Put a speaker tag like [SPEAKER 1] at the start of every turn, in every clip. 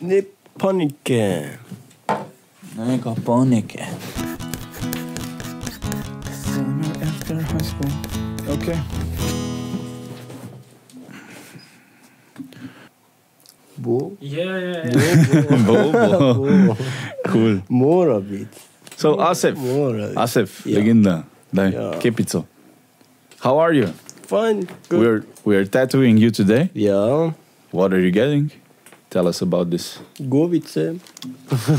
[SPEAKER 1] Ne panikkeen.
[SPEAKER 2] Aika panike. Summer after high school. Okay.
[SPEAKER 1] Bo.
[SPEAKER 3] Yeah, yeah,
[SPEAKER 2] Bobo. cool.
[SPEAKER 1] More of it.
[SPEAKER 2] So Asif,
[SPEAKER 1] More of it.
[SPEAKER 2] Asif,
[SPEAKER 1] Yeah.
[SPEAKER 2] legenda. Dai,
[SPEAKER 1] Yeah.
[SPEAKER 2] Kepitso. How are you?
[SPEAKER 1] Fine. Good.
[SPEAKER 2] We're we're tattooing you today.
[SPEAKER 1] Yeah.
[SPEAKER 2] What are you getting? Tell us about this.
[SPEAKER 1] Govice.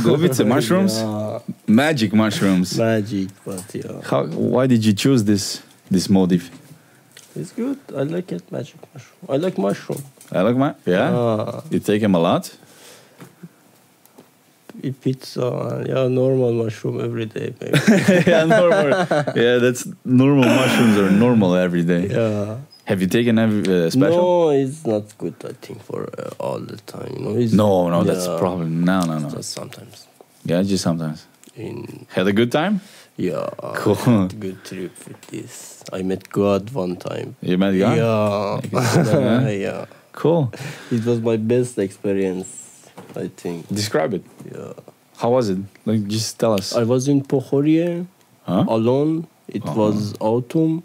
[SPEAKER 2] Govice mushrooms,
[SPEAKER 1] Yeah.
[SPEAKER 2] magic mushrooms.
[SPEAKER 1] Magic, but yeah.
[SPEAKER 2] How? Why did you choose this this motif?
[SPEAKER 1] It's good. I like it, magic mushroom. I like mushroom.
[SPEAKER 2] I like my yeah.
[SPEAKER 1] Ah,
[SPEAKER 2] you take them a lot.
[SPEAKER 1] eat pizza. Yeah, normal mushroom every day, maybe.
[SPEAKER 2] yeah, normal. yeah, that's normal. Mushrooms are normal every day.
[SPEAKER 1] yeah.
[SPEAKER 2] Have you taken every uh, special?
[SPEAKER 1] No, it's not good. I think for uh, all the time. You know, it's
[SPEAKER 2] no, no, that's a
[SPEAKER 1] Yeah.
[SPEAKER 2] problem. No, no, no.
[SPEAKER 1] Just sometimes.
[SPEAKER 2] Yeah, just sometimes.
[SPEAKER 1] In
[SPEAKER 2] Had a good time?
[SPEAKER 1] yeah,
[SPEAKER 2] Cool.
[SPEAKER 1] I had a good trip with this. I met God one time.
[SPEAKER 2] You met God?
[SPEAKER 1] Yeah,
[SPEAKER 2] I can see that, huh?
[SPEAKER 1] yeah.
[SPEAKER 2] Cool.
[SPEAKER 1] It was my best experience, I think.
[SPEAKER 2] Describe it.
[SPEAKER 1] Yeah,
[SPEAKER 2] How was it? Like, just tell us.
[SPEAKER 1] I was in Pohorye
[SPEAKER 2] huh?
[SPEAKER 1] alone. It
[SPEAKER 2] Uh-huh.
[SPEAKER 1] was autumn.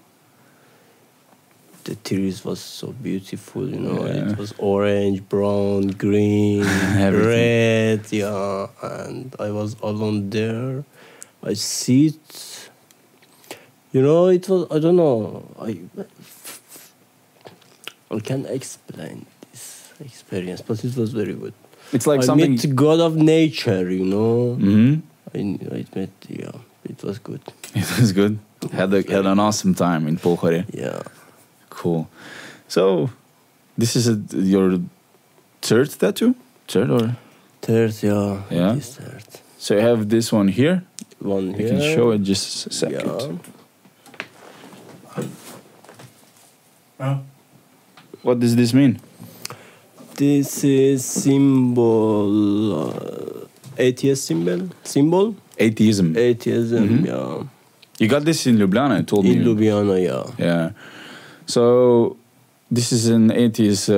[SPEAKER 1] The trees was so beautiful, you know.
[SPEAKER 2] Yeah.
[SPEAKER 1] It was orange, brown, green,
[SPEAKER 2] Everything.
[SPEAKER 1] red. Yeah, and I was alone there. I sit. You know, it was. I don't know. I. I can explain this experience, but it was very good.
[SPEAKER 2] It's like
[SPEAKER 1] I
[SPEAKER 2] something.
[SPEAKER 1] met God of nature, you know.
[SPEAKER 2] hmm
[SPEAKER 1] I, I met, yeah, it was good.
[SPEAKER 2] It was good. Had a, had an awesome time in Polkhore.
[SPEAKER 1] Yeah,
[SPEAKER 2] Cool. So, this is a, your third tattoo? Third or?
[SPEAKER 1] third, yeah,
[SPEAKER 2] Yeah?
[SPEAKER 1] it is third.
[SPEAKER 2] So you have this one here.
[SPEAKER 1] One
[SPEAKER 2] You
[SPEAKER 1] here.
[SPEAKER 2] can show it just a second.
[SPEAKER 1] Yeah.
[SPEAKER 2] What does this mean?
[SPEAKER 1] This is symbol, uh, atheist symbol, symbol,
[SPEAKER 2] Atheism.
[SPEAKER 1] atheism.
[SPEAKER 2] Mhm.
[SPEAKER 1] Yeah,
[SPEAKER 2] you got this in Ljubljana, you told me.
[SPEAKER 1] in Ljubljana, yeah.
[SPEAKER 2] Yeah. So this is an 80s uh,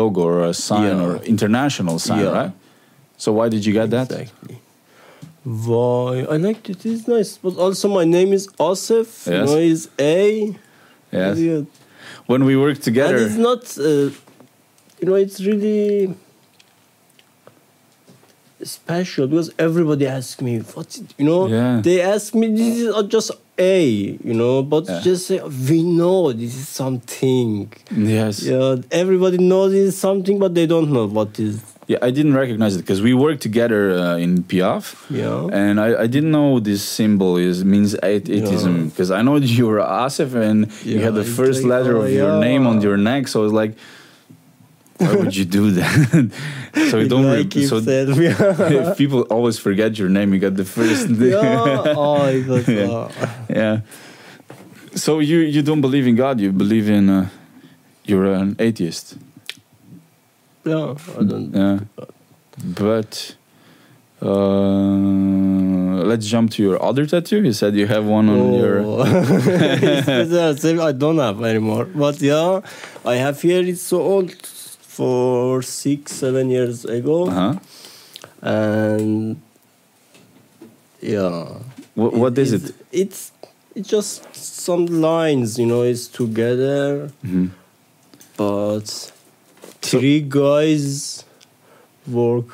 [SPEAKER 2] logo or a sign
[SPEAKER 1] Yeah.
[SPEAKER 2] or international sign,
[SPEAKER 1] Yeah.
[SPEAKER 2] right? So why did you get that?
[SPEAKER 1] Exactly. Why? I liked it. It's nice. But also, my name is Asif.
[SPEAKER 2] Yes.
[SPEAKER 1] No, is A.
[SPEAKER 2] Yes.
[SPEAKER 1] Yeah.
[SPEAKER 2] When we worked
[SPEAKER 1] And it's
[SPEAKER 2] together,
[SPEAKER 1] not, uh, you know, it's really special because everybody asks me, what, you know,
[SPEAKER 2] Yeah.
[SPEAKER 1] they ask me, this is not just A, you know, but
[SPEAKER 2] Yeah.
[SPEAKER 1] just say, we know this is something.
[SPEAKER 2] yes, yeah.
[SPEAKER 1] Yeah, everybody knows this is something, but they don't know what is,
[SPEAKER 2] I didn't recognize it because we worked together uh, in Piaf,
[SPEAKER 1] Yeah.
[SPEAKER 2] and I, I didn't know this symbol is means ath- atheism because I know you were Asif and you
[SPEAKER 1] Yeah,
[SPEAKER 2] had the
[SPEAKER 1] it's
[SPEAKER 2] first
[SPEAKER 1] like,
[SPEAKER 2] letter
[SPEAKER 1] oh,
[SPEAKER 2] of your name on
[SPEAKER 1] yeah.
[SPEAKER 2] your neck, so I was like, why would you do that? so you don't.
[SPEAKER 1] like
[SPEAKER 2] re-
[SPEAKER 1] you
[SPEAKER 2] so
[SPEAKER 1] said. yeah,
[SPEAKER 2] if people always forget your name, you got the first.
[SPEAKER 1] oh, it was,
[SPEAKER 2] Yeah.
[SPEAKER 1] uh,
[SPEAKER 2] yeah. So you you don't believe in God. You believe in uh, you're an atheist.
[SPEAKER 1] yeah, I don't,
[SPEAKER 2] Yeah. But uh, let's jump to your other tattoo. You said you have one on your.
[SPEAKER 1] Oh. It's better, same, I don't have anymore. But yeah, I have here. It's so old, for six, seven years ago,
[SPEAKER 2] Uh-huh.
[SPEAKER 1] and yeah.
[SPEAKER 2] What, what is it?
[SPEAKER 1] It's it's just some lines, you know. It's together,
[SPEAKER 2] Mhm.
[SPEAKER 1] but three guys work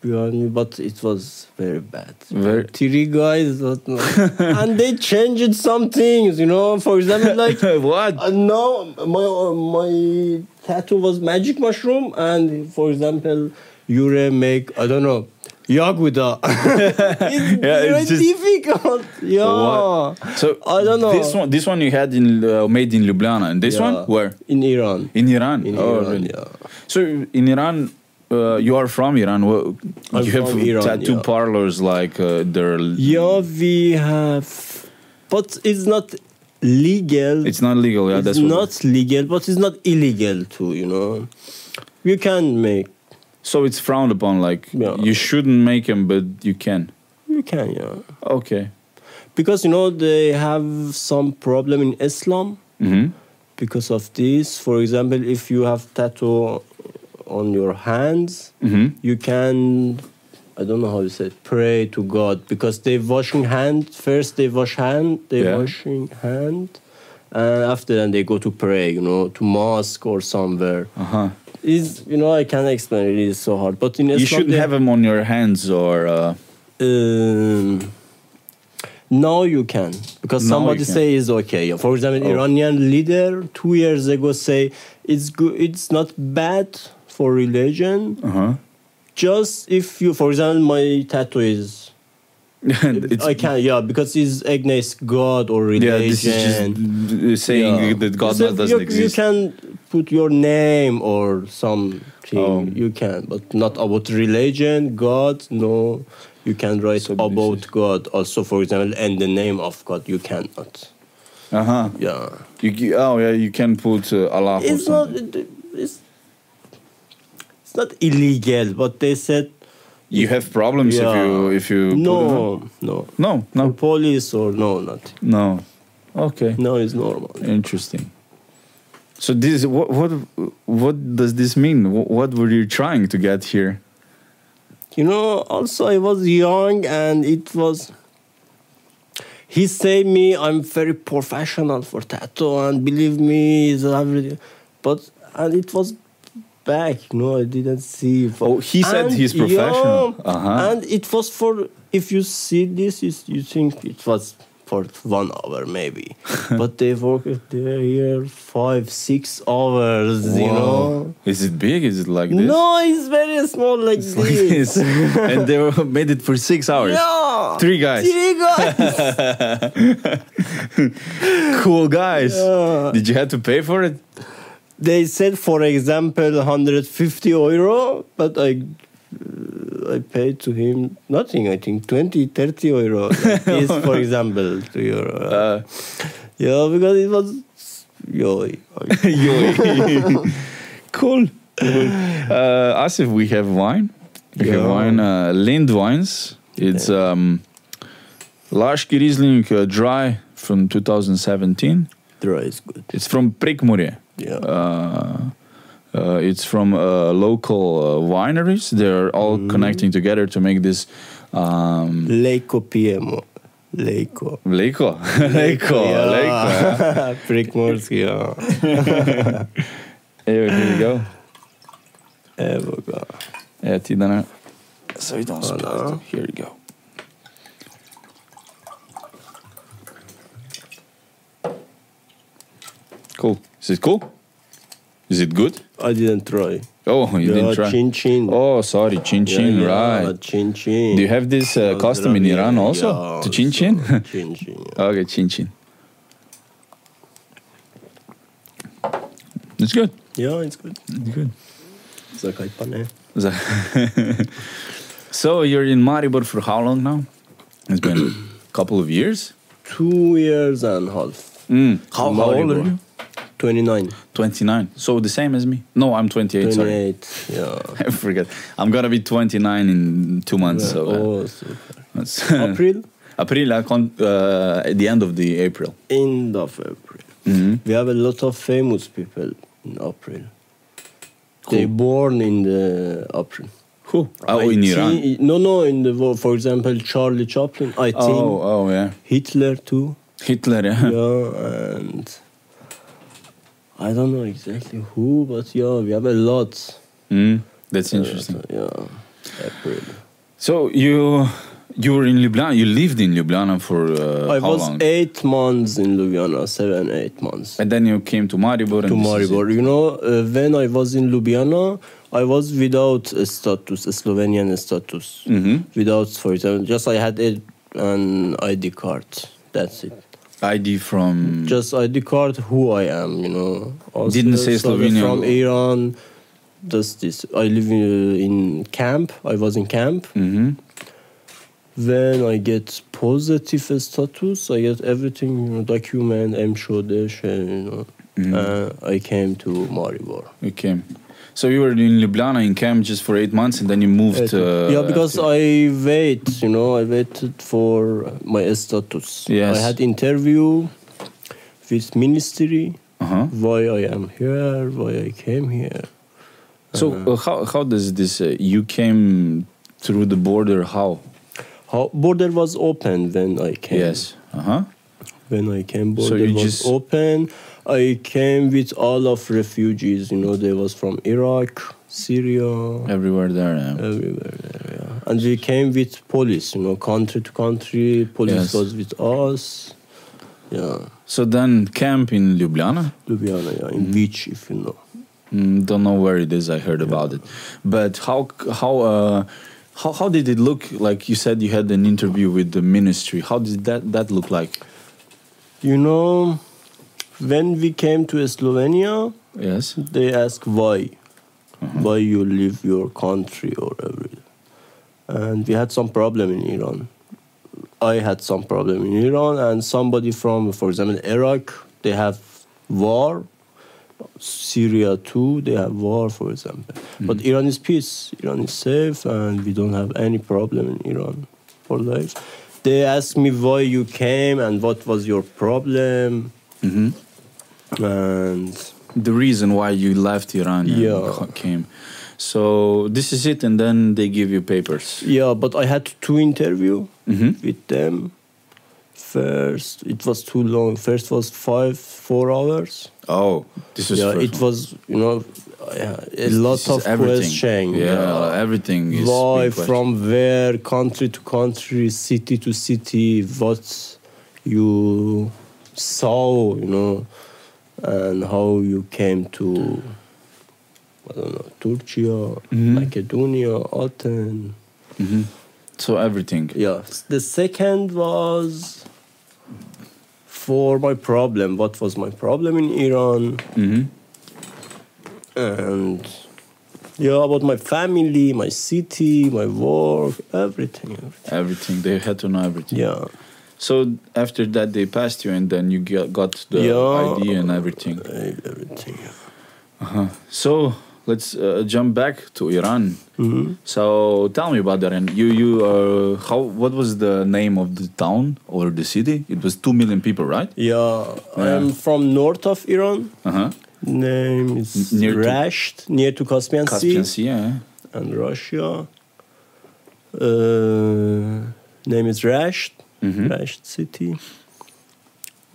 [SPEAKER 1] behind me, but it was very bad.
[SPEAKER 2] Very-
[SPEAKER 1] Three guys, but no. and they changed some things, you know. For example, like
[SPEAKER 2] what?
[SPEAKER 1] uh, no, my uh, my tattoo was magic mushroom, and for example, Yure make I don't know. Yaguda. it's
[SPEAKER 2] Yeah,
[SPEAKER 1] very
[SPEAKER 2] it's just-
[SPEAKER 1] difficult. Yeah.
[SPEAKER 2] What? So
[SPEAKER 1] I don't know.
[SPEAKER 2] This one, this one you had in uh, made in Ljubljana, and this
[SPEAKER 1] Yeah.
[SPEAKER 2] one where
[SPEAKER 1] In Iran.
[SPEAKER 2] in Iran.
[SPEAKER 1] In
[SPEAKER 2] oh,
[SPEAKER 1] Iran,
[SPEAKER 2] really?
[SPEAKER 1] yeah.
[SPEAKER 2] So in Iran, uh, you are from Iran. Well,
[SPEAKER 1] I'm
[SPEAKER 2] you have
[SPEAKER 1] from Iran,
[SPEAKER 2] tattoo
[SPEAKER 1] yeah.
[SPEAKER 2] parlors like uh, they're.
[SPEAKER 1] Yeah, we have. But it's not legal.
[SPEAKER 2] It's not legal. Yeah,
[SPEAKER 1] it's
[SPEAKER 2] that's
[SPEAKER 1] not
[SPEAKER 2] What,
[SPEAKER 1] legal, but it's not illegal too, you know. You can make.
[SPEAKER 2] so it's frowned upon. Like
[SPEAKER 1] Yeah.
[SPEAKER 2] you shouldn't make them, but you can.
[SPEAKER 1] You can, yeah.
[SPEAKER 2] Okay.
[SPEAKER 1] Because, you know, they have some problem in Islam.
[SPEAKER 2] hmm
[SPEAKER 1] because of this. For example, if you have tattoo on your hands,
[SPEAKER 2] Mhm.
[SPEAKER 1] you can I don't know how you say it, pray to God because they washing hand first they wash hand they
[SPEAKER 2] Yeah.
[SPEAKER 1] washing hand and after then they go to pray you know to mosque or somewhere
[SPEAKER 2] Uh huh.
[SPEAKER 1] is you know I can't explain it is so hard but in Islam
[SPEAKER 2] you should
[SPEAKER 1] they-
[SPEAKER 2] have them on your hands or. Uh,
[SPEAKER 1] um, now you can because
[SPEAKER 2] Now
[SPEAKER 1] somebody
[SPEAKER 2] you can.
[SPEAKER 1] say it's okay. For example,
[SPEAKER 2] Oh.
[SPEAKER 1] Iranian leader two years ago say it's good, it's not bad for religion.
[SPEAKER 2] uh-huh.
[SPEAKER 1] Just if you, for example, my tattoo is
[SPEAKER 2] It's-
[SPEAKER 1] I can yeah because it's against God or religion.
[SPEAKER 2] Yeah, this is just uh, saying
[SPEAKER 1] Yeah.
[SPEAKER 2] that God
[SPEAKER 1] So
[SPEAKER 2] not- doesn't
[SPEAKER 1] you,
[SPEAKER 2] exist.
[SPEAKER 1] You can put your name or something.
[SPEAKER 2] Oh.
[SPEAKER 1] You can, but not about religion, God. No, you can write
[SPEAKER 2] So this
[SPEAKER 1] about
[SPEAKER 2] is-
[SPEAKER 1] God. Also, for example, and the name of God. You cannot.
[SPEAKER 2] Uh huh.
[SPEAKER 1] Yeah,
[SPEAKER 2] You, you, oh yeah, you can put uh, Allah or
[SPEAKER 1] it's not.
[SPEAKER 2] something.
[SPEAKER 1] it- It's, it's not illegal, but they said.
[SPEAKER 2] you have problems if
[SPEAKER 1] Yeah.
[SPEAKER 2] you if you. put it on.
[SPEAKER 1] no, no,
[SPEAKER 2] No.
[SPEAKER 1] no,
[SPEAKER 2] No.
[SPEAKER 1] police or no, nothing.
[SPEAKER 2] No. Okay.
[SPEAKER 1] No, it's normal.
[SPEAKER 2] Interesting. So this what what what does this mean? Wh- What were you trying to get here?
[SPEAKER 1] You know, also I was young and it was. He say me I'm very professional for tattoo and believe me is everything, but and it was back. No, I didn't see.
[SPEAKER 2] Oh, he said he's professional.
[SPEAKER 1] yeah,
[SPEAKER 2] Uh-huh.
[SPEAKER 1] And it was for if you see this, is you think it was for one hour maybe, but they work there here five six hours. You know.
[SPEAKER 2] Whoa. Is it big? Is it like this?
[SPEAKER 1] No, it's very small like
[SPEAKER 2] It's
[SPEAKER 1] this.
[SPEAKER 2] like this. and they were- made it for six hours.
[SPEAKER 1] Yeah.
[SPEAKER 2] Three guys.
[SPEAKER 1] Three guys.
[SPEAKER 2] Cool guys.
[SPEAKER 1] Yeah.
[SPEAKER 2] Did you have to pay for it?
[SPEAKER 1] they said, for example, 150 euro, but I, uh, I paid to him nothing. I think 20, 30 euro like this, for example, two euro.
[SPEAKER 2] Uh,
[SPEAKER 1] yeah, because it was. Yo, I-
[SPEAKER 2] Yo. cool. Uh, Asif, we have wine. We have
[SPEAKER 1] Yeah.
[SPEAKER 2] wine, uh, Lind wines. It's um, Lars Riesling uh, dry from 2017.
[SPEAKER 1] dry is good.
[SPEAKER 2] It's from Prikmurje.
[SPEAKER 1] Yeah.
[SPEAKER 2] Uh, uh, it's from uh, local uh, wineries. They're all
[SPEAKER 1] Mm-hmm.
[SPEAKER 2] connecting together to make this. Um,
[SPEAKER 1] Leico Piemo. Leico.
[SPEAKER 2] Leiko, Leiko, Leiko.
[SPEAKER 1] yeah. Prickmorski, yeah.
[SPEAKER 2] Here, here you go.
[SPEAKER 1] Evo ga.
[SPEAKER 2] Yeah, ti da ne. So you don't
[SPEAKER 1] Voilà.
[SPEAKER 2] spill it. Here you go. Cool. Is it cool? Is it good?
[SPEAKER 1] I didn't try.
[SPEAKER 2] Oh, you
[SPEAKER 1] yeah,
[SPEAKER 2] didn't try.
[SPEAKER 1] Chin chin.
[SPEAKER 2] Oh, sorry, chin
[SPEAKER 1] Yeah,
[SPEAKER 2] chin,
[SPEAKER 1] yeah,
[SPEAKER 2] right.
[SPEAKER 1] Chin chin.
[SPEAKER 2] Do you have this uh,
[SPEAKER 1] Those
[SPEAKER 2] custom in
[SPEAKER 1] Iranian-
[SPEAKER 2] Iran also?
[SPEAKER 1] yeah,
[SPEAKER 2] to chin chin?
[SPEAKER 1] so chin chin. yeah.
[SPEAKER 2] okay, chin chin. It's good.
[SPEAKER 1] Yeah, it's good.
[SPEAKER 2] It's good.
[SPEAKER 1] It's like eh? Ipane.
[SPEAKER 2] So- so you're in Maribor for how long now? It's been a couple of years.
[SPEAKER 1] Two years and a half.
[SPEAKER 2] Mm.
[SPEAKER 1] How- how old are you? 29,
[SPEAKER 2] 29. So the same as me. No, I'm 28. Sorry.
[SPEAKER 1] 28. Yeah.
[SPEAKER 2] I forget. I'm gonna be 29 in two months. So uh,
[SPEAKER 1] oh, super.
[SPEAKER 2] that's-
[SPEAKER 1] April?
[SPEAKER 2] April, I con- uh, at the end of the April.
[SPEAKER 1] End of April.
[SPEAKER 2] Mhm.
[SPEAKER 1] We have a lot of famous people in April. They
[SPEAKER 2] Who?
[SPEAKER 1] born in the April.
[SPEAKER 2] Who? Oh,
[SPEAKER 1] I
[SPEAKER 2] in
[SPEAKER 1] thi-
[SPEAKER 2] Iran.
[SPEAKER 1] No, no, in the war. For example, Charlie Chaplin. I think
[SPEAKER 2] Oh, oh yeah.
[SPEAKER 1] Hitler too.
[SPEAKER 2] Hitler. Yeah.
[SPEAKER 1] yeah, and I don't know exactly who, but yeah, we have a lot.
[SPEAKER 2] Mm. That's interesting.
[SPEAKER 1] Uh, yeah, April.
[SPEAKER 2] So you you were in Ljubljana. You lived in Ljubljana for uh,
[SPEAKER 1] I
[SPEAKER 2] how
[SPEAKER 1] was
[SPEAKER 2] long?
[SPEAKER 1] eight months in Ljubljana, seven, eight months.
[SPEAKER 2] And then you came to Maribor. And
[SPEAKER 1] to
[SPEAKER 2] this is it.
[SPEAKER 1] Maribor. You know, uh, when I was in Ljubljana, I was without a status, a Slovenian status.
[SPEAKER 2] Mhm.
[SPEAKER 1] Without, for example, just I had a, an ID card. That's it.
[SPEAKER 2] ID from.
[SPEAKER 1] just ID card who I am, you know. Also
[SPEAKER 2] Didn't say
[SPEAKER 1] somebody
[SPEAKER 2] Slovenian.
[SPEAKER 1] From Iran, just this. I live in, in camp. I was in camp.
[SPEAKER 2] Mhm.
[SPEAKER 1] Then I get positive status. I get everything, you know, document, M Shodesh, you know.
[SPEAKER 2] Mm.
[SPEAKER 1] Uh, I came to Maribor.
[SPEAKER 2] You came. So you were in Ljubljana in camp just for eight months, and then you moved. Uh,
[SPEAKER 1] yeah, because
[SPEAKER 2] after-
[SPEAKER 1] I wait, you know, I waited for my status.
[SPEAKER 2] Yes.
[SPEAKER 1] I had interview with ministry.
[SPEAKER 2] Uh-huh.
[SPEAKER 1] why I am here, why I came here.
[SPEAKER 2] So uh, how how does this? Uh, you came through the border? How?
[SPEAKER 1] How border was open when I came.
[SPEAKER 2] Yes. Uh huh.
[SPEAKER 1] When I came,
[SPEAKER 2] So
[SPEAKER 1] border
[SPEAKER 2] you
[SPEAKER 1] was
[SPEAKER 2] just-
[SPEAKER 1] open. I came with all of refugees. You know, they was from Iraq, Syria,
[SPEAKER 2] Everywhere there. Yeah.
[SPEAKER 1] everywhere. there, yeah. And we came with police. You know, country to country. Police
[SPEAKER 2] Yes.
[SPEAKER 1] was with us. Yeah,
[SPEAKER 2] So then camp in Ljubljana.
[SPEAKER 1] Ljubljana, yeah, in which if you know.
[SPEAKER 2] Mm, don't know where it is. I heard about it, but how how uh, how how did it look? Like you said, you had an interview with the ministry. How did that that look like?
[SPEAKER 1] You know, when we came to Slovenia,
[SPEAKER 2] Yes.
[SPEAKER 1] they ask why, why you leave your country or everything. And we had some problem in Iran. I had some problem in Iran, and somebody from, for example, Iraq, they have war. Syria too, they have war, for example. But Iran is peace. Iran is safe, and we don't have any problem in Iran for life. They asked me why you came and what was your problem,
[SPEAKER 2] hmm
[SPEAKER 1] and
[SPEAKER 2] The reason why you left Iran and
[SPEAKER 1] Yeah.
[SPEAKER 2] co- came. So this is it, and then they give you papers.
[SPEAKER 1] Yeah, but I had two interview
[SPEAKER 2] hmm
[SPEAKER 1] with them. First, it was too long. First was five, four hours.
[SPEAKER 2] Oh, this is
[SPEAKER 1] yeah,
[SPEAKER 2] first
[SPEAKER 1] it
[SPEAKER 2] one.
[SPEAKER 1] was you know yeah, a
[SPEAKER 2] This-
[SPEAKER 1] lot
[SPEAKER 2] this is
[SPEAKER 1] of question.
[SPEAKER 2] Yeah, everything is. big
[SPEAKER 1] Why,
[SPEAKER 2] question.
[SPEAKER 1] from where, country to country, city to city, what you saw, you know, and how you came to, I don't know, Turkey,
[SPEAKER 2] Mhm.
[SPEAKER 1] Macedonia, Athens.
[SPEAKER 2] Mhm. So everything.
[SPEAKER 1] Yeah. The second was for my problem. What was my problem in Iran?
[SPEAKER 2] hmm
[SPEAKER 1] And yeah, about my family, my city, my work, everything. everything.
[SPEAKER 2] Everything. They had to know everything.
[SPEAKER 1] Yeah.
[SPEAKER 2] So after that, they passed you, and then you get, got the
[SPEAKER 1] Yeah.
[SPEAKER 2] ID and everything.
[SPEAKER 1] eh, Everything.
[SPEAKER 2] Uh-huh. So let's uh, jump back to Iran.
[SPEAKER 1] Mhm.
[SPEAKER 2] So tell me about that. And you, you, uh, how? What was the name of the town or the city? It was two million people, right?
[SPEAKER 1] Yeah. I'm
[SPEAKER 2] Yeah.
[SPEAKER 1] from north of Iran.
[SPEAKER 2] Uh huh.
[SPEAKER 1] Name is
[SPEAKER 2] N- near to-
[SPEAKER 1] Rasht, near to Caspian,
[SPEAKER 2] Caspian
[SPEAKER 1] Sea
[SPEAKER 2] Sea. Yeah.
[SPEAKER 1] and Russia. Uh, name is Rasht.
[SPEAKER 2] Mhm.
[SPEAKER 1] Rasht City.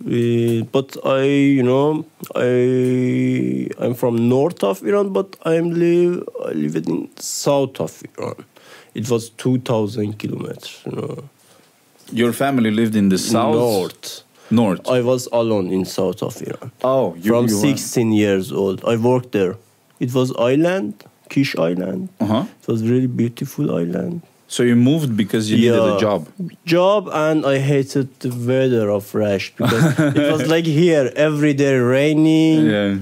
[SPEAKER 1] Uh, but I, you know, I I'm from north of Iran, but I'm live I live in south of Iran. It was two thousand kilometers, you know,
[SPEAKER 2] Your family lived in the south.
[SPEAKER 1] north.
[SPEAKER 2] North.
[SPEAKER 1] I was alone in south of Iran
[SPEAKER 2] oh, you,
[SPEAKER 1] from
[SPEAKER 2] you were-
[SPEAKER 1] 16 years old. I worked there. It was island, Kish Island.
[SPEAKER 2] Uh-huh.
[SPEAKER 1] It was really beautiful island.
[SPEAKER 2] So you moved because you needed
[SPEAKER 1] Yeah.
[SPEAKER 2] a job.
[SPEAKER 1] job and I hated the weather of Rash because it was like here every day raining
[SPEAKER 2] Yeah.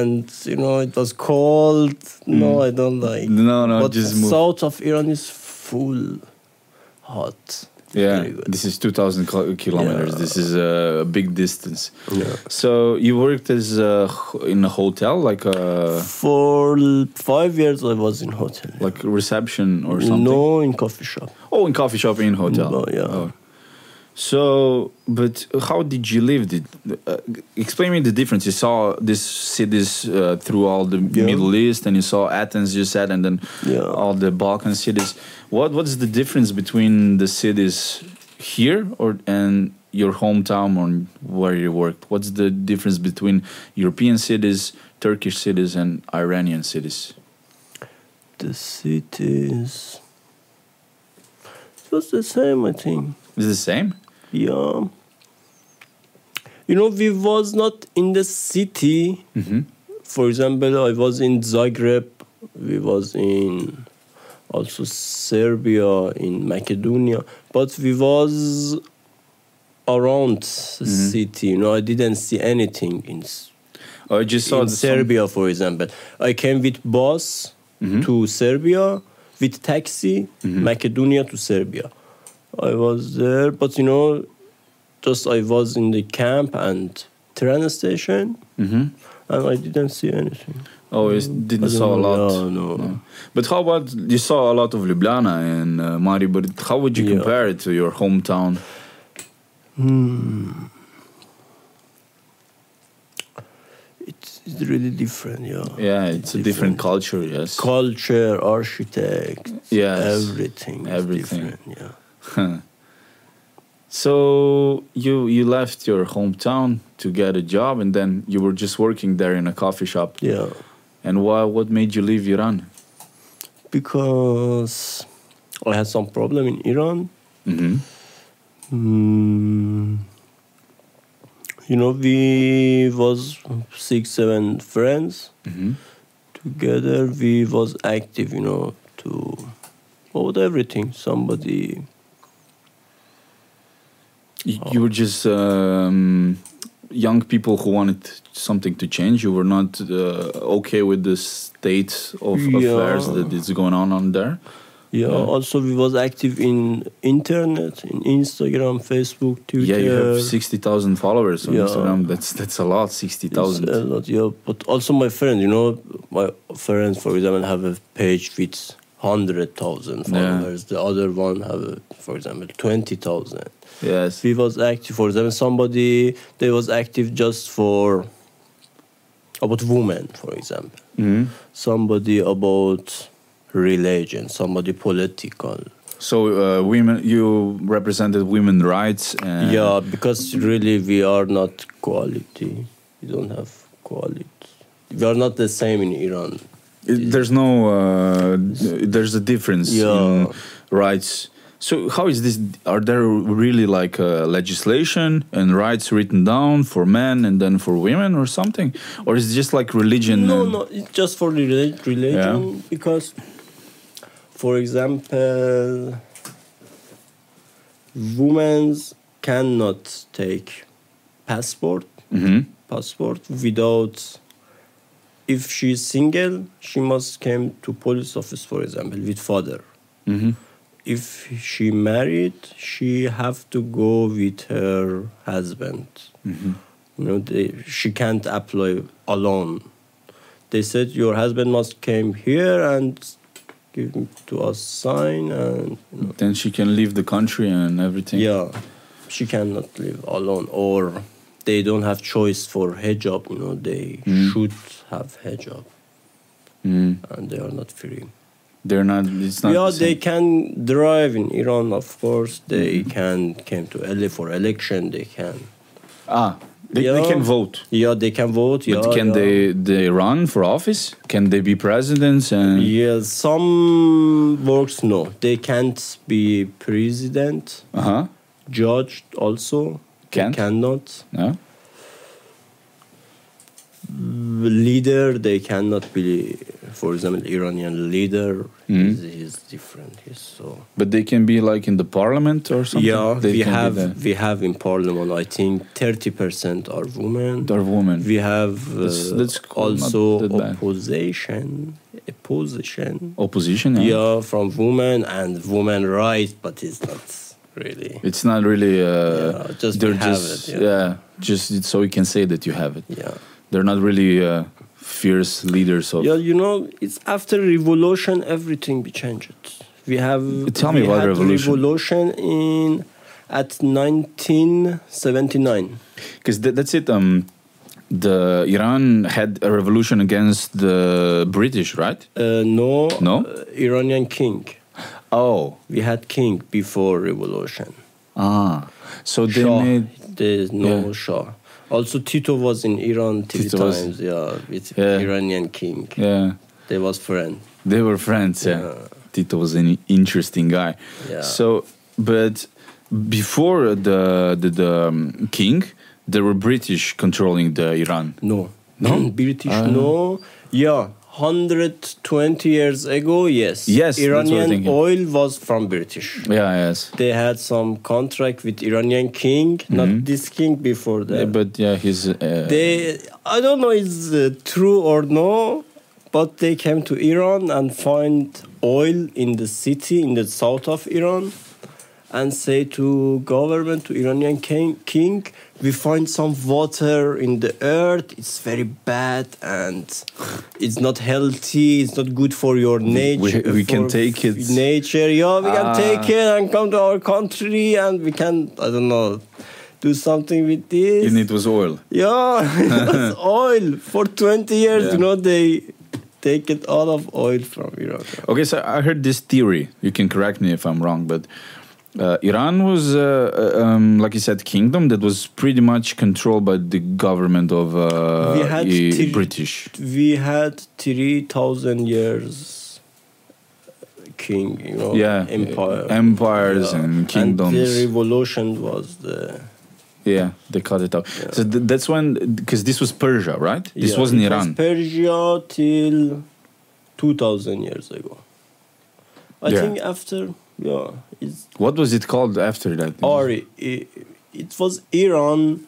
[SPEAKER 1] and you know it was cold. No, I don't like.
[SPEAKER 2] Mm. No, no,
[SPEAKER 1] but
[SPEAKER 2] just move.
[SPEAKER 1] south of Iran is full hot.
[SPEAKER 2] yeah.
[SPEAKER 1] Very good.
[SPEAKER 2] This is 2,000 kil- kilometers.
[SPEAKER 1] Yeah.
[SPEAKER 2] This is a big distance.
[SPEAKER 1] Yeah.
[SPEAKER 2] So you worked as a, h- in a hotel, like a
[SPEAKER 1] For l- five years I was in hotel.
[SPEAKER 2] like reception or something.
[SPEAKER 1] No, in coffee shop.
[SPEAKER 2] Oh, in coffee shop in hotel.
[SPEAKER 1] No, yeah.
[SPEAKER 2] Oh. So, but how did you live? Did uh, explain me the difference? You saw these cities uh, through all the
[SPEAKER 1] Yeah.
[SPEAKER 2] Middle East, and you saw Athens, you said, and then
[SPEAKER 1] Yeah.
[SPEAKER 2] uh, all the Balkan cities. What what's the difference between the cities here or and your hometown or where you worked? What's the difference between European cities, Turkish cities, and Iranian cities?
[SPEAKER 1] The cities. It was the same, I think.
[SPEAKER 2] Is it the same?
[SPEAKER 1] Yeah. You know, we was not in the city.
[SPEAKER 2] Mm-hmm.
[SPEAKER 1] For example, I was in Zagreb. We was in also Serbia, in Macedonia. But we was around the
[SPEAKER 2] Mhm.
[SPEAKER 1] city. You know, I didn't see anything in, s-
[SPEAKER 2] Oh, I just saw
[SPEAKER 1] in
[SPEAKER 2] the- some-
[SPEAKER 1] Serbia, for example. I came with bus
[SPEAKER 2] Mhm.
[SPEAKER 1] to Serbia, with taxi,
[SPEAKER 2] Mhm.
[SPEAKER 1] Macedonia to Serbia. I was there, but you know, just I was in the camp and train station,
[SPEAKER 2] Mhm.
[SPEAKER 1] and I didn't see anything.
[SPEAKER 2] Oh, you s- didn't
[SPEAKER 1] I
[SPEAKER 2] saw
[SPEAKER 1] don't
[SPEAKER 2] a
[SPEAKER 1] know.
[SPEAKER 2] lot.
[SPEAKER 1] No, no.
[SPEAKER 2] But how about you saw a lot of Ljubljana and uh, Maribor? How would you
[SPEAKER 1] Yeah.
[SPEAKER 2] compare it to your hometown?
[SPEAKER 1] Hmm. it's, it's really different. Yeah.
[SPEAKER 2] Yeah, it's a different culture. Yes.
[SPEAKER 1] culture, architect,
[SPEAKER 2] Yes.
[SPEAKER 1] everything. is
[SPEAKER 2] Everything.
[SPEAKER 1] different, yeah.
[SPEAKER 2] so you you left your hometown to get a job, and then you were just working there in a coffee shop.
[SPEAKER 1] Yeah.
[SPEAKER 2] And why? What made you leave Iran?
[SPEAKER 1] Because I had some problem in Iran.
[SPEAKER 2] Mm-hmm.
[SPEAKER 1] Mm, you know, we was six, seven friends
[SPEAKER 2] Mm-hmm.
[SPEAKER 1] together. We was active, you know, to about everything. Somebody,
[SPEAKER 2] You,
[SPEAKER 1] Oh.
[SPEAKER 2] you were just um, young people who wanted something to change. You were not uh, okay with the state of affairs
[SPEAKER 1] Yeah.
[SPEAKER 2] that is going on on there.
[SPEAKER 1] yeah.
[SPEAKER 2] Yeah.
[SPEAKER 1] Also, we was active in internet, in Instagram, Facebook, Twitter.
[SPEAKER 2] Yeah, you have sixty thousand followers on
[SPEAKER 1] Yeah.
[SPEAKER 2] Instagram. That's that's a lot. Sixty thousand.
[SPEAKER 1] It's uh, a lot, yeah. But also my friend, you know, my friends, for example, have a page with hundred thousand
[SPEAKER 2] Yeah.
[SPEAKER 1] followers. The other one have, a, for example, twenty thousand.
[SPEAKER 2] yes.
[SPEAKER 1] We was active for example, Somebody they was active just for about women, for example.
[SPEAKER 2] Mhm.
[SPEAKER 1] Somebody about religion. Somebody political.
[SPEAKER 2] So uh, women, you represented women rights. And
[SPEAKER 1] yeah, because really we are not quality. We don't have quality. We are not the same in Iran.
[SPEAKER 2] It- there's no. Uh, there's a difference
[SPEAKER 1] Yeah.
[SPEAKER 2] in rights. So how is this? Are there really like uh, legislation and rights written down for men and then for women or something, or is it just like religion?
[SPEAKER 1] No,
[SPEAKER 2] and-
[SPEAKER 1] no, it's just for the relig- religion because, for example, women cannot take passport
[SPEAKER 2] Mhm.
[SPEAKER 1] passport without. If she's single, she must come to police office, for example, with father.
[SPEAKER 2] Mhm.
[SPEAKER 1] If she married, she have to go with her husband.
[SPEAKER 2] Mhm.
[SPEAKER 1] You know, they, she can't apply alone. They said your husband must came here and give him to us sign and you know,
[SPEAKER 2] Then she can leave the country and everything.
[SPEAKER 1] yeah, she cannot live alone or they don't have choice for hijab. You know, they
[SPEAKER 2] Mm.
[SPEAKER 1] should have hijab
[SPEAKER 2] Mm.
[SPEAKER 1] and they are not free.
[SPEAKER 2] They're not. It's not.
[SPEAKER 1] yeah,
[SPEAKER 2] the same. Hmm.
[SPEAKER 1] they can drive in Iran, of course. They can came to LA for election. They can.
[SPEAKER 2] Ah, they, they
[SPEAKER 1] Yeah.
[SPEAKER 2] can vote.
[SPEAKER 1] Yeah, they can vote. Yeah,
[SPEAKER 2] but can
[SPEAKER 1] yeah.
[SPEAKER 2] they they run for office? Can they be presidents? And
[SPEAKER 1] Yeah, some works no. They can't be president,
[SPEAKER 2] uh huh.
[SPEAKER 1] judge also.
[SPEAKER 2] Can't?
[SPEAKER 1] They cannot.
[SPEAKER 2] No.
[SPEAKER 1] Leader, they cannot be, for example, Iranian leader.
[SPEAKER 2] Mhm.
[SPEAKER 1] He's, he's different. He's so.
[SPEAKER 2] But they can be like in the parliament or something.
[SPEAKER 1] Yeah,
[SPEAKER 2] they
[SPEAKER 1] we
[SPEAKER 2] can be
[SPEAKER 1] have
[SPEAKER 2] the-
[SPEAKER 1] we have in parliament. I think thirty percent are women.
[SPEAKER 2] they're women.
[SPEAKER 1] We have uh,
[SPEAKER 2] That's- that's cool, not
[SPEAKER 1] also
[SPEAKER 2] that bad.
[SPEAKER 1] opposition, opposition.
[SPEAKER 2] Opposition. Yeah.
[SPEAKER 1] Yeah, from women and women rights, but it's not really.
[SPEAKER 2] It's not really. Uh,
[SPEAKER 1] Yeah, just we
[SPEAKER 2] they're
[SPEAKER 1] have
[SPEAKER 2] just
[SPEAKER 1] it, yeah.
[SPEAKER 2] just it- so you can say that you have it.
[SPEAKER 1] Yeah.
[SPEAKER 2] They're not really uh, fierce leaders of.
[SPEAKER 1] Yeah, you know, it's after revolution everything we changed. We have
[SPEAKER 2] Tell me
[SPEAKER 1] we
[SPEAKER 2] about
[SPEAKER 1] had
[SPEAKER 2] revolution.
[SPEAKER 1] revolution in at 1979.
[SPEAKER 2] because th- that's it. Um, the Iran had a revolution against the British, right?
[SPEAKER 1] Uh, no,
[SPEAKER 2] No?
[SPEAKER 1] uh, Iranian king.
[SPEAKER 2] Oh,
[SPEAKER 1] We had king before revolution.
[SPEAKER 2] ah, so they
[SPEAKER 1] Shah.
[SPEAKER 2] made
[SPEAKER 1] There's no
[SPEAKER 2] Yeah.
[SPEAKER 1] Shah. Also, Tito was in Iran three
[SPEAKER 2] Tito was-
[SPEAKER 1] times. Yeah, with
[SPEAKER 2] Yeah.
[SPEAKER 1] Iranian king.
[SPEAKER 2] yeah.
[SPEAKER 1] They was friend.
[SPEAKER 2] They were friends, yeah.
[SPEAKER 1] Yeah.
[SPEAKER 2] Tito was an interesting guy.
[SPEAKER 1] Yeah.
[SPEAKER 2] So, but before the the, the um, king, there were British controlling the Iran.
[SPEAKER 1] No.
[SPEAKER 2] No?
[SPEAKER 1] British,
[SPEAKER 2] Ah.
[SPEAKER 1] no. Yeah. 120 years ago, yes.
[SPEAKER 2] Yes, that's what I'm
[SPEAKER 1] Iranian
[SPEAKER 2] thinking.
[SPEAKER 1] oil was from British.
[SPEAKER 2] Yeah, yes.
[SPEAKER 1] They had some contract with Iranian king, not this king before that.
[SPEAKER 2] Mm-hmm. Yeah, but yeah, he's uh,
[SPEAKER 1] they, I don't know it's uh, true or no, but they came to Iran and find oil in the city in the south of Iran, and say to government to Iranian king, king we find some water in the earth. It's very bad and it's not healthy. It's not good for your nature.
[SPEAKER 2] we can
[SPEAKER 1] for
[SPEAKER 2] take it.
[SPEAKER 1] Nature, yeah, we can
[SPEAKER 2] Ah.
[SPEAKER 1] take it and come to our country and we can. I don't know. do something with this.
[SPEAKER 2] And it was oil.
[SPEAKER 1] Yeah, it was oil for 20 years.
[SPEAKER 2] Yeah.
[SPEAKER 1] You know, they take it all of oil from Iraq.
[SPEAKER 2] Okay, so I heard this theory. You can correct me if I'm wrong, but uh, Iran was, uh, uh, um, like you said, kingdom that was pretty much controlled by the government of uh,
[SPEAKER 1] We had
[SPEAKER 2] i-
[SPEAKER 1] till-
[SPEAKER 2] British.
[SPEAKER 1] We had 3,000 years uh, king, you know,
[SPEAKER 2] Yeah,
[SPEAKER 1] empire.
[SPEAKER 2] empires and kingdoms.
[SPEAKER 1] And the revolution was the.
[SPEAKER 2] yeah, they cut it off.
[SPEAKER 1] Yeah.
[SPEAKER 2] So th- that's when, because this was Persia, right? This
[SPEAKER 1] Yeah,
[SPEAKER 2] wasn't
[SPEAKER 1] it
[SPEAKER 2] Iran.
[SPEAKER 1] Was Persia till 2,000 years ago. I
[SPEAKER 2] Yeah.
[SPEAKER 1] think after, yeah, it's
[SPEAKER 2] what was it called after that?
[SPEAKER 1] or i- i- it was Iran,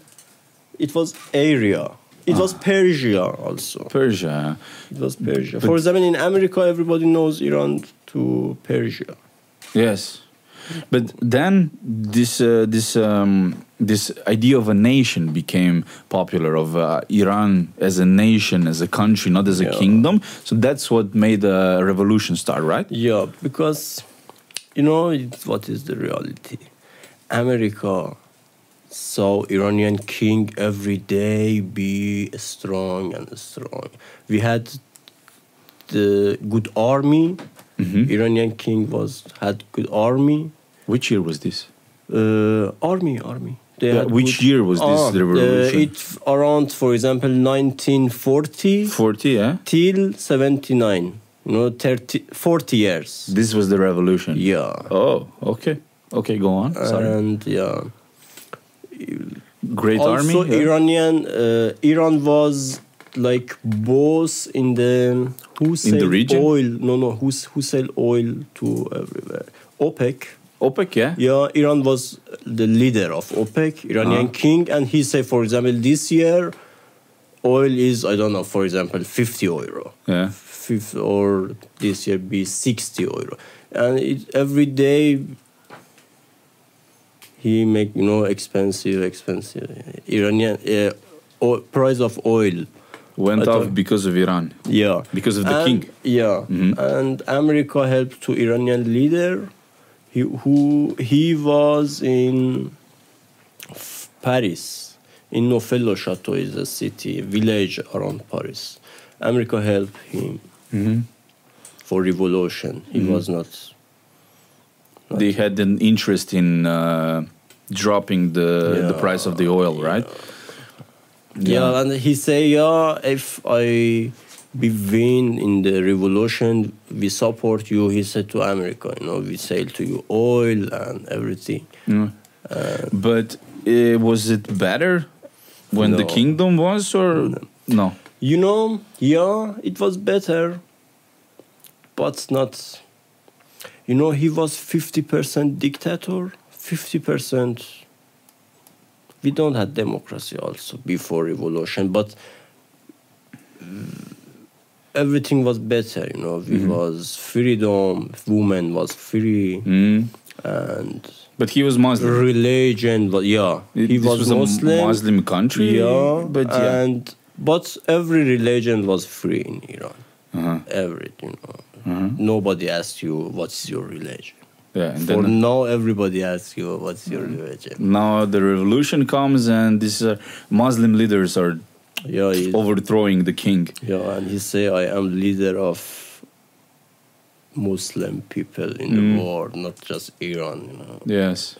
[SPEAKER 1] it was area, it was Persia also.
[SPEAKER 2] Persia.
[SPEAKER 1] It was Persia.
[SPEAKER 2] But-
[SPEAKER 1] For example, in America, everybody knows Iran to Persia.
[SPEAKER 2] Yes, but then this uh, this um, this idea of a nation became popular of uh, Iran as a nation, as a country, not as a
[SPEAKER 1] Yeah.
[SPEAKER 2] kingdom. So that's what made a revolution start, right?
[SPEAKER 1] Yeah, because you know it's, what is the reality. America saw Iranian king every day be strong and strong. We had the good army. Iranian king was had good army.
[SPEAKER 2] Which year was this?
[SPEAKER 1] Uh, army, army. They
[SPEAKER 2] Yeah,
[SPEAKER 1] had
[SPEAKER 2] which year was this
[SPEAKER 1] Ah, uh,
[SPEAKER 2] revolution?
[SPEAKER 1] it's around, for example, 1940
[SPEAKER 2] Forty, eh? yeah.
[SPEAKER 1] till 79. You know, 30, 40 years.
[SPEAKER 2] This was the revolution.
[SPEAKER 1] Yeah.
[SPEAKER 2] Oh, okay, okay. Go on. Sorry.
[SPEAKER 1] And yeah.
[SPEAKER 2] Great
[SPEAKER 1] also,
[SPEAKER 2] army. yeah.
[SPEAKER 1] Iranian uh, Iran was like boss in the who sell
[SPEAKER 2] region?
[SPEAKER 1] oil. No, no, who s- who sell oil to everywhere? OPEC.
[SPEAKER 2] OPEC, yeah.
[SPEAKER 1] Yeah, Iran was the leader of OPEC, Iranian
[SPEAKER 2] Ah.
[SPEAKER 1] king, and he said, for example, this year, oil is I don't know, for example, fifty euro
[SPEAKER 2] Yeah.
[SPEAKER 1] fifth or this year be 60 euro and it, every day he make you know expensive expensive iranian uh, o- price of oil
[SPEAKER 2] Went
[SPEAKER 1] I Uh,
[SPEAKER 2] off
[SPEAKER 1] don't-
[SPEAKER 2] because of Iran,
[SPEAKER 1] yeah
[SPEAKER 2] because of the
[SPEAKER 1] And-
[SPEAKER 2] king.
[SPEAKER 1] yeah
[SPEAKER 2] Mhm.
[SPEAKER 1] and america helped to iranian leader he, who he was in f- paris in nofello chateau is a city village around paris america helped him
[SPEAKER 2] Mm-hmm.
[SPEAKER 1] for revolution. He was not.
[SPEAKER 2] they had an interest in uh, dropping the the
[SPEAKER 1] Yeah.
[SPEAKER 2] price of the oil, right?
[SPEAKER 1] Yeah. and he say, yeah, if I be win in the revolution, we support you. He said to America, you know, we sell to you oil and everything.
[SPEAKER 2] Yeah. Mm. but uh, was it better when the
[SPEAKER 1] No.
[SPEAKER 2] kingdom was, or no?
[SPEAKER 1] You know, yeah, it was better, but not. You know, he was fifty percent dictator, fifty percent. We don't have democracy also before revolution, but mm, everything was better. You know,
[SPEAKER 2] Mm-hmm.
[SPEAKER 1] we was freedom, woman was free,
[SPEAKER 2] Mm.
[SPEAKER 1] and
[SPEAKER 2] But he was Muslim.
[SPEAKER 1] religion. But yeah,
[SPEAKER 2] Mm-hmm. It-
[SPEAKER 1] he
[SPEAKER 2] this
[SPEAKER 1] was,
[SPEAKER 2] a
[SPEAKER 1] Muslim.
[SPEAKER 2] Muslim country.
[SPEAKER 1] Yeah,
[SPEAKER 2] but yeah.
[SPEAKER 1] and but every religion was free in Iran.
[SPEAKER 2] Uh-huh.
[SPEAKER 1] Everything, you know.
[SPEAKER 2] Uh-huh.
[SPEAKER 1] Nobody asked you what's your religion.
[SPEAKER 2] Yeah, and
[SPEAKER 1] For
[SPEAKER 2] then Mm.
[SPEAKER 1] now, everybody asks you what's your religion.
[SPEAKER 2] now the revolution comes, and these uh, Muslim leaders are
[SPEAKER 1] Yeah, he,
[SPEAKER 2] overthrowing the king.
[SPEAKER 1] yeah, and he say I am leader of Muslim people in
[SPEAKER 2] Mm.
[SPEAKER 1] the world, not just Iran. You know.
[SPEAKER 2] Yes.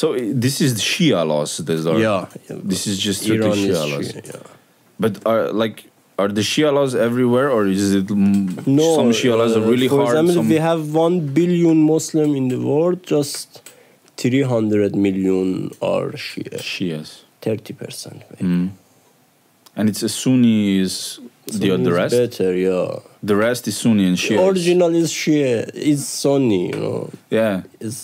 [SPEAKER 2] So uh, this is Shia laws that are.
[SPEAKER 1] yeah, yeah,
[SPEAKER 2] This is just
[SPEAKER 1] Iran
[SPEAKER 2] strictly
[SPEAKER 1] is
[SPEAKER 2] Shia laws.
[SPEAKER 1] Shia, yeah.
[SPEAKER 2] But are like are the Shia laws everywhere, or is it mm, some Shia laws are
[SPEAKER 1] uh,
[SPEAKER 2] really
[SPEAKER 1] for
[SPEAKER 2] hard?
[SPEAKER 1] example,
[SPEAKER 2] some-
[SPEAKER 1] we have one billion Muslim in the world, just three hundred million are Shia,
[SPEAKER 2] Shias,
[SPEAKER 1] thirty percent.
[SPEAKER 2] mm. and it's a Sunni is the, the rest.
[SPEAKER 1] better, yeah.
[SPEAKER 2] The rest is Sunni and Shia.
[SPEAKER 1] Original is Shia, is Sunni, you know.
[SPEAKER 2] Yeah,
[SPEAKER 1] Is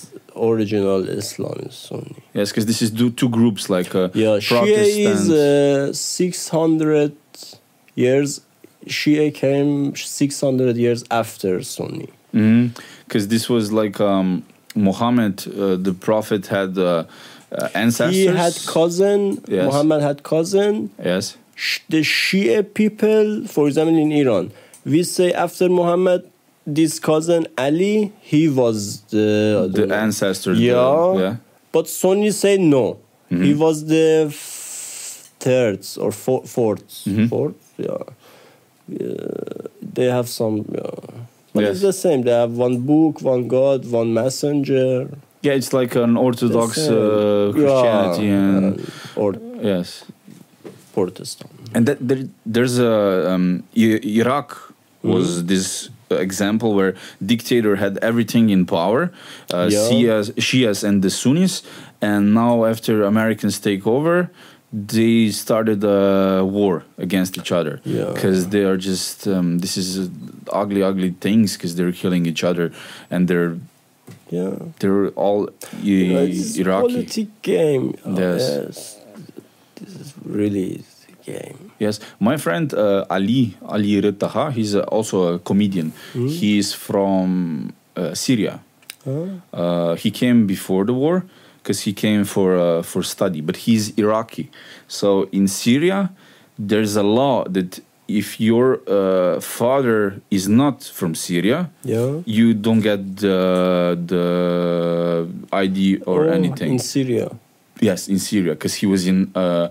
[SPEAKER 1] original Islam is Sunni.
[SPEAKER 2] yes, because this is two, two groups like uh,
[SPEAKER 1] Yeah, Shia is
[SPEAKER 2] Protestants.
[SPEAKER 1] uh, six hundred years. Shia came six hundred years after Sunni.
[SPEAKER 2] Because Hmm. this was like um, Muhammad, uh, the prophet, had uh, uh, ancestors.
[SPEAKER 1] He had cousin.
[SPEAKER 2] Yes.
[SPEAKER 1] Muhammad had cousin.
[SPEAKER 2] yes.
[SPEAKER 1] Sh- the Shia people, for example, in Iran, we say after Muhammad, this cousin Ali, he was the I
[SPEAKER 2] The
[SPEAKER 1] don't know.
[SPEAKER 2] ancestor. the-
[SPEAKER 1] Yeah,
[SPEAKER 2] yeah.
[SPEAKER 1] but Sunni say no.
[SPEAKER 2] Mm-hmm.
[SPEAKER 1] He was the f- third or four, 4th
[SPEAKER 2] Mhm.
[SPEAKER 1] fourth. Yeah. Yeah, they have some. Yeah. But
[SPEAKER 2] Yes.
[SPEAKER 1] it's the same. They have one book, one God, one messenger.
[SPEAKER 2] Yeah, it's like an Orthodox
[SPEAKER 1] That's, uh,
[SPEAKER 2] uh, Christianity
[SPEAKER 1] Yeah,
[SPEAKER 2] and
[SPEAKER 1] or
[SPEAKER 2] yes,
[SPEAKER 1] Protestant.
[SPEAKER 2] and that there, there's a um, I- Iraq
[SPEAKER 1] Mm-hmm.
[SPEAKER 2] was this example where dictator had everything in power, uh,
[SPEAKER 1] Yeah.
[SPEAKER 2] Shias, Shias and the Sunnis, and now after Americans take over, they started a war against each other
[SPEAKER 1] Yeah.
[SPEAKER 2] because they are just um, this is uh, ugly, ugly things because they're killing each other and they're
[SPEAKER 1] Yeah.
[SPEAKER 2] they're all I-
[SPEAKER 1] Yeah, it's a
[SPEAKER 2] Iraqi.
[SPEAKER 1] politic game.
[SPEAKER 2] Oh, Yes.
[SPEAKER 1] yes. This is really the game.
[SPEAKER 2] Yes, my friend uh, Ali Ali Rittaha, he's uh, also a comedian.
[SPEAKER 1] Hmm?
[SPEAKER 2] He is from uh, Syria.
[SPEAKER 1] Huh?
[SPEAKER 2] Uh, he came before the war because he came for uh, for study, but he's Iraqi. So in Syria, there's a law that if your uh, father is not from Syria,
[SPEAKER 1] Yeah.
[SPEAKER 2] you don't get the, the ID or
[SPEAKER 1] Oh,
[SPEAKER 2] anything.
[SPEAKER 1] In Syria.
[SPEAKER 2] Yes, in Syria, because he was in uh,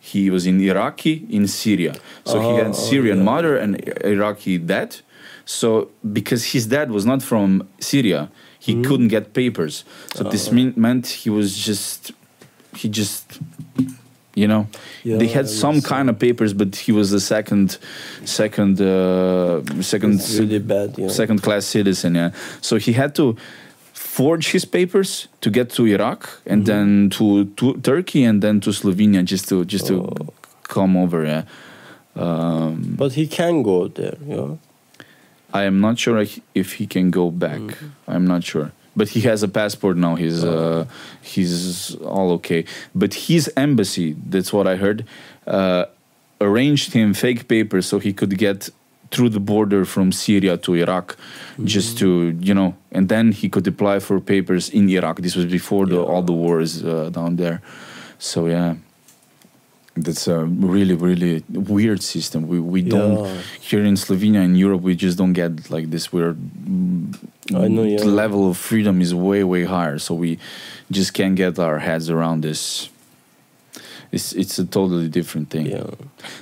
[SPEAKER 2] he was in Iraqi in Syria. So he
[SPEAKER 1] Oh,
[SPEAKER 2] had Syrian
[SPEAKER 1] yeah.
[SPEAKER 2] mother and I- Iraqi dad. So because his dad was not from Syria, he
[SPEAKER 1] Hmm?
[SPEAKER 2] couldn't get papers. So
[SPEAKER 1] Oh.
[SPEAKER 2] this mean, meant he was just he just you know they
[SPEAKER 1] Yeah, uh, I
[SPEAKER 2] had some
[SPEAKER 1] understand.
[SPEAKER 2] kind of papers, but he was the second second uh, second
[SPEAKER 1] It's really bad. You know.
[SPEAKER 2] second class citizen yeah so he had to forge his papers to get to iraq and then to, to turkey and then to slovenia just to just to come over yeah um,
[SPEAKER 1] But he can go there. You know.
[SPEAKER 2] i am not sure if- if he can go back i'm not sure but he has a passport now he's uh, he's all okay but his embassy that's what i heard uh, arranged him fake papers so he could get through the border from Syria to Iraq, just to you know, and then he could apply for papers in Iraq. This was before the, all the wars uh, down there, so yeah, that's a really really weird system. We we don't
[SPEAKER 1] Yeah.
[SPEAKER 2] here in Slovenia in Europe we just don't get like this. We're mm,
[SPEAKER 1] I know,
[SPEAKER 2] the
[SPEAKER 1] yeah.
[SPEAKER 2] level of freedom is way way higher, so we just can't get our heads around this. It's it's a totally different thing.
[SPEAKER 1] Yeah.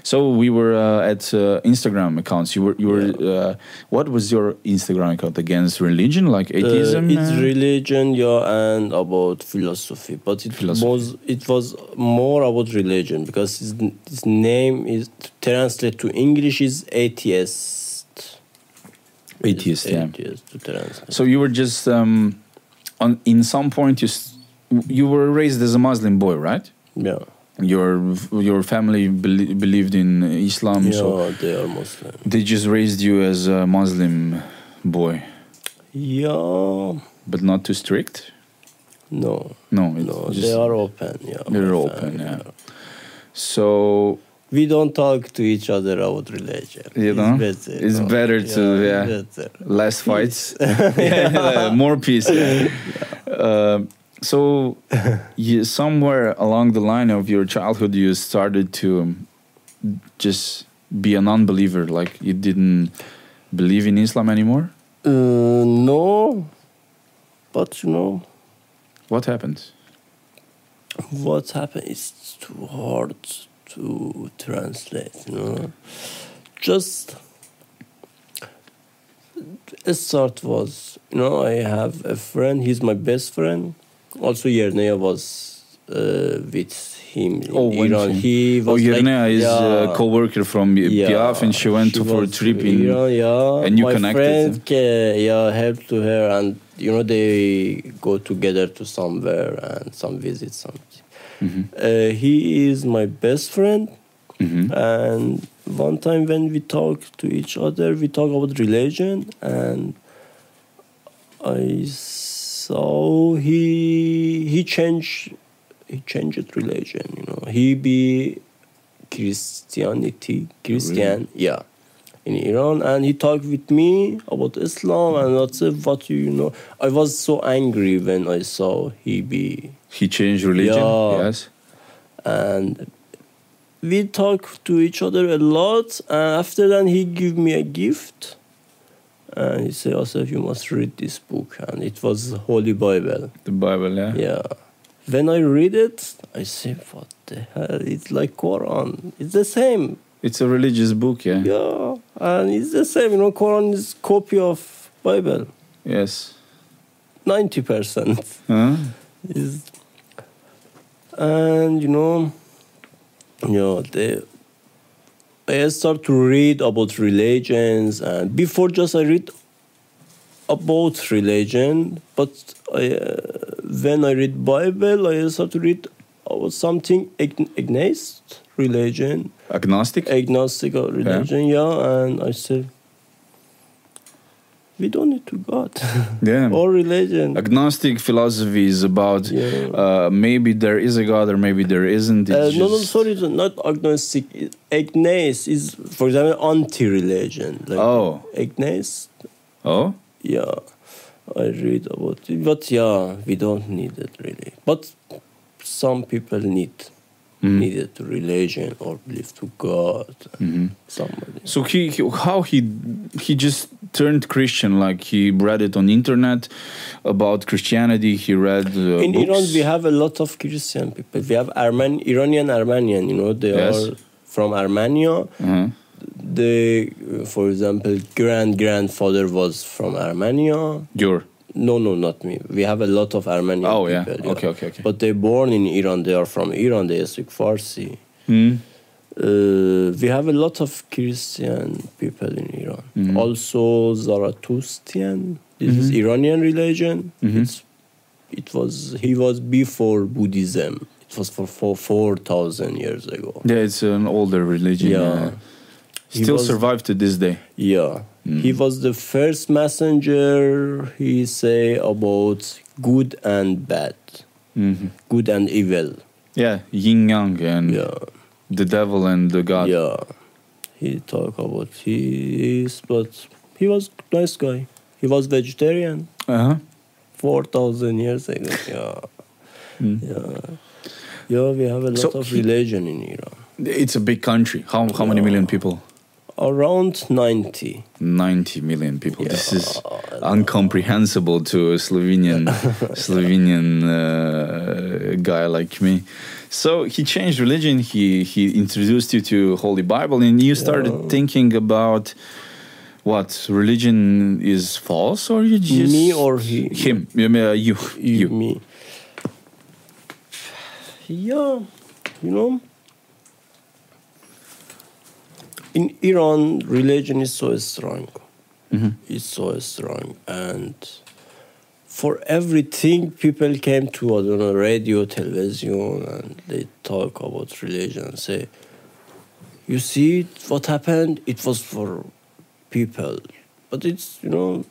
[SPEAKER 2] So we were uh, at uh, Instagram accounts. You were, you were. Uh, what was your Instagram account against religion, like atheism?
[SPEAKER 1] Uh, it's
[SPEAKER 2] uh,
[SPEAKER 1] religion, yeah, and about philosophy. But it
[SPEAKER 2] Philosophy.
[SPEAKER 1] was it was more about religion because his, his name is to translate to English is atheist.
[SPEAKER 2] Atheist, yeah.
[SPEAKER 1] Atheist to translate.
[SPEAKER 2] So you were just um, on. In some point, you s- you were raised as a Muslim boy, right?
[SPEAKER 1] Yeah.
[SPEAKER 2] Your your family belie- believed in Islam,
[SPEAKER 1] Yeah,
[SPEAKER 2] so
[SPEAKER 1] they are Muslim.
[SPEAKER 2] they just raised you as a Muslim boy,
[SPEAKER 1] Yeah.
[SPEAKER 2] but not too strict.
[SPEAKER 1] No.
[SPEAKER 2] No, it's
[SPEAKER 1] No,
[SPEAKER 2] just,
[SPEAKER 1] they are open. Yeah.
[SPEAKER 2] they're
[SPEAKER 1] my
[SPEAKER 2] open,
[SPEAKER 1] family,
[SPEAKER 2] yeah. So
[SPEAKER 1] We don't talk to each other about religion.
[SPEAKER 2] You
[SPEAKER 1] it's
[SPEAKER 2] know?
[SPEAKER 1] better.
[SPEAKER 2] It's better to, yeah.
[SPEAKER 1] Better.
[SPEAKER 2] less fights Yeah, more peace yeah. Uh, so you, somewhere along the line of your childhood you started to um, just be a non-believer like you didn't believe in islam anymore
[SPEAKER 1] Uh, no, but you know
[SPEAKER 2] what happened
[SPEAKER 1] what happened is too hard to translate. You know, just a start was you know I have a friend. He's my best friend. Also, Yernea was uh, with him in
[SPEAKER 2] Oh, when
[SPEAKER 1] Iran. He
[SPEAKER 2] oh
[SPEAKER 1] was like,
[SPEAKER 2] Yernea is
[SPEAKER 1] yeah.
[SPEAKER 2] a co-worker from
[SPEAKER 1] Yeah,
[SPEAKER 2] piaf and she went to for a
[SPEAKER 1] was
[SPEAKER 2] trip
[SPEAKER 1] to
[SPEAKER 2] in
[SPEAKER 1] Iran, yeah.
[SPEAKER 2] and you
[SPEAKER 1] My
[SPEAKER 2] connected
[SPEAKER 1] friend, ca- yeah, helped to her, and you know they go together to somewhere and some visit something.
[SPEAKER 2] Mhm,
[SPEAKER 1] Uh, he is my best friend,
[SPEAKER 2] mhm.
[SPEAKER 1] and one time when we talk to each other, we talk about religion, and I saw he he changed he changed religion. You know, he be Christianity Christian, yeah, in Iran, and he talked with me about Islam and what's what you know. I was so angry when I saw he be
[SPEAKER 2] he changed religion
[SPEAKER 1] Yeah.
[SPEAKER 2] yes
[SPEAKER 1] and we talk to each other a lot and after that he give me a gift and he said also you must read this book and it was holy bible
[SPEAKER 2] the bible yeah
[SPEAKER 1] yeah When I read it, I say, what the hell? It's like Quran. It's the same.
[SPEAKER 2] It's a religious book, yeah.
[SPEAKER 1] Yeah, and it's the same. You know, Quran is copy of Bible.
[SPEAKER 2] Yes.
[SPEAKER 1] Ninety percent
[SPEAKER 2] Huh?
[SPEAKER 1] is, and you know, you know they. I start to read about religions, and before just I read about religion, but I, uh, when I read Bible, I start to read about something ag- against religion,
[SPEAKER 2] Agnostic?
[SPEAKER 1] agnostic or religion, yeah. And I said, we don't need to God
[SPEAKER 2] yeah.
[SPEAKER 1] or religion.
[SPEAKER 2] Agnostic philosophy is about
[SPEAKER 1] Yeah.
[SPEAKER 2] uh, maybe there is a God or maybe there isn't. It's
[SPEAKER 1] Uh, no, no,
[SPEAKER 2] just-
[SPEAKER 1] sorry, it's not agnostic. Agnes is, for example, anti-religion. Like
[SPEAKER 2] Oh.
[SPEAKER 1] Agnes,
[SPEAKER 2] Oh?
[SPEAKER 1] yeah, I read about it, but yeah, we don't need it really. But some people need
[SPEAKER 2] Mhm.
[SPEAKER 1] needed religion or belief to God,
[SPEAKER 2] Mhm.
[SPEAKER 1] somebody.
[SPEAKER 2] So he, he how he he just turned Christian like he read it on internet about Christianity he read uh,
[SPEAKER 1] in
[SPEAKER 2] books.
[SPEAKER 1] Iran, we have a lot of Christian people. We have Armen, Iranian Armenian. You know, they
[SPEAKER 2] Yes.
[SPEAKER 1] are from Armenia.
[SPEAKER 2] Uh-huh.
[SPEAKER 1] They, uh, for example, grand grandfather was from Armenia.
[SPEAKER 2] Your
[SPEAKER 1] No, no, not me. We have a lot of Armenian
[SPEAKER 2] oh yeah
[SPEAKER 1] people.
[SPEAKER 2] okay okay okay
[SPEAKER 1] But they born in Iran. They are from Iran. They speak Farsi.
[SPEAKER 2] Hmm.
[SPEAKER 1] Uh, we have a lot of Christian people in Iran.
[SPEAKER 2] Mhm.
[SPEAKER 1] Also Zarathustrian. This is
[SPEAKER 2] Mhm.
[SPEAKER 1] Iranian religion.
[SPEAKER 2] Mhm.
[SPEAKER 1] It's, it was he was before Buddhism. It was for for four thousand years ago.
[SPEAKER 2] yeah it's an older religion
[SPEAKER 1] Yeah.
[SPEAKER 2] yeah.
[SPEAKER 1] He
[SPEAKER 2] still
[SPEAKER 1] was-
[SPEAKER 2] survive to this day
[SPEAKER 1] Yeah. He
[SPEAKER 2] Mm-hmm.
[SPEAKER 1] was the first messenger. He say about good and bad,
[SPEAKER 2] Mhm.
[SPEAKER 1] good and evil.
[SPEAKER 2] yeah yin yang and
[SPEAKER 1] Yeah.
[SPEAKER 2] the devil and the god
[SPEAKER 1] Yeah, he talk about he is, but he was nice guy. He was vegetarian
[SPEAKER 2] uh-huh
[SPEAKER 1] four thousand years ago. Yeah,
[SPEAKER 2] Mm.
[SPEAKER 1] yeah, yeah. We have a lot
[SPEAKER 2] So
[SPEAKER 1] of
[SPEAKER 2] he-
[SPEAKER 1] religion in Iran.
[SPEAKER 2] it's a big country how how many
[SPEAKER 1] Yeah.
[SPEAKER 2] million people
[SPEAKER 1] Around ninety.
[SPEAKER 2] 90 million people. Oh, This is
[SPEAKER 1] Yeah.
[SPEAKER 2] incomprehensible to a Slovenian Slovenian uh, guy like me. So he changed religion. He he introduced you to Holy Bible, and you started
[SPEAKER 1] Yeah.
[SPEAKER 2] thinking about what religion is false, or you just
[SPEAKER 1] Me or he?
[SPEAKER 2] him? You, mean, uh, you,
[SPEAKER 1] You,
[SPEAKER 2] you.
[SPEAKER 1] me. Yeah, you know. In Iran, religion is so strong.
[SPEAKER 2] Mhm.
[SPEAKER 1] is so strong and for everything people came to I don't know radio television and they talk about religion and say you see what happened it was for people but it's you know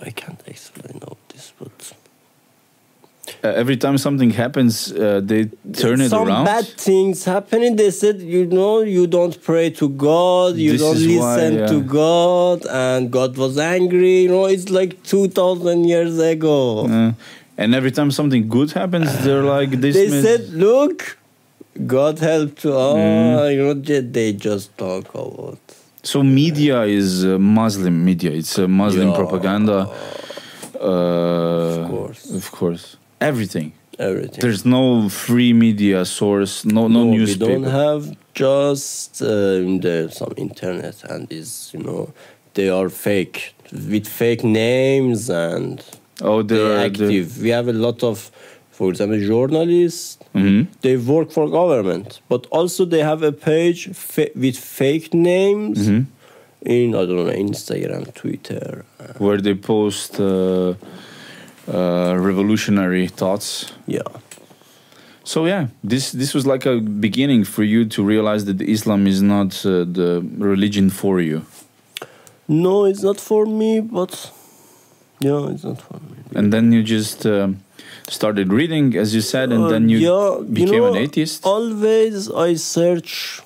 [SPEAKER 1] I can't explain all this but
[SPEAKER 2] Uh, every time something happens, uh, they turn it
[SPEAKER 1] some
[SPEAKER 2] around.
[SPEAKER 1] bad things happening they said you know you don't pray to god you
[SPEAKER 2] This
[SPEAKER 1] don't
[SPEAKER 2] is why,
[SPEAKER 1] listen
[SPEAKER 2] yeah.
[SPEAKER 1] to god and god was angry you know it's like 2000 years ago
[SPEAKER 2] Uh, and every time something good happens, they're like this.
[SPEAKER 1] Uh, they said look god helped oh
[SPEAKER 2] Mm.
[SPEAKER 1] you know they, they just talk about
[SPEAKER 2] So media is uh, Muslim media. It's uh, Muslim
[SPEAKER 1] Yeah.
[SPEAKER 2] propaganda. Uh, of
[SPEAKER 1] course.
[SPEAKER 2] Of course. Everything.
[SPEAKER 1] everything
[SPEAKER 2] There's no free media source. No, no,
[SPEAKER 1] We
[SPEAKER 2] newspaper.
[SPEAKER 1] don't have just uh, in the, some internet and is you know they are fake with fake names and they're
[SPEAKER 2] oh, they're
[SPEAKER 1] active. We have a lot of, for example, journalists.
[SPEAKER 2] Mhm.
[SPEAKER 1] They work for government, but also they have a page fa- with fake names
[SPEAKER 2] Mhm.
[SPEAKER 1] in I don't know Instagram, Twitter. Uh,
[SPEAKER 2] where they post uh, uh, revolutionary thoughts.
[SPEAKER 1] yeah,
[SPEAKER 2] So yeah, this this was like a beginning for you to realize that Islam is not uh, the religion for you,
[SPEAKER 1] no, it's not for me, but yeah, it's not for me.
[SPEAKER 2] and then you just um started reading, as you said, and then you
[SPEAKER 1] Uh, yeah,
[SPEAKER 2] became
[SPEAKER 1] know, uh,
[SPEAKER 2] an atheist.
[SPEAKER 1] Always I search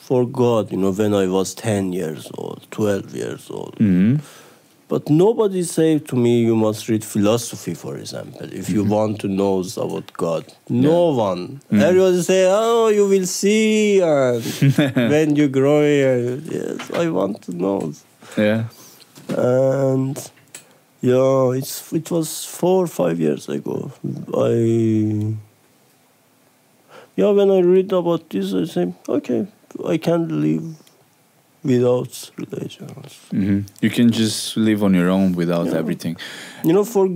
[SPEAKER 1] for God, you know, when I was 10 years old, 12 years old.
[SPEAKER 2] hmm
[SPEAKER 1] But nobody said to me, you must read philosophy, for example, if you want to know about God. No one. Everybody say, oh, you will see and when you grow here. Yes, I want to know.
[SPEAKER 2] Yeah.
[SPEAKER 1] And Yeah, it's it was four or five years ago. I yeah, when I read about this, I say, okay, I can't live without religions.
[SPEAKER 2] hmm You can just live on your own without
[SPEAKER 1] Yeah.
[SPEAKER 2] everything.
[SPEAKER 1] You know, for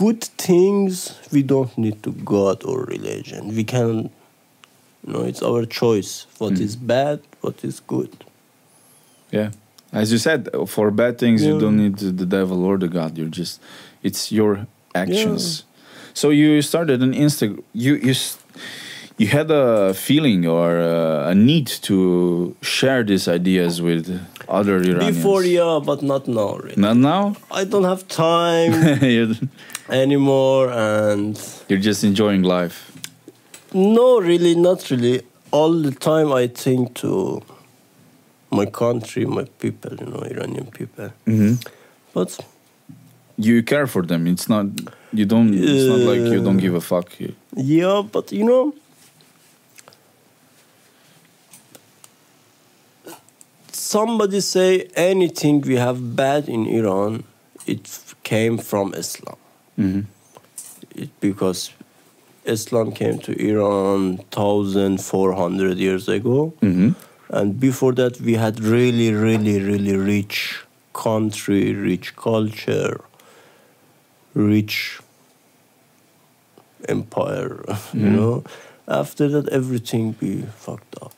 [SPEAKER 1] good things, we don't need to God or religion. We can, you know, it's our choice. What is
[SPEAKER 2] Mm.
[SPEAKER 1] bad, what is good.
[SPEAKER 2] Yeah. As you said, for bad things, you
[SPEAKER 1] Yeah.
[SPEAKER 2] don't need the devil or the God. You're just, it's your actions. So you started an Insta. You you s- you had a feeling or a, a need to share these ideas with other Iranians.
[SPEAKER 1] Before, yeah, but not now. Really.
[SPEAKER 2] Not now.
[SPEAKER 1] I don't have time
[SPEAKER 2] you're,
[SPEAKER 1] anymore, and
[SPEAKER 2] you're just enjoying life.
[SPEAKER 1] No, really, not really. All the time I think to my country, my people, you know, Iranian people.
[SPEAKER 2] Mm-hmm.
[SPEAKER 1] But
[SPEAKER 2] You care for them. It's not. You don't. It's not like you don't give a fuck. You,
[SPEAKER 1] yeah, but you know, somebody say anything we have bad in Iran, it came from Islam. Mm-hmm.
[SPEAKER 2] hmm
[SPEAKER 1] It, because Islam came to Iran 1400 years ago.
[SPEAKER 2] hmm
[SPEAKER 1] And before that, we had really, really, really rich country, rich culture, rich empire. You
[SPEAKER 2] Mhm.
[SPEAKER 1] know, after that, everything we fucked up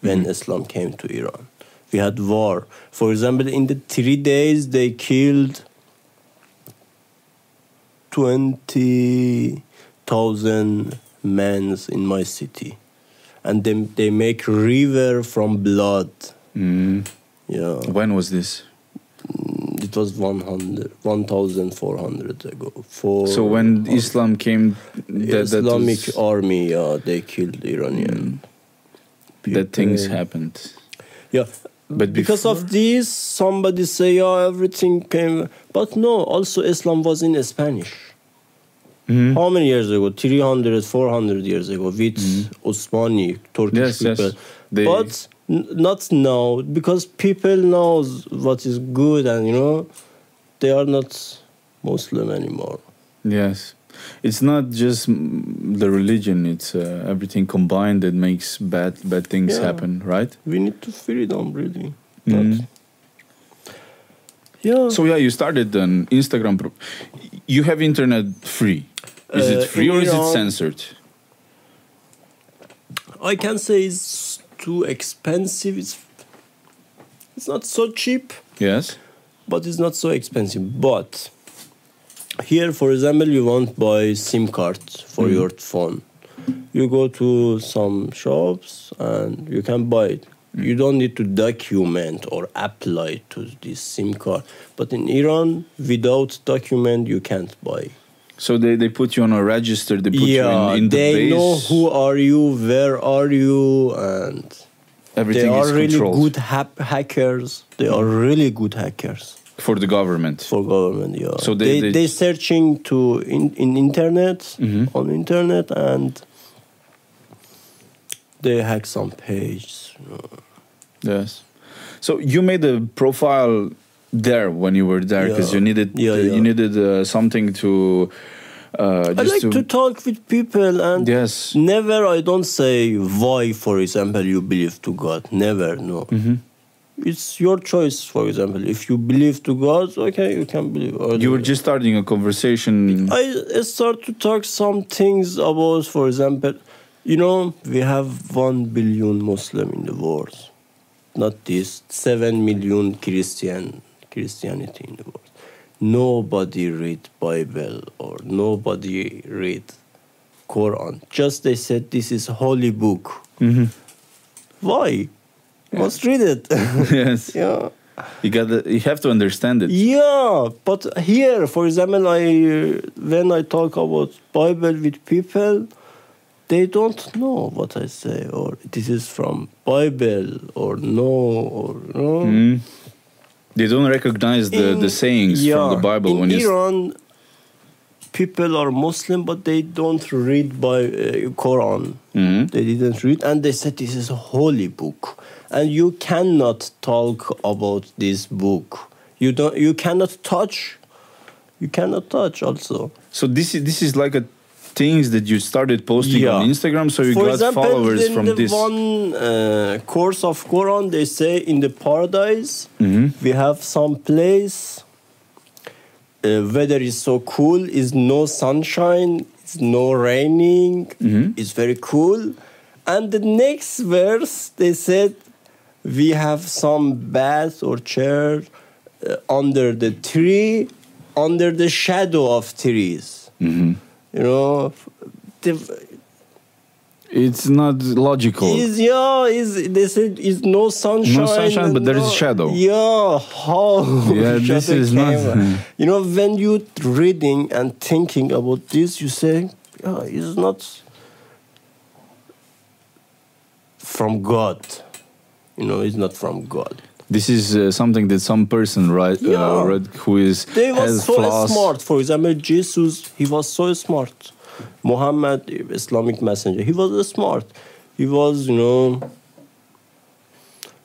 [SPEAKER 1] when
[SPEAKER 2] Mhm.
[SPEAKER 1] Islam came to Iran. We had war. For example, in the three days, they killed twenty thousand men in my city and they, they make river from blood.
[SPEAKER 2] mm
[SPEAKER 1] Yeah,
[SPEAKER 2] When was this?
[SPEAKER 1] it was 100, 1,400 ago. For
[SPEAKER 2] So when Islam came, that, that
[SPEAKER 1] Oh. Islamic
[SPEAKER 2] was-
[SPEAKER 1] army, yeah, they killed Iranian.
[SPEAKER 2] Mm. that things
[SPEAKER 1] people.
[SPEAKER 2] happened.
[SPEAKER 1] Yeah,
[SPEAKER 2] But
[SPEAKER 1] because of this, somebody say, "Oh, everything came," but no. Also, Islam was in Spanish.
[SPEAKER 2] Mhm.
[SPEAKER 1] How many years ago? 300, 400 years ago, with Osmani Turkish
[SPEAKER 2] Mm. Yes, yes.
[SPEAKER 1] people.
[SPEAKER 2] They-
[SPEAKER 1] But n- not now, because people knows what is good, and you know, they are not Muslim anymore.
[SPEAKER 2] yes, it's not just mm, the religion; it's uh, everything combined that makes bad bad things
[SPEAKER 1] Yeah.
[SPEAKER 2] happen, right?
[SPEAKER 1] We need to freedom, really.
[SPEAKER 2] Mhm.
[SPEAKER 1] But, yeah.
[SPEAKER 2] So yeah, you started an Instagram. Pro- you have internet free. Is
[SPEAKER 1] Uh,
[SPEAKER 2] it free
[SPEAKER 1] in
[SPEAKER 2] or is it
[SPEAKER 1] Iran-
[SPEAKER 2] censored?
[SPEAKER 1] I can say it's too expensive. It's it's not so cheap.
[SPEAKER 2] Yes.
[SPEAKER 1] but it's not so expensive. But here, for example, you want buy SIM card
[SPEAKER 2] Mm.
[SPEAKER 1] for your phone. You go to some shops and you can buy it.
[SPEAKER 2] Mm.
[SPEAKER 1] You don't need to document or apply to this SIM card. But in Iran, without document, you can't buy.
[SPEAKER 2] So they, they put you on a register. They put you in, in the
[SPEAKER 1] they
[SPEAKER 2] base.
[SPEAKER 1] know who are you, where are you, and
[SPEAKER 2] Everything
[SPEAKER 1] they are
[SPEAKER 2] is
[SPEAKER 1] really
[SPEAKER 2] controlled Mm.
[SPEAKER 1] good hap- hackers. They are really good hackers.
[SPEAKER 2] for the government.
[SPEAKER 1] for government yeah
[SPEAKER 2] So
[SPEAKER 1] so
[SPEAKER 2] they-
[SPEAKER 1] they,
[SPEAKER 2] they-
[SPEAKER 1] they, searching to in, in internet
[SPEAKER 2] Mhm.
[SPEAKER 1] on internet and they hack some page you know.
[SPEAKER 2] Yes. So you made a profile there when you were there because
[SPEAKER 1] Yeah.
[SPEAKER 2] you needed
[SPEAKER 1] Yeah, yeah.
[SPEAKER 2] you needed uh, something to uh,
[SPEAKER 1] i
[SPEAKER 2] just
[SPEAKER 1] like to, talk with people and
[SPEAKER 2] yes.
[SPEAKER 1] never i don't say why for example you believe to god never no
[SPEAKER 2] hmm
[SPEAKER 1] it's your choice for example if you believe to god okay you can believe I
[SPEAKER 2] You
[SPEAKER 1] don't
[SPEAKER 2] were
[SPEAKER 1] know.
[SPEAKER 2] just starting a conversation.
[SPEAKER 1] I start to talk some things about, for example, you know, we have one billion Muslim in the world, not this seven million Christian Christianity in the world. Nobody read Bible or nobody read Quran. Just they said this is holy book.
[SPEAKER 2] Mhm.
[SPEAKER 1] Why? Must read it.
[SPEAKER 2] yes.
[SPEAKER 1] yeah.
[SPEAKER 2] You got. to You have to understand it.
[SPEAKER 1] Yeah, but here, for example, I when I talk about Bible with people, they don't know what I say, or this is from Bible, or no, or no.
[SPEAKER 2] Mhm. They don't recognize
[SPEAKER 1] In-
[SPEAKER 2] the, the sayings from
[SPEAKER 1] yeah,
[SPEAKER 2] the Bible
[SPEAKER 1] in
[SPEAKER 2] when you. s-
[SPEAKER 1] Iran, people are Muslim, but they don't read by uh, Quran.
[SPEAKER 2] Mhm.
[SPEAKER 1] They didn't read, and they said this is a holy book, and you cannot talk about this book. You don't. You cannot touch you cannot touch also.
[SPEAKER 2] So this is this is like a things that you started posting
[SPEAKER 1] Yeah.
[SPEAKER 2] on Instagram, so you
[SPEAKER 1] For
[SPEAKER 2] got
[SPEAKER 1] example,
[SPEAKER 2] followers
[SPEAKER 1] in
[SPEAKER 2] from
[SPEAKER 1] the
[SPEAKER 2] this.
[SPEAKER 1] one uh, course of Quran, they say in the paradise
[SPEAKER 2] Mhm.
[SPEAKER 1] we have some place. Uh, weather is so cool. Is no sunshine. It's no raining.
[SPEAKER 2] Mhm.
[SPEAKER 1] It's very cool. And the next verse, they said, we have some bath or chair uh, under the tree, under the shadow of trees.
[SPEAKER 2] Mhm.
[SPEAKER 1] You know, the,
[SPEAKER 2] It's not logical.
[SPEAKER 1] Is yeah, is they said is no sunshine.
[SPEAKER 2] sunshine, but there is shadow.
[SPEAKER 1] Yeah, how?
[SPEAKER 2] Yeah, this
[SPEAKER 1] shadow
[SPEAKER 2] is not-
[SPEAKER 1] came. you know, when you reading and thinking about this, you say, yeah, it's not from God. You know, it's not from God.
[SPEAKER 2] this is uh, something that some person right uh,
[SPEAKER 1] Yeah.
[SPEAKER 2] read who is
[SPEAKER 1] They was
[SPEAKER 2] has
[SPEAKER 1] so
[SPEAKER 2] flaws.
[SPEAKER 1] smart. For example, Jesus, he was so smart. Muhammad, Islamic messenger, he was smart. He was, you know,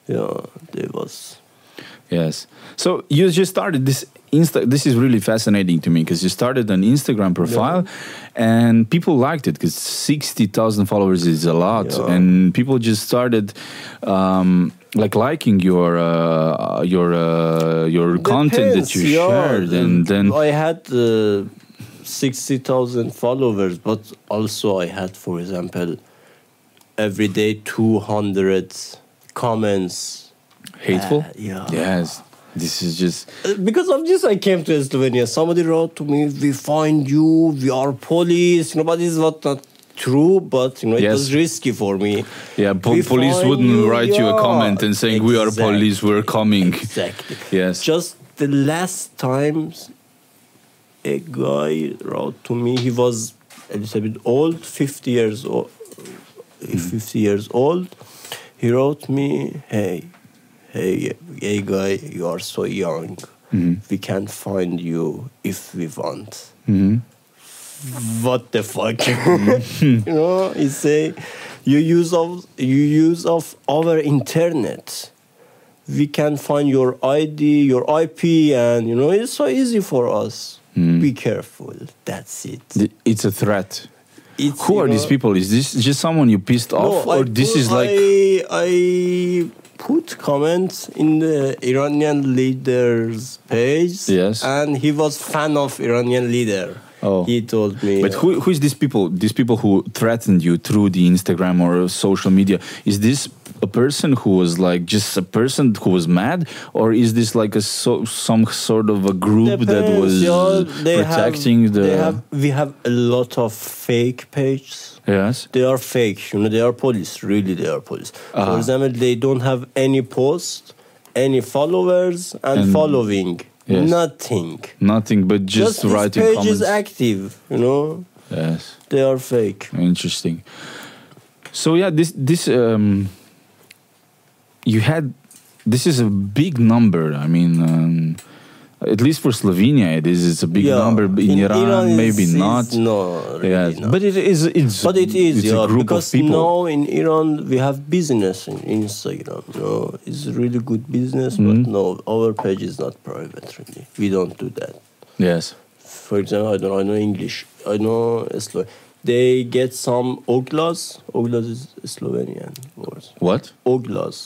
[SPEAKER 1] yeah, they was.
[SPEAKER 2] Yes. So you just started this Insta. This is really fascinating to me because you started an Instagram profile, and people liked it because sixty thousand followers is a lot,
[SPEAKER 1] Yeah.
[SPEAKER 2] and people just started um, like liking your uh, your uh, your content that
[SPEAKER 1] Depends,
[SPEAKER 2] you
[SPEAKER 1] yeah.
[SPEAKER 2] shared, and then
[SPEAKER 1] I had uh, sixty thousand followers, but also I had, for example, every day two hundred comments.
[SPEAKER 2] hateful.
[SPEAKER 1] Uh, yeah.
[SPEAKER 2] Yes. This is just
[SPEAKER 1] Uh, because of this i came to slovenia somebody wrote to me we find you we are police you know but this was not true but you know it
[SPEAKER 2] Yes.
[SPEAKER 1] was risky for me
[SPEAKER 2] yeah. Po-
[SPEAKER 1] We
[SPEAKER 2] police
[SPEAKER 1] find
[SPEAKER 2] wouldn't
[SPEAKER 1] you,
[SPEAKER 2] write you a
[SPEAKER 1] yeah.
[SPEAKER 2] comment and saying we are
[SPEAKER 1] Exact-
[SPEAKER 2] police. We're coming.
[SPEAKER 1] exactly
[SPEAKER 2] Yes.
[SPEAKER 1] just the last times a guy wrote to me he was a little bit old 50 years old
[SPEAKER 2] Hmm.
[SPEAKER 1] 50 years old he wrote me hey hey hey guy you are so young
[SPEAKER 2] Hmm.
[SPEAKER 1] we can find you if we want
[SPEAKER 2] Mhm.
[SPEAKER 1] what the fuck you know he say you use of you use of our internet we can find your id your ip and you know it's so easy for us
[SPEAKER 2] Hmm.
[SPEAKER 1] be careful that's it
[SPEAKER 2] Th- It's a threat.
[SPEAKER 1] it's,
[SPEAKER 2] Who
[SPEAKER 1] you
[SPEAKER 2] are these
[SPEAKER 1] know-
[SPEAKER 2] people? Is this just someone you pissed off,
[SPEAKER 1] I
[SPEAKER 2] or this
[SPEAKER 1] put-
[SPEAKER 2] is like
[SPEAKER 1] I, I put comments in the Iranian leader's page.
[SPEAKER 2] Yes.
[SPEAKER 1] and he was fan of Iranian leader.
[SPEAKER 2] Oh.
[SPEAKER 1] he told me.
[SPEAKER 2] But who, who is these people? These people who threatened you through the Instagram or social media? Is this a person who was like just a person who was mad, or is this like a so, some sort of a group that
[SPEAKER 1] Depends,
[SPEAKER 2] was
[SPEAKER 1] yeah, they have-
[SPEAKER 2] protecting the?
[SPEAKER 1] They have, we have a lot of fake pages.
[SPEAKER 2] yes.
[SPEAKER 1] They are fake. You know, they are police. Really, they are police.
[SPEAKER 2] Uh-huh.
[SPEAKER 1] For example, they don't have any post, any followers, and,
[SPEAKER 2] And-
[SPEAKER 1] following.
[SPEAKER 2] Yes.
[SPEAKER 1] Nothing.
[SPEAKER 2] Nothing but just,
[SPEAKER 1] this
[SPEAKER 2] writing
[SPEAKER 1] page
[SPEAKER 2] comments.
[SPEAKER 1] is active. You know,
[SPEAKER 2] yes.
[SPEAKER 1] they are fake.
[SPEAKER 2] Interesting. So yeah, this this um, you had this is a big number. I mean, um, at least for Slovenia, it is. It's a big
[SPEAKER 1] Yeah,
[SPEAKER 2] number. In, Iran,
[SPEAKER 1] is-
[SPEAKER 2] maybe
[SPEAKER 1] is
[SPEAKER 2] not.
[SPEAKER 1] No, really
[SPEAKER 2] yeah,
[SPEAKER 1] not.
[SPEAKER 2] but it is. It's
[SPEAKER 1] But it is,
[SPEAKER 2] It's
[SPEAKER 1] yeah,
[SPEAKER 2] a group
[SPEAKER 1] because
[SPEAKER 2] of people.
[SPEAKER 1] now in Iran we have business in Instagram. You know, it's really good business,
[SPEAKER 2] Mhm.
[SPEAKER 1] but no, our page is not private. Really, we don't do that.
[SPEAKER 2] yes.
[SPEAKER 1] For example, I don't I know English. I know Slo- They get some oglas. Oglas is Slovenian word.
[SPEAKER 2] What?
[SPEAKER 1] Oglas.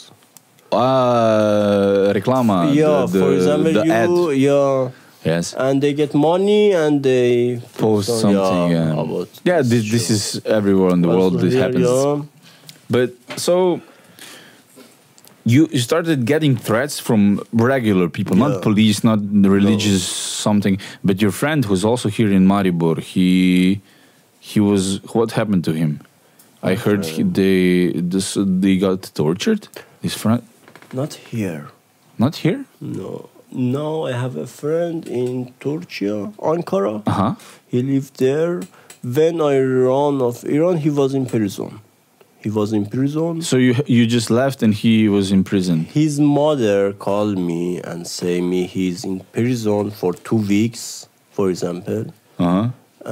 [SPEAKER 2] Uh, reclama.
[SPEAKER 1] yeah,
[SPEAKER 2] the, the,
[SPEAKER 1] for example,
[SPEAKER 2] the ad.
[SPEAKER 1] you yeah.
[SPEAKER 2] Yes.
[SPEAKER 1] and they get money and they put
[SPEAKER 2] Post
[SPEAKER 1] some-
[SPEAKER 2] something.
[SPEAKER 1] yeah,
[SPEAKER 2] Yeah.
[SPEAKER 1] about
[SPEAKER 2] yeah this, this
[SPEAKER 1] show.
[SPEAKER 2] is everywhere in the world. This
[SPEAKER 1] Yeah,
[SPEAKER 2] happens.
[SPEAKER 1] yeah.
[SPEAKER 2] But so you you started getting threats from regular people,
[SPEAKER 1] Yeah.
[SPEAKER 2] not police, not the religious something. But your friend who's also here in Maribor, he he was what happened to him? I heard he, they this, they got tortured. His friend,
[SPEAKER 1] Not here.
[SPEAKER 2] not here.
[SPEAKER 1] No. No, I have a friend in Turkey, Ankara.
[SPEAKER 2] Uh huh.
[SPEAKER 1] He lived there. When I ran of Iran, he was in prison. He was in prison.
[SPEAKER 2] So you you just left and he was in prison.
[SPEAKER 1] His mother called me and say me he's in prison for two weeks, for example.
[SPEAKER 2] Uh huh.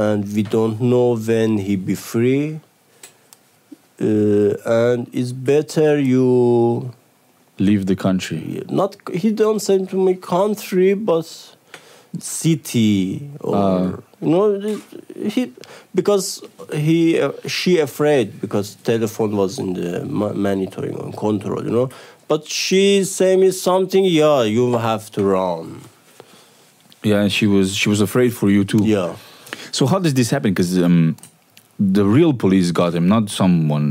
[SPEAKER 1] and we don't know when he be free. Uh, and it's better you
[SPEAKER 2] Leave the country.
[SPEAKER 1] not. He don't send to my country, but city or
[SPEAKER 2] Ah.
[SPEAKER 1] you know he because he uh, she afraid because telephone was in the ma- monitoring and control you know but she say me something yeah you have to run
[SPEAKER 2] Yeah, and she was she was afraid for you too.
[SPEAKER 1] yeah
[SPEAKER 2] So how did this happen? Because um, the real police got him, not someone.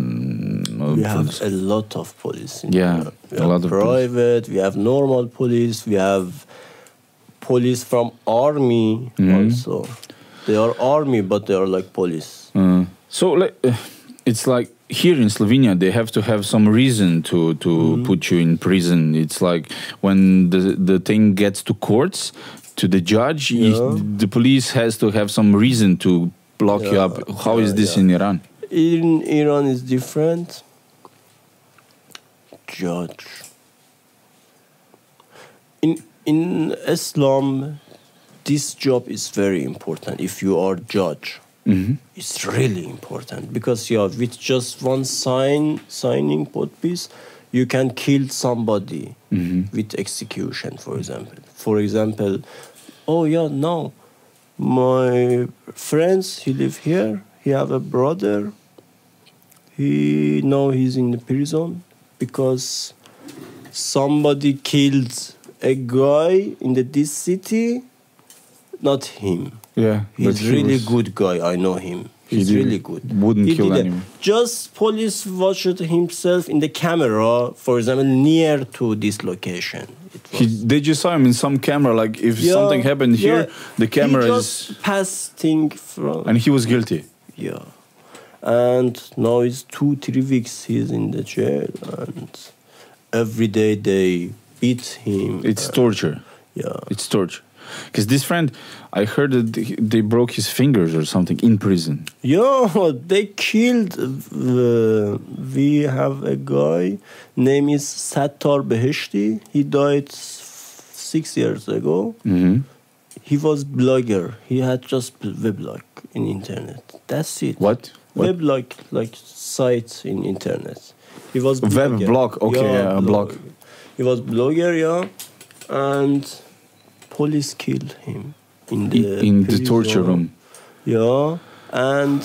[SPEAKER 2] uh,
[SPEAKER 1] we
[SPEAKER 2] from
[SPEAKER 1] have
[SPEAKER 2] s-
[SPEAKER 1] a lot of police. in
[SPEAKER 2] Yeah,
[SPEAKER 1] Europe. we
[SPEAKER 2] a
[SPEAKER 1] have
[SPEAKER 2] lot of police.
[SPEAKER 1] private. We have normal police. We have police from army
[SPEAKER 2] Mhm.
[SPEAKER 1] also. They are army, but they are like police.
[SPEAKER 2] Uh, so like, uh, it's like here in Slovenia, they have to have some reason to to
[SPEAKER 1] Mm-hmm.
[SPEAKER 2] put you in prison. It's like when the the thing gets to courts, to the judge, you-
[SPEAKER 1] Yeah.
[SPEAKER 2] the police has to have some reason to block you
[SPEAKER 1] Yeah,
[SPEAKER 2] up. How is
[SPEAKER 1] yeah,
[SPEAKER 2] this
[SPEAKER 1] yeah.
[SPEAKER 2] in Iran?
[SPEAKER 1] In Iran is different. Judge. In in Islam, this job is very important. If you are judge.
[SPEAKER 2] hmm
[SPEAKER 1] it's really important because yeah, with just one sign, signing podpiece, you can kill somebody with execution, for example. For example, oh yeah, no, my friends, he live here. He have a brother. He now he's in the prison because somebody killed a guy in the, this city, not him.
[SPEAKER 2] Yeah, but
[SPEAKER 1] He's
[SPEAKER 2] he
[SPEAKER 1] really
[SPEAKER 2] was-
[SPEAKER 1] good guy. I know him.
[SPEAKER 2] He
[SPEAKER 1] He's
[SPEAKER 2] didn't-
[SPEAKER 1] really good.
[SPEAKER 2] wouldn't
[SPEAKER 1] He
[SPEAKER 2] kill
[SPEAKER 1] didn't-
[SPEAKER 2] anyone.
[SPEAKER 1] Just police watched himself in the camera, for example, near to this location. It
[SPEAKER 2] He,
[SPEAKER 1] was-
[SPEAKER 2] they just saw him in some camera. Like if
[SPEAKER 1] Yeah,
[SPEAKER 2] something happened
[SPEAKER 1] yeah.
[SPEAKER 2] here, the camera
[SPEAKER 1] he
[SPEAKER 2] is,
[SPEAKER 1] just passing from
[SPEAKER 2] and he was guilty.
[SPEAKER 1] yeah, and now it's two three weeks he's in the jail, and every day they beat him.
[SPEAKER 2] It's
[SPEAKER 1] uh,
[SPEAKER 2] torture.
[SPEAKER 1] yeah.
[SPEAKER 2] It's torture. Because this friend, I heard that he- they broke his fingers or something in prison.
[SPEAKER 1] Yeah, they killed. Uh, we have a guy, name is Sattar Beheshti. He died s- six years ago.
[SPEAKER 2] Mm-hmm.
[SPEAKER 1] He was blogger. He had just b- weblog in internet. That's it.
[SPEAKER 2] What? What?
[SPEAKER 1] Weblog like site in internet. He was
[SPEAKER 2] Web
[SPEAKER 1] blogger.
[SPEAKER 2] blog, okay, yeah, blog.
[SPEAKER 1] He was blogger, yeah, and police killed him in
[SPEAKER 2] In,
[SPEAKER 1] the
[SPEAKER 2] in the torture
[SPEAKER 1] prison.
[SPEAKER 2] room.
[SPEAKER 1] Yeah, and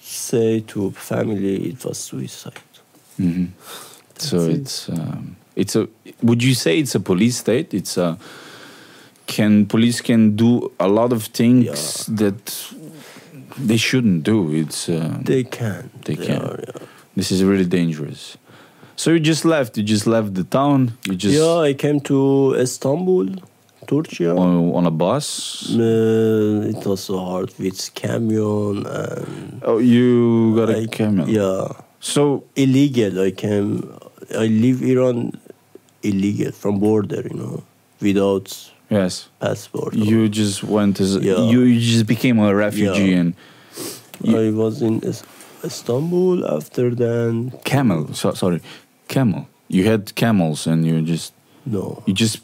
[SPEAKER 1] say to family it was suicide.
[SPEAKER 2] hmm So
[SPEAKER 1] That's it.
[SPEAKER 2] it's um, it's a. Would you say it's a police state? It's a. Can police can do a lot of things that they shouldn't do? It's uh,
[SPEAKER 1] They can.
[SPEAKER 2] They can.
[SPEAKER 1] are, yeah.
[SPEAKER 2] this is really dangerous. So you just left. You just left the town. You just
[SPEAKER 1] yeah, I came to Istanbul, Turkey.
[SPEAKER 2] on, on a bus.
[SPEAKER 1] Uh, it was so hard with camion and
[SPEAKER 2] Oh, you got a
[SPEAKER 1] I-
[SPEAKER 2] camel.
[SPEAKER 1] yeah,
[SPEAKER 2] So
[SPEAKER 1] illegal. I came. I leave Iran illegal from border. You know, without
[SPEAKER 2] yes,
[SPEAKER 1] passport.
[SPEAKER 2] you just went as
[SPEAKER 1] Yeah.
[SPEAKER 2] you, you just became a refugee
[SPEAKER 1] Yeah.
[SPEAKER 2] and you-
[SPEAKER 1] I was in Is- Istanbul. After then,
[SPEAKER 2] camel. So, sorry, camel. You had camels and you just
[SPEAKER 1] no,
[SPEAKER 2] you just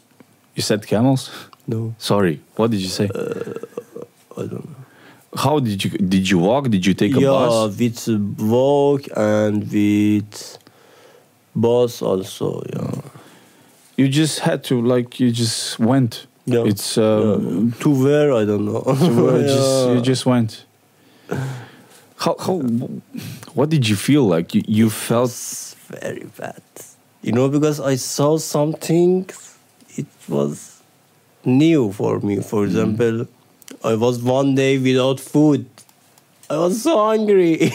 [SPEAKER 2] you said camels.
[SPEAKER 1] no,
[SPEAKER 2] Sorry, what did you say?
[SPEAKER 1] Uh, I don't know.
[SPEAKER 2] How did you did you walk? Did you take a
[SPEAKER 1] yeah,
[SPEAKER 2] bus?
[SPEAKER 1] with walk and with bus also. Yeah,
[SPEAKER 2] You just had to like you just went.
[SPEAKER 1] yeah.
[SPEAKER 2] It's um,
[SPEAKER 1] Yeah. to where I don't know.
[SPEAKER 2] You were just
[SPEAKER 1] Yeah.
[SPEAKER 2] you just went. How how what did you feel like? You you felt
[SPEAKER 1] It's very bad. You know, because I saw something, it was new for me.
[SPEAKER 2] Mm.
[SPEAKER 1] For example, I was one day without food. I was so hungry.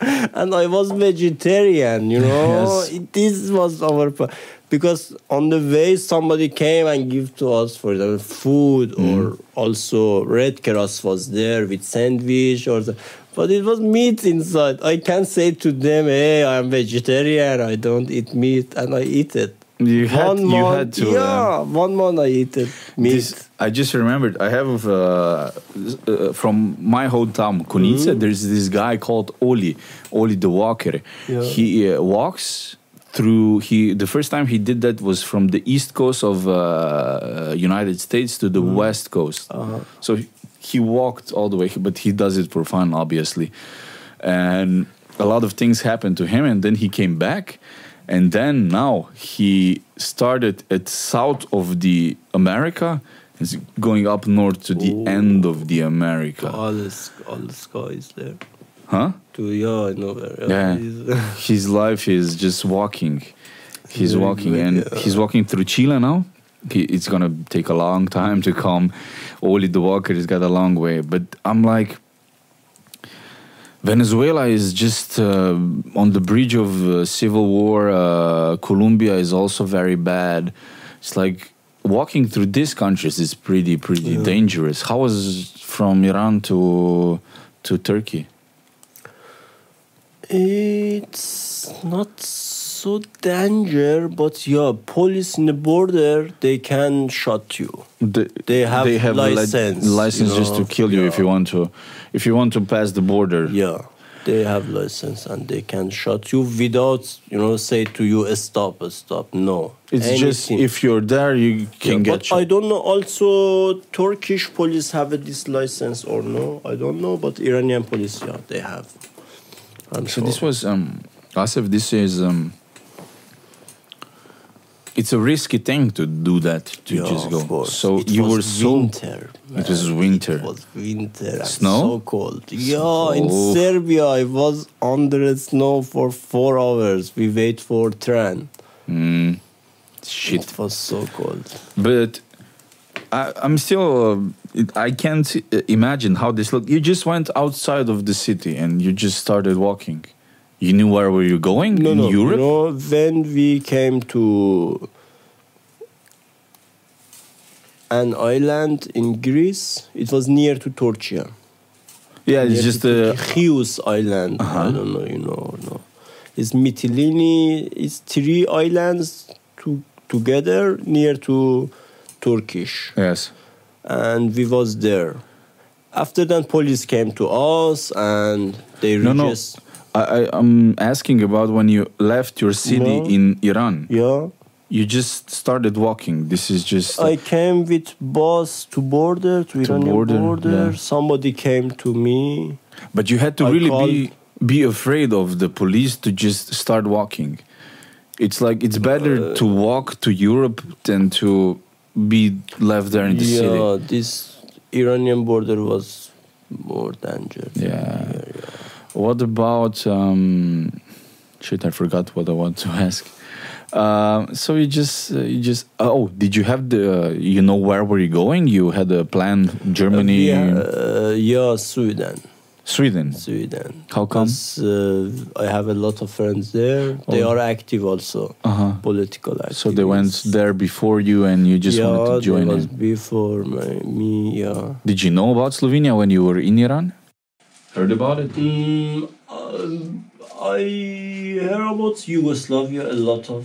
[SPEAKER 1] and I was vegetarian, you know.
[SPEAKER 2] Yes.
[SPEAKER 1] It- This was our pro- because on the way somebody came and give to us for example food
[SPEAKER 2] Mm.
[SPEAKER 1] or also red cross was there with sandwich or the, but it was meat inside. I can't say to them, "Hey, I'm vegetarian. I don't eat meat," and I eat it.
[SPEAKER 2] You had- you had
[SPEAKER 1] month-
[SPEAKER 2] to, um, uh,
[SPEAKER 1] Yeah, one month I eat it meat.
[SPEAKER 2] This, I just remembered. I have uh, uh, from my hometown Kunica.
[SPEAKER 1] Mm-hmm.
[SPEAKER 2] There's this guy called Oli, Oli the Walker.
[SPEAKER 1] Yeah.
[SPEAKER 2] He uh, walks through. He the first time he did that was from the east coast of uh, United States to the west coast.
[SPEAKER 1] Mm-hmm. Uh-huh.
[SPEAKER 2] So he- he walked all the way, but he does it for fun, obviously. And a lot of things happened to him, and then he came back. and then now he started at south of the America, is going up north to the
[SPEAKER 1] Ooh.
[SPEAKER 2] end of the America,
[SPEAKER 1] All the, sk- all the sky is there.
[SPEAKER 2] huh?
[SPEAKER 1] To yeah, I know where.
[SPEAKER 2] Yeah.
[SPEAKER 1] it's-
[SPEAKER 2] His life is just walking. He's
[SPEAKER 1] Very
[SPEAKER 2] walking
[SPEAKER 1] good,
[SPEAKER 2] and
[SPEAKER 1] yeah.
[SPEAKER 2] he's walking through Chile now. He, it's gonna take a long time to come. Only the walker has got a long way. But I'm like, Venezuela is just uh, on the bridge of uh, civil war. Uh, Colombia is also very bad. It's like walking through these countries is pretty pretty
[SPEAKER 1] Yeah.
[SPEAKER 2] dangerous. How was from Iran to to Turkey?
[SPEAKER 1] It's not so danger, but yeah, police in the border they can shot you.
[SPEAKER 2] The-
[SPEAKER 1] They have
[SPEAKER 2] li-
[SPEAKER 1] license,
[SPEAKER 2] license
[SPEAKER 1] you
[SPEAKER 2] just to
[SPEAKER 1] know?
[SPEAKER 2] kill you if
[SPEAKER 1] Yeah.
[SPEAKER 2] you want to, if you want to pass the border.
[SPEAKER 1] Yeah, they have license and they can shot you without you know say to you "Eh, stop, stop. No,
[SPEAKER 2] It's just
[SPEAKER 1] Anything.
[SPEAKER 2] if you're there, you can
[SPEAKER 1] Yeah,
[SPEAKER 2] get.
[SPEAKER 1] but
[SPEAKER 2] shot.
[SPEAKER 1] I don't know. Also, Turkish police have this license or no? I don't know. But Iranian police, yeah, they have. I'm
[SPEAKER 2] so
[SPEAKER 1] sure.
[SPEAKER 2] this was um, Asif. This is um, it's a risky thing to do that to
[SPEAKER 1] Yeah,
[SPEAKER 2] just
[SPEAKER 1] of
[SPEAKER 2] go.
[SPEAKER 1] course.
[SPEAKER 2] So
[SPEAKER 1] It
[SPEAKER 2] you
[SPEAKER 1] was
[SPEAKER 2] were so
[SPEAKER 1] winter.
[SPEAKER 2] it was
[SPEAKER 1] man.
[SPEAKER 2] winter.
[SPEAKER 1] It was winter. and
[SPEAKER 2] Snow?
[SPEAKER 1] So cold. Yeah, in
[SPEAKER 2] cold.
[SPEAKER 1] Serbia, I was under the snow for four hours. We wait for train.
[SPEAKER 2] Mm, shit.
[SPEAKER 1] It was so cold.
[SPEAKER 2] but I, I'm still. Uh, it- I can't uh, imagine how this looked. You just went outside of the city and you just started walking. You knew where were you going
[SPEAKER 1] No,
[SPEAKER 2] in
[SPEAKER 1] no. you
[SPEAKER 2] Europe.
[SPEAKER 1] know, when we came to an island in Greece, it was near to Turkey.
[SPEAKER 2] Yeah,
[SPEAKER 1] Near
[SPEAKER 2] it's just
[SPEAKER 1] to
[SPEAKER 2] uh,
[SPEAKER 1] Chios Island.
[SPEAKER 2] Uh-huh.
[SPEAKER 1] I don't know, you know or no. It's Mytilene. It's three islands to, together near to Turkish,
[SPEAKER 2] yes.
[SPEAKER 1] and we was there. After that, police came to us, and they
[SPEAKER 2] No, no.
[SPEAKER 1] just
[SPEAKER 2] I, I, I'm asking about when you left your city
[SPEAKER 1] No.
[SPEAKER 2] in Iran.
[SPEAKER 1] yeah.
[SPEAKER 2] You just started walking. This is just.
[SPEAKER 1] I came with bus to border to, Iranian
[SPEAKER 2] border,
[SPEAKER 1] border.
[SPEAKER 2] yeah.
[SPEAKER 1] Somebody came to me.
[SPEAKER 2] but you had to
[SPEAKER 1] I
[SPEAKER 2] really
[SPEAKER 1] called-
[SPEAKER 2] be be afraid of the police to just start walking. It's like it's
[SPEAKER 1] Uh,
[SPEAKER 2] better to walk to Europe than to be left there in the city.
[SPEAKER 1] yeah, this Iranian border was more dangerous.
[SPEAKER 2] Yeah. What about um, shit? I forgot what I want to ask. Um, so you just uh, you just oh did you have the uh, you know where were you going? You had a plan Germany,
[SPEAKER 1] Yeah, uh, yeah, Sweden,
[SPEAKER 2] Sweden.
[SPEAKER 1] Sweden.
[SPEAKER 2] How come?
[SPEAKER 1] 'Cause, uh, I have a lot of friends there. They
[SPEAKER 2] Oh.
[SPEAKER 1] are active also,
[SPEAKER 2] Uh huh.
[SPEAKER 1] political activists.
[SPEAKER 2] So they went there before you, and you just
[SPEAKER 1] yeah,
[SPEAKER 2] wanted to join
[SPEAKER 1] they was
[SPEAKER 2] in.
[SPEAKER 1] before my, me. Yeah.
[SPEAKER 2] Did you know about Slovenia when you were in Iran? Heard about it?
[SPEAKER 1] Mm, uh, I hear about Yugoslavia a lot of.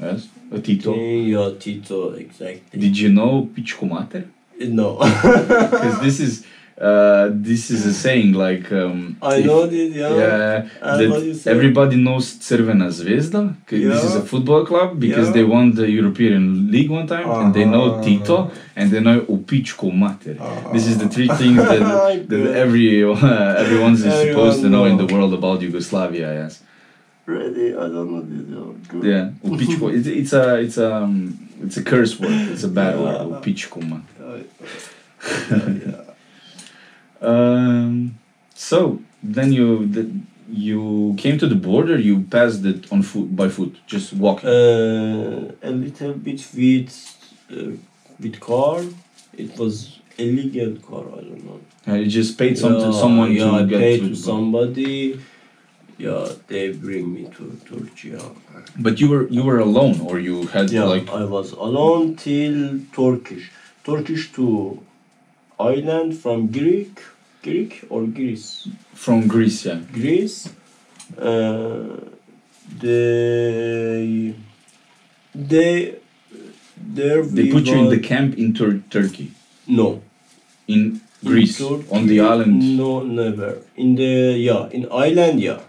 [SPEAKER 2] Yes. Tito.
[SPEAKER 1] Yeah, Tito, exactly.
[SPEAKER 2] Did you know Pičku mater?
[SPEAKER 1] no,
[SPEAKER 2] Because this is uh, this is a saying like. Um,
[SPEAKER 1] I
[SPEAKER 2] if-
[SPEAKER 1] know this. Yeah.
[SPEAKER 2] Yeah,
[SPEAKER 1] Uh,
[SPEAKER 2] that
[SPEAKER 1] what do you say?
[SPEAKER 2] everybody knows Crvena Zvezda. 'cause This is a
[SPEAKER 1] Yeah.
[SPEAKER 2] football club because
[SPEAKER 1] Yeah.
[SPEAKER 2] they won the European League one time, and they know
[SPEAKER 1] Uh-huh.
[SPEAKER 2] Tito and they know Upičku mater. This is the three things that, that
[SPEAKER 1] Ah. Good.
[SPEAKER 2] every uh, everyone is supposed to
[SPEAKER 1] Everyone
[SPEAKER 2] know in the
[SPEAKER 1] know.
[SPEAKER 2] world about Yugoslavia. Yes,
[SPEAKER 1] Really, I don't know this. Yeah. Good.
[SPEAKER 2] yeah, Upičku. it's, it's a it's a um, it's a curse word. It's a bad word.
[SPEAKER 1] Yeah.
[SPEAKER 2] Upičku mater.
[SPEAKER 1] I-
[SPEAKER 2] Um, so then you the, you came to the border. You passed it on foot by foot, just walking.
[SPEAKER 1] Uh, a little bit with uh, with car. It was illegal car. I don't know.
[SPEAKER 2] Uh, you just paid some
[SPEAKER 1] Yeah,
[SPEAKER 2] to someone
[SPEAKER 1] yeah,
[SPEAKER 2] to
[SPEAKER 1] I
[SPEAKER 2] get
[SPEAKER 1] paid
[SPEAKER 2] to,
[SPEAKER 1] to somebody. Yeah, they bring me to Turkey. yeah.
[SPEAKER 2] But you were you were alone, or you had
[SPEAKER 1] Yeah,
[SPEAKER 2] like
[SPEAKER 1] I was alone till Turkish. Turkish to island from Greek, Greek or Greece,
[SPEAKER 2] from Greece, yeah.
[SPEAKER 1] Greece. Uh, they, they, uh, there
[SPEAKER 2] They
[SPEAKER 1] we
[SPEAKER 2] put you in the
[SPEAKER 1] were-
[SPEAKER 2] camp in Tur- Turkey,
[SPEAKER 1] no
[SPEAKER 2] in
[SPEAKER 1] In
[SPEAKER 2] Greece,
[SPEAKER 1] Turkey,
[SPEAKER 2] on the island.
[SPEAKER 1] No, never in the yeah in island yeah.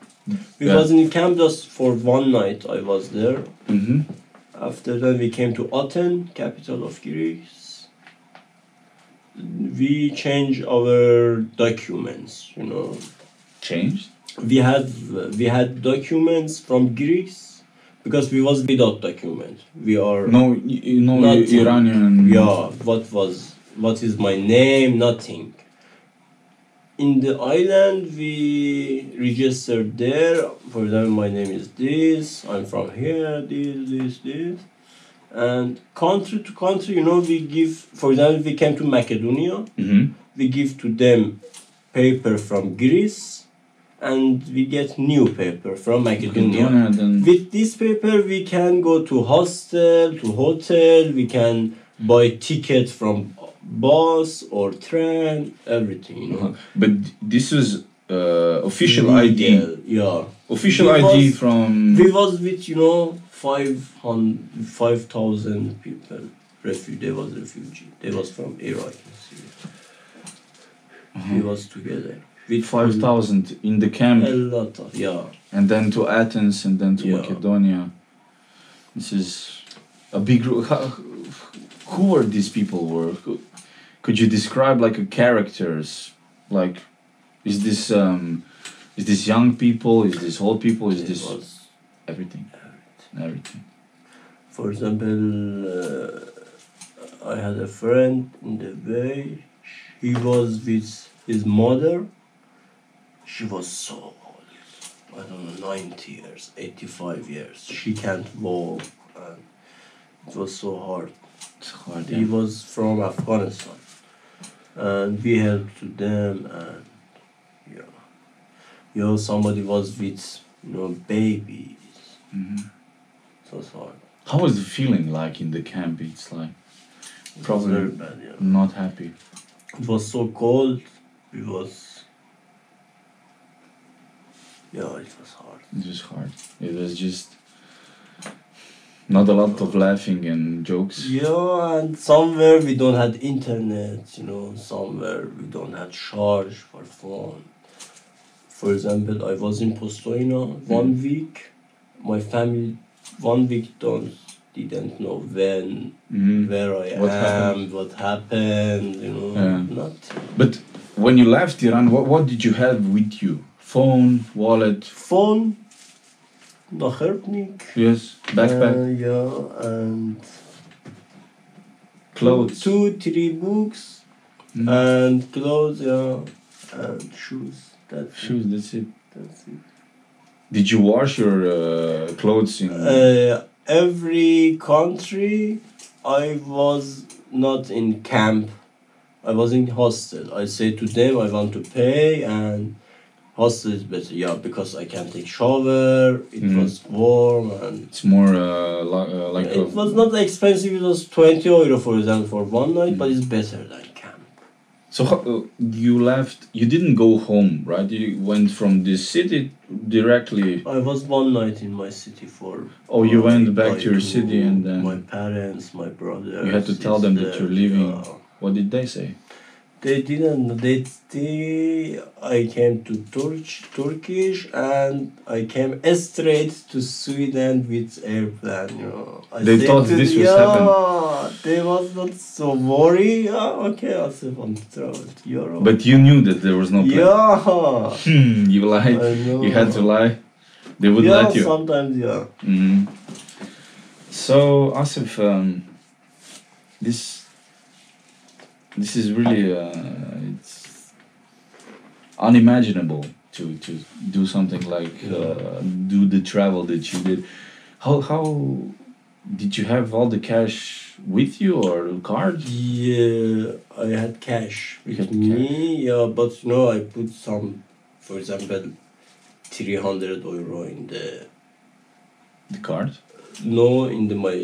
[SPEAKER 1] We
[SPEAKER 2] Yeah.
[SPEAKER 1] was in camp just for one night. I was there.
[SPEAKER 2] hmm
[SPEAKER 1] After that, we came to Athens, capital of Greece. We changed our documents. You know,
[SPEAKER 2] Changed.
[SPEAKER 1] we had we had documents from Greece because we was without document. We are
[SPEAKER 2] No, y- you know,
[SPEAKER 1] Not-
[SPEAKER 2] I- Iranian.
[SPEAKER 1] Yeah, what was what is my name? Nothing. In the island, we registered there. For example, my name is this. I'm from here. This, this, this. And country to country, you know, we give. For example, we came to Macedonia.
[SPEAKER 2] Mhm.
[SPEAKER 1] We give to them paper from Greece, and we get new paper from Macedonia
[SPEAKER 2] Macedonia, then-
[SPEAKER 1] with this paper we can go to hostel to hotel we can buy tickets from bus or train everything you know
[SPEAKER 3] Uh-huh. But this is uh, official ID.
[SPEAKER 1] Legal, yeah
[SPEAKER 3] Official
[SPEAKER 1] It
[SPEAKER 3] ID
[SPEAKER 1] was-
[SPEAKER 3] from.
[SPEAKER 1] we was with you know 500 5000 people refugee they was refugee they was from iraq and Syria. we
[SPEAKER 2] Mm-hmm.
[SPEAKER 1] was together with
[SPEAKER 2] 5,000 in the
[SPEAKER 1] a
[SPEAKER 2] camp
[SPEAKER 1] lot of yeah
[SPEAKER 2] and then to Athens and then to
[SPEAKER 1] Yeah.
[SPEAKER 2] Macedonia. This is a big group. How- Who were these people? Were who- could you describe like a characters? Like, is this um, is this young people? Is this old people? Is
[SPEAKER 1] it
[SPEAKER 2] this
[SPEAKER 1] was
[SPEAKER 2] everything? Everything.
[SPEAKER 1] For example, uh, I had a friend in the bay. He was with his mother. She was so old. I don't know, 90 years, 85 years. She can't walk. And it was so hard.
[SPEAKER 2] It's hard.
[SPEAKER 1] He
[SPEAKER 2] Yeah.
[SPEAKER 1] was from Afghanistan. And we helped to them and yeah. You know, somebody was with you know babies.
[SPEAKER 2] Mhm.
[SPEAKER 1] So it's hard.
[SPEAKER 2] How was the feeling like in the camp? It's like
[SPEAKER 1] It was
[SPEAKER 2] Probably
[SPEAKER 1] very bad, yeah.
[SPEAKER 2] not happy.
[SPEAKER 1] It was so cold. It was. Yeah, it was hard.
[SPEAKER 2] It was hard. It was just not a lot of laughing and jokes.
[SPEAKER 1] Yeah, and somewhere we don't had internet. You know, somewhere we don't had charge for phone. For example, I was in Postojna
[SPEAKER 2] Mm.
[SPEAKER 1] one week. My family one week don't didn't know when
[SPEAKER 2] Mhm.
[SPEAKER 1] where I
[SPEAKER 2] What
[SPEAKER 1] am,
[SPEAKER 2] happened?
[SPEAKER 1] what happened. You know,
[SPEAKER 2] Yeah.
[SPEAKER 1] nothing.
[SPEAKER 2] But when you left Iran, what, what did you have with you? Phone, wallet,
[SPEAKER 1] Phone. Nachernik.
[SPEAKER 2] yes, backpack,
[SPEAKER 1] Uh, yeah, and
[SPEAKER 2] clothes.
[SPEAKER 1] Two, uh, three books
[SPEAKER 2] Mm.
[SPEAKER 1] and clothes, yeah, and shoes. That's it.
[SPEAKER 2] shoes. That's it.
[SPEAKER 1] That's it.
[SPEAKER 2] Did you wash your uh, clothes in?
[SPEAKER 1] Uh, every country, I was not in camp. I was in hostel. I say to them, I want to pay, and hostel is better. Yeah, because I can take shower. It
[SPEAKER 2] Mhm.
[SPEAKER 1] was warm and.
[SPEAKER 2] it's more uh, li- uh, like a,
[SPEAKER 1] it was not expensive. It was twenty euro, for example, for one night,
[SPEAKER 2] Mm.
[SPEAKER 1] but it's better than camp.
[SPEAKER 2] So how, uh, you left. You didn't go home, right? You went from this city directly.
[SPEAKER 1] I was one night in my city for.
[SPEAKER 2] Oh, you
[SPEAKER 1] one
[SPEAKER 2] went
[SPEAKER 1] week.
[SPEAKER 2] back
[SPEAKER 1] I
[SPEAKER 2] to your
[SPEAKER 1] do-
[SPEAKER 2] city and then.
[SPEAKER 1] My parents, my brothers.
[SPEAKER 2] You had to tell them that
[SPEAKER 1] sisters,
[SPEAKER 2] you're leaving.
[SPEAKER 1] yeah.
[SPEAKER 2] What did they say?
[SPEAKER 1] They didn't. They, they. I came to Turk, Turkish, and I came straight to Sweden with airplane. You know. I
[SPEAKER 2] They
[SPEAKER 1] said
[SPEAKER 2] thought
[SPEAKER 1] to-
[SPEAKER 2] this was
[SPEAKER 1] yeah,
[SPEAKER 2] heaven.
[SPEAKER 1] They was not so worried. Yeah, okay, I said I'm traveled to Europe.
[SPEAKER 2] But you knew that there was no plan.
[SPEAKER 1] yeah,
[SPEAKER 2] Hmm, you lied.
[SPEAKER 1] I know.
[SPEAKER 2] You had to lie. They would
[SPEAKER 1] Uh, yeah,
[SPEAKER 2] let you.
[SPEAKER 1] sometimes yeah.
[SPEAKER 2] Mhm. So Asif, um, this this is really uh, it's unimaginable to to do something like uh, do the travel that you did. How how did you have all the cash with you or card?
[SPEAKER 1] Yeah, I had cash
[SPEAKER 2] You
[SPEAKER 1] with
[SPEAKER 2] had
[SPEAKER 1] me. Yeah, but you know, I put some, for example, three hundred euro in the
[SPEAKER 2] The card.
[SPEAKER 1] no in the my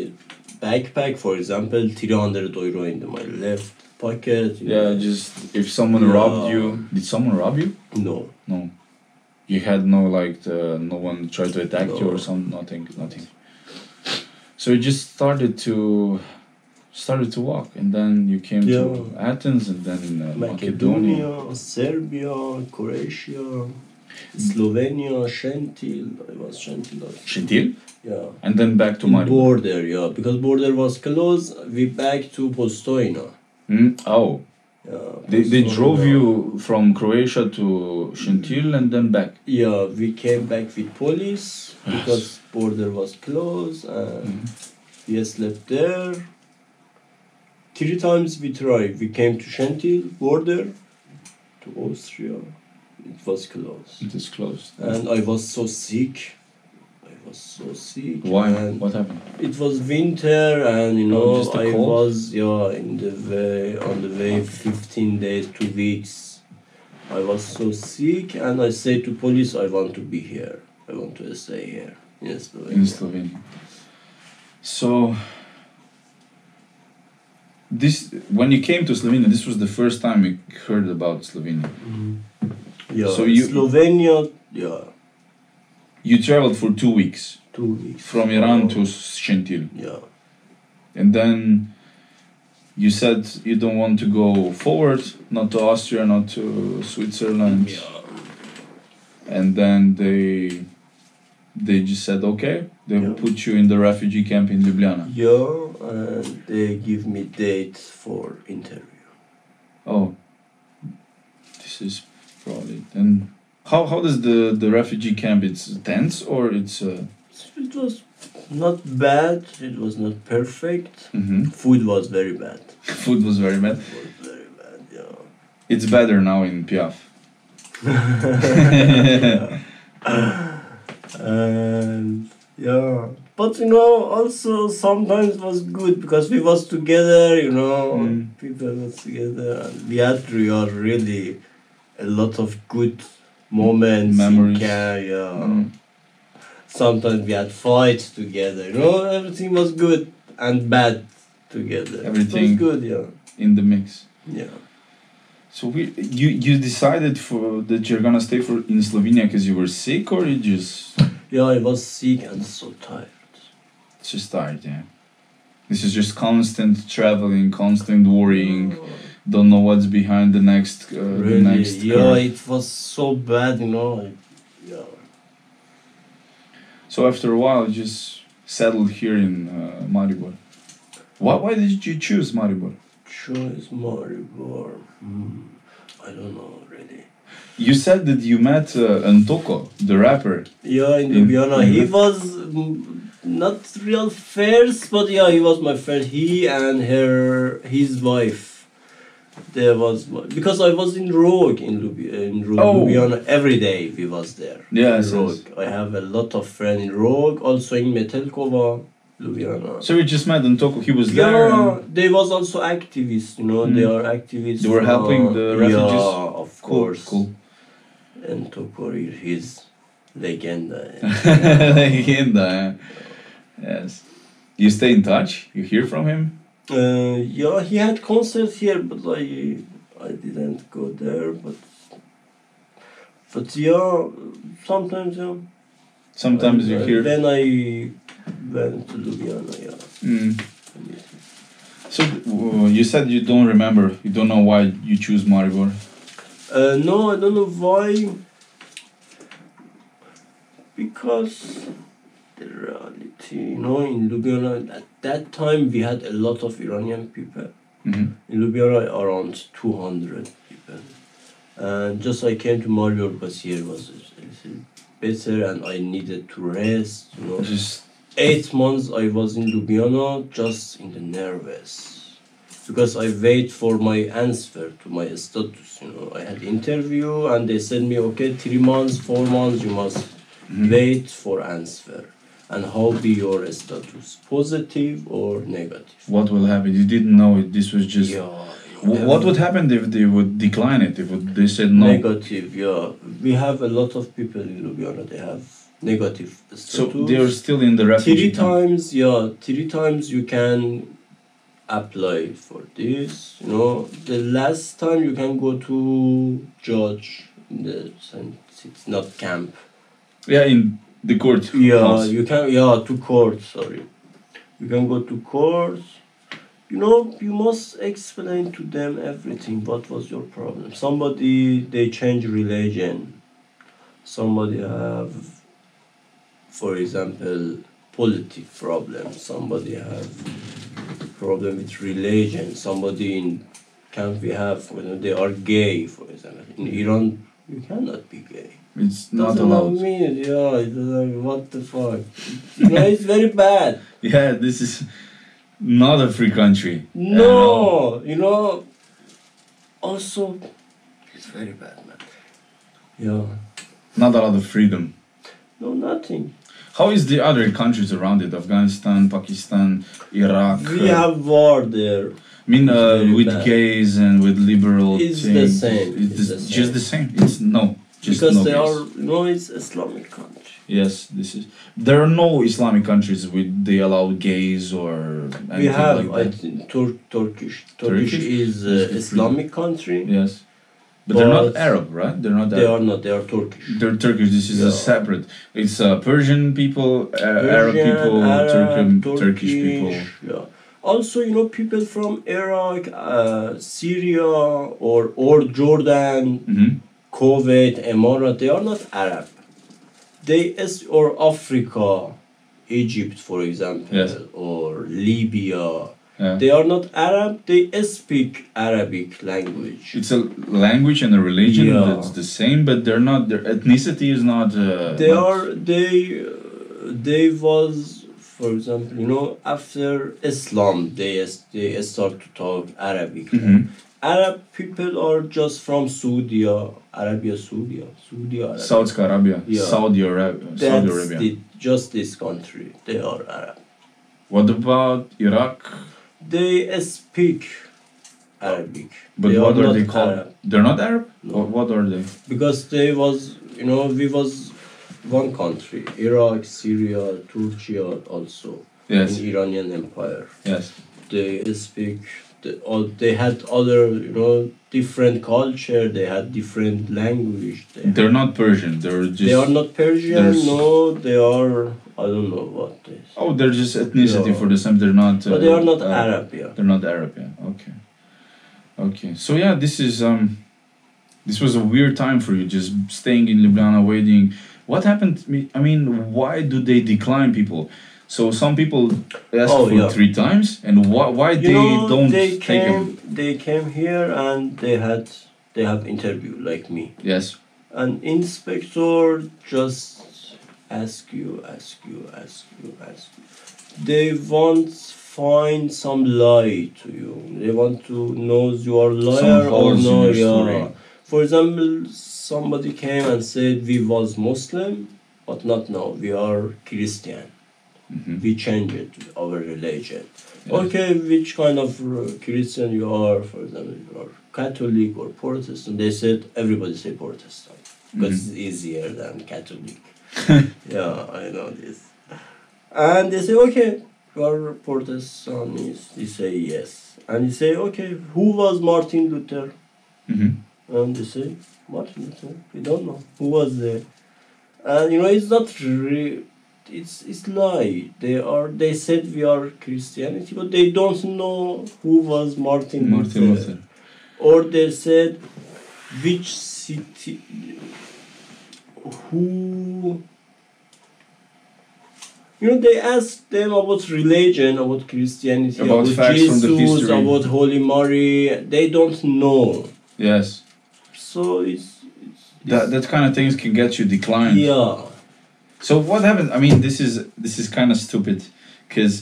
[SPEAKER 1] backpack. For example, three hundred euro in the, my left pocket. in
[SPEAKER 2] Yeah,
[SPEAKER 1] the-
[SPEAKER 2] just if someone
[SPEAKER 1] Yeah.
[SPEAKER 2] robbed you, did someone rob you?
[SPEAKER 1] no,
[SPEAKER 2] No. You had no like the, no one tried to attack you
[SPEAKER 1] No.
[SPEAKER 2] or some nothing nothing. So you just started to started to walk and then you came to
[SPEAKER 1] Yeah.
[SPEAKER 2] Athens and then uh, Macedonia.
[SPEAKER 1] Macedonia, Serbia, Croatia, Slovenia, Shentil. I was Shentil. I-
[SPEAKER 2] Shintil
[SPEAKER 1] Yeah.
[SPEAKER 2] and then back to Maribor.
[SPEAKER 1] border, yeah, because border was closed. We back to Postojna.
[SPEAKER 2] Mm? Oh, They, they drove you from Croatia to Shintil and then back.
[SPEAKER 1] Yeah, we came back with police because border was closed and
[SPEAKER 2] Mm-hmm.
[SPEAKER 1] we slept there. Three times we tried. We came to Shentil border to Austria. It was closed.
[SPEAKER 2] It is closed.
[SPEAKER 1] And I was so sick. I was so sick.
[SPEAKER 2] Why?
[SPEAKER 1] And
[SPEAKER 2] What happened?
[SPEAKER 1] it was winter and you
[SPEAKER 2] Oh,
[SPEAKER 1] know
[SPEAKER 2] just the
[SPEAKER 1] I
[SPEAKER 2] cold?
[SPEAKER 1] was yeah in the way on the way fifteen days, two weeks. I was so sick and I said to police I want to be here. I want to stay here. Yes, the way.
[SPEAKER 2] in Slovenia. So this when you came to Slovenia, this was the first time you heard about Slovenia.
[SPEAKER 1] Mm-hmm. Yeah.
[SPEAKER 2] So you-
[SPEAKER 1] Slovenia yeah,
[SPEAKER 2] You traveled for two weeks
[SPEAKER 1] two weeks.
[SPEAKER 2] from Iran to Shentil,
[SPEAKER 1] Yeah.
[SPEAKER 2] and then you said you don't want to go forward, not to Austria, not to Switzerland,
[SPEAKER 1] Yeah.
[SPEAKER 2] and then they they just said okay, they will
[SPEAKER 1] Yeah.
[SPEAKER 2] put you in the refugee camp in Ljubljana.
[SPEAKER 1] Yeah, and they give me date for interview.
[SPEAKER 2] Oh, this is probably. And how how does the the refugee camp? It's tense or it's. Uh,
[SPEAKER 1] It was not bad. It was not perfect.
[SPEAKER 2] mhm.
[SPEAKER 1] Food was very bad.
[SPEAKER 2] Food was very bad.
[SPEAKER 1] Food was very bad. Yeah.
[SPEAKER 2] It's better now in Piaf.
[SPEAKER 1] and yeah but you know also sometimes was good because we was together you know
[SPEAKER 2] Mm.
[SPEAKER 1] people was together and we had we are really a lot of good moments
[SPEAKER 2] Memories.
[SPEAKER 1] in camp, yeah.
[SPEAKER 2] Mm.
[SPEAKER 1] sometimes we had fights together you know everything was good and bad together It was
[SPEAKER 2] Everything.
[SPEAKER 1] good yeah
[SPEAKER 2] in the mix.
[SPEAKER 1] yeah
[SPEAKER 2] So we you you decided for that you're gonna stay for in Slovenia because you were sick or you just
[SPEAKER 1] yeah i was sick and so tired
[SPEAKER 2] it's just tired. Yeah. This is just constant traveling, constant worrying. Don't know what's behind the next uh,
[SPEAKER 1] Really?
[SPEAKER 2] the next.
[SPEAKER 1] yeah,
[SPEAKER 2] curve.
[SPEAKER 1] it was so bad, you know. I, yeah.
[SPEAKER 2] So after a while, you just settled here in uh, Maribor. Why, why did you choose Maribor?
[SPEAKER 1] Choice Maribor. Hmm. I don't know, really.
[SPEAKER 2] You said that you met uh, Antoko, the rapper.
[SPEAKER 1] Yeah, in
[SPEAKER 2] In-
[SPEAKER 1] Ljubljana. He
[SPEAKER 2] in-
[SPEAKER 1] was mm, not real first, but yeah, he was my friend. He and her, his wife. There was my- because I was in Rogue in, Ljubi- in Rogue,
[SPEAKER 2] Oh.
[SPEAKER 1] Ljubljana every day. We was there.
[SPEAKER 2] Yes,
[SPEAKER 1] in Rogue.
[SPEAKER 2] yes.
[SPEAKER 1] I have a lot of friends in Rogue, also in Metelkova, Ljubljana.
[SPEAKER 2] So you just met Antoko. He was there.
[SPEAKER 1] Yeah,
[SPEAKER 2] and-
[SPEAKER 1] they was also activists. You know, they
[SPEAKER 2] Mm.
[SPEAKER 1] are activists. uh,
[SPEAKER 2] They were helping the refugees?
[SPEAKER 1] Yeah, of course.
[SPEAKER 2] Cool.
[SPEAKER 1] And Tokori, his legend.
[SPEAKER 2] Legenda. eh? Yes. You stay in touch. You hear from him.
[SPEAKER 1] uh, yeah, he had concerts here, but I I didn't go there. But but yeah, sometimes yeah.
[SPEAKER 2] Sometimes you
[SPEAKER 1] Uh,
[SPEAKER 2] hear.
[SPEAKER 1] Then I went to Ljubljana. Yeah.
[SPEAKER 2] Mm. So uh, you said you don't remember. You don't know why you choose Maribor.
[SPEAKER 1] Uh, no, I don't know why. Because the reality, you know, in Ljubljana at that time we had a lot of Iranian people.
[SPEAKER 2] Mhm.
[SPEAKER 1] In Ljubljana around two hundred people, and just I came to Maribor because here was a little better, and I needed to rest. You know,
[SPEAKER 2] Just
[SPEAKER 1] eight months I was in Ljubljana just in the nervous because I wait for my answer to my status. You know, I had interview and they said me, okay, three months, four months, you must
[SPEAKER 2] Mm-hmm.
[SPEAKER 1] wait for answer. And how be your status, positive or negative?
[SPEAKER 2] what will happen? You didn't know it. This was just.
[SPEAKER 1] yeah.
[SPEAKER 2] Wh- What would happen if they would decline it? If would- they said no?
[SPEAKER 1] negative? Yeah, we have a lot of people in Ljubljana. They have negative status.
[SPEAKER 2] so they are still in the refugee
[SPEAKER 1] three
[SPEAKER 2] camp.
[SPEAKER 1] times yeah three times you can apply for this you know the last time you can go to judge in the sense it's not camp
[SPEAKER 2] Yeah, in the court.
[SPEAKER 1] yeah
[SPEAKER 2] house.
[SPEAKER 1] you can yeah to court sorry you can go to court you know you must explain to them everything what was your problem somebody they change religion somebody have for example politic problem somebody have problem with religion somebody in Can we have, you know, they are gay, for example. In Iran, you cannot be gay.
[SPEAKER 2] It's not
[SPEAKER 1] Doesn't
[SPEAKER 2] allowed.
[SPEAKER 1] mean, yeah, it's like, what the fuck? you know, it's very bad.
[SPEAKER 2] Yeah, this is not a free country. at all.
[SPEAKER 1] No, you know, also, it's very bad, man. Yeah.
[SPEAKER 2] not a lot of freedom.
[SPEAKER 1] No, nothing.
[SPEAKER 2] How is the other countries around it? Afghanistan, Pakistan, Iraq.
[SPEAKER 1] We
[SPEAKER 2] uh,
[SPEAKER 1] have war there.
[SPEAKER 2] I mean, uh,
[SPEAKER 1] Very
[SPEAKER 2] with
[SPEAKER 1] bad.
[SPEAKER 2] gays and with liberal.
[SPEAKER 1] It's the
[SPEAKER 2] things.
[SPEAKER 1] same,
[SPEAKER 2] It's,
[SPEAKER 1] it's
[SPEAKER 2] the-
[SPEAKER 1] the
[SPEAKER 2] just the same. It's no. Just
[SPEAKER 1] because
[SPEAKER 2] no
[SPEAKER 1] they
[SPEAKER 2] gays.
[SPEAKER 1] are, you know, it's Islamic country.
[SPEAKER 2] Yes, this is. There are no Islamic countries with they allow gays or.
[SPEAKER 1] we
[SPEAKER 2] anything
[SPEAKER 1] have,
[SPEAKER 2] like
[SPEAKER 1] I
[SPEAKER 2] that.
[SPEAKER 1] think, Tur- Turkish. Turkish.
[SPEAKER 2] Turkish?
[SPEAKER 1] is
[SPEAKER 2] Is
[SPEAKER 1] uh,
[SPEAKER 2] the
[SPEAKER 1] Islamic country.
[SPEAKER 2] Yes, but, they're not
[SPEAKER 1] But-
[SPEAKER 2] Arab, right? They're not.
[SPEAKER 1] They
[SPEAKER 2] Arab.
[SPEAKER 1] are not. They are Turkish.
[SPEAKER 2] They're Turkish. This is
[SPEAKER 1] Yeah.
[SPEAKER 2] a separate. It's uh, Persian people, uh, Arab
[SPEAKER 1] Persian,
[SPEAKER 2] people,
[SPEAKER 1] Arab,
[SPEAKER 2] Turk- Turkish people.
[SPEAKER 1] Yeah. Also, you know, people from Iraq, uh, Syria, or or Jordan,
[SPEAKER 2] hmm
[SPEAKER 1] Kuwait, Emirat. They are not Arab. They is or Africa, Egypt, for example,
[SPEAKER 2] Yes.
[SPEAKER 1] or Libya.
[SPEAKER 2] Yeah.
[SPEAKER 1] They are not Arab. They speak Arabic language.
[SPEAKER 2] It's a language and a religion
[SPEAKER 1] Yeah.
[SPEAKER 2] that's the same, but they're not. Their ethnicity is not. Uh,
[SPEAKER 1] they
[SPEAKER 2] not-
[SPEAKER 1] are they uh, they was for example you know after islam they is- they start to talk arabic
[SPEAKER 2] Mhm.
[SPEAKER 1] arab people are just from saudi arabia saudi saudi arabia
[SPEAKER 2] Saudi Arabia,
[SPEAKER 1] Yeah.
[SPEAKER 2] Saudi Arabia,
[SPEAKER 1] that's
[SPEAKER 2] Saudi Arabia.
[SPEAKER 1] the- just this country they are arab
[SPEAKER 2] What about Iraq?
[SPEAKER 1] they speak arabic
[SPEAKER 2] But
[SPEAKER 1] They
[SPEAKER 2] what are,
[SPEAKER 1] not
[SPEAKER 2] they called?
[SPEAKER 1] Arab.
[SPEAKER 2] They're not Arab.
[SPEAKER 1] No.
[SPEAKER 2] Or What are they?
[SPEAKER 1] because they was you know we was one country iraq syria turkey also
[SPEAKER 2] Yes,
[SPEAKER 1] in iranian empire
[SPEAKER 2] yes.
[SPEAKER 1] they speak the, all, they had other you know different culture they had different language they,
[SPEAKER 2] They're not Persian. They're just.
[SPEAKER 1] they are not persian
[SPEAKER 2] there's-
[SPEAKER 1] no they are i don't know what this
[SPEAKER 2] Oh, they're just ethnicity
[SPEAKER 1] Yeah.
[SPEAKER 2] for the same. They're not.
[SPEAKER 1] but they are not
[SPEAKER 2] uh,
[SPEAKER 1] arab yeah
[SPEAKER 2] They're not Arab. Yeah. Okay. Okay. So yeah, this is um, this was a weird time for you, just staying in Ljubljana, waiting. What happened? to me- I mean, why do they decline people? So some people ask
[SPEAKER 1] Oh,
[SPEAKER 2] for
[SPEAKER 1] yeah.
[SPEAKER 2] three times, and why why
[SPEAKER 1] you
[SPEAKER 2] they
[SPEAKER 1] know,
[SPEAKER 2] don't
[SPEAKER 1] they
[SPEAKER 2] take
[SPEAKER 1] came
[SPEAKER 2] them?
[SPEAKER 1] they came here and they had they have interview like me
[SPEAKER 2] Yes.
[SPEAKER 1] an inspector just ask you ask you ask you ask you they want find some lie to you they want to know you are liar or
[SPEAKER 2] holes in
[SPEAKER 1] no
[SPEAKER 2] your
[SPEAKER 1] yeah.
[SPEAKER 2] story.
[SPEAKER 1] for example somebody came and said we was muslim but not now we are christian
[SPEAKER 2] hmm
[SPEAKER 1] we changed our religion
[SPEAKER 2] Yeah.
[SPEAKER 1] okay which kind of uh, christian you are for example you are catholic or protestant they said everybody say protestant because it's easier than Catholic. yeah, I know this. And they say, okay, you are Protestant. They say yes. And they say, okay, who was Martin Luther?
[SPEAKER 2] hmm
[SPEAKER 1] And they Um, say, Martin Luther. We don't know who was there. And you know, it's not re- it's it's lie. They are they said we are Christianity, but they don't know who was Martin,
[SPEAKER 2] Martin Luther.
[SPEAKER 1] or they said which city who you know they asked them about religion about christianity
[SPEAKER 2] About
[SPEAKER 1] about,
[SPEAKER 2] facts from
[SPEAKER 1] jesus
[SPEAKER 2] the history.
[SPEAKER 1] about holy mary they don't know
[SPEAKER 2] Yes.
[SPEAKER 1] so it's, it's,
[SPEAKER 2] That that kind of things can get you declined.
[SPEAKER 1] yeah
[SPEAKER 2] So what happened? I mean, this is this is kind of stupid, because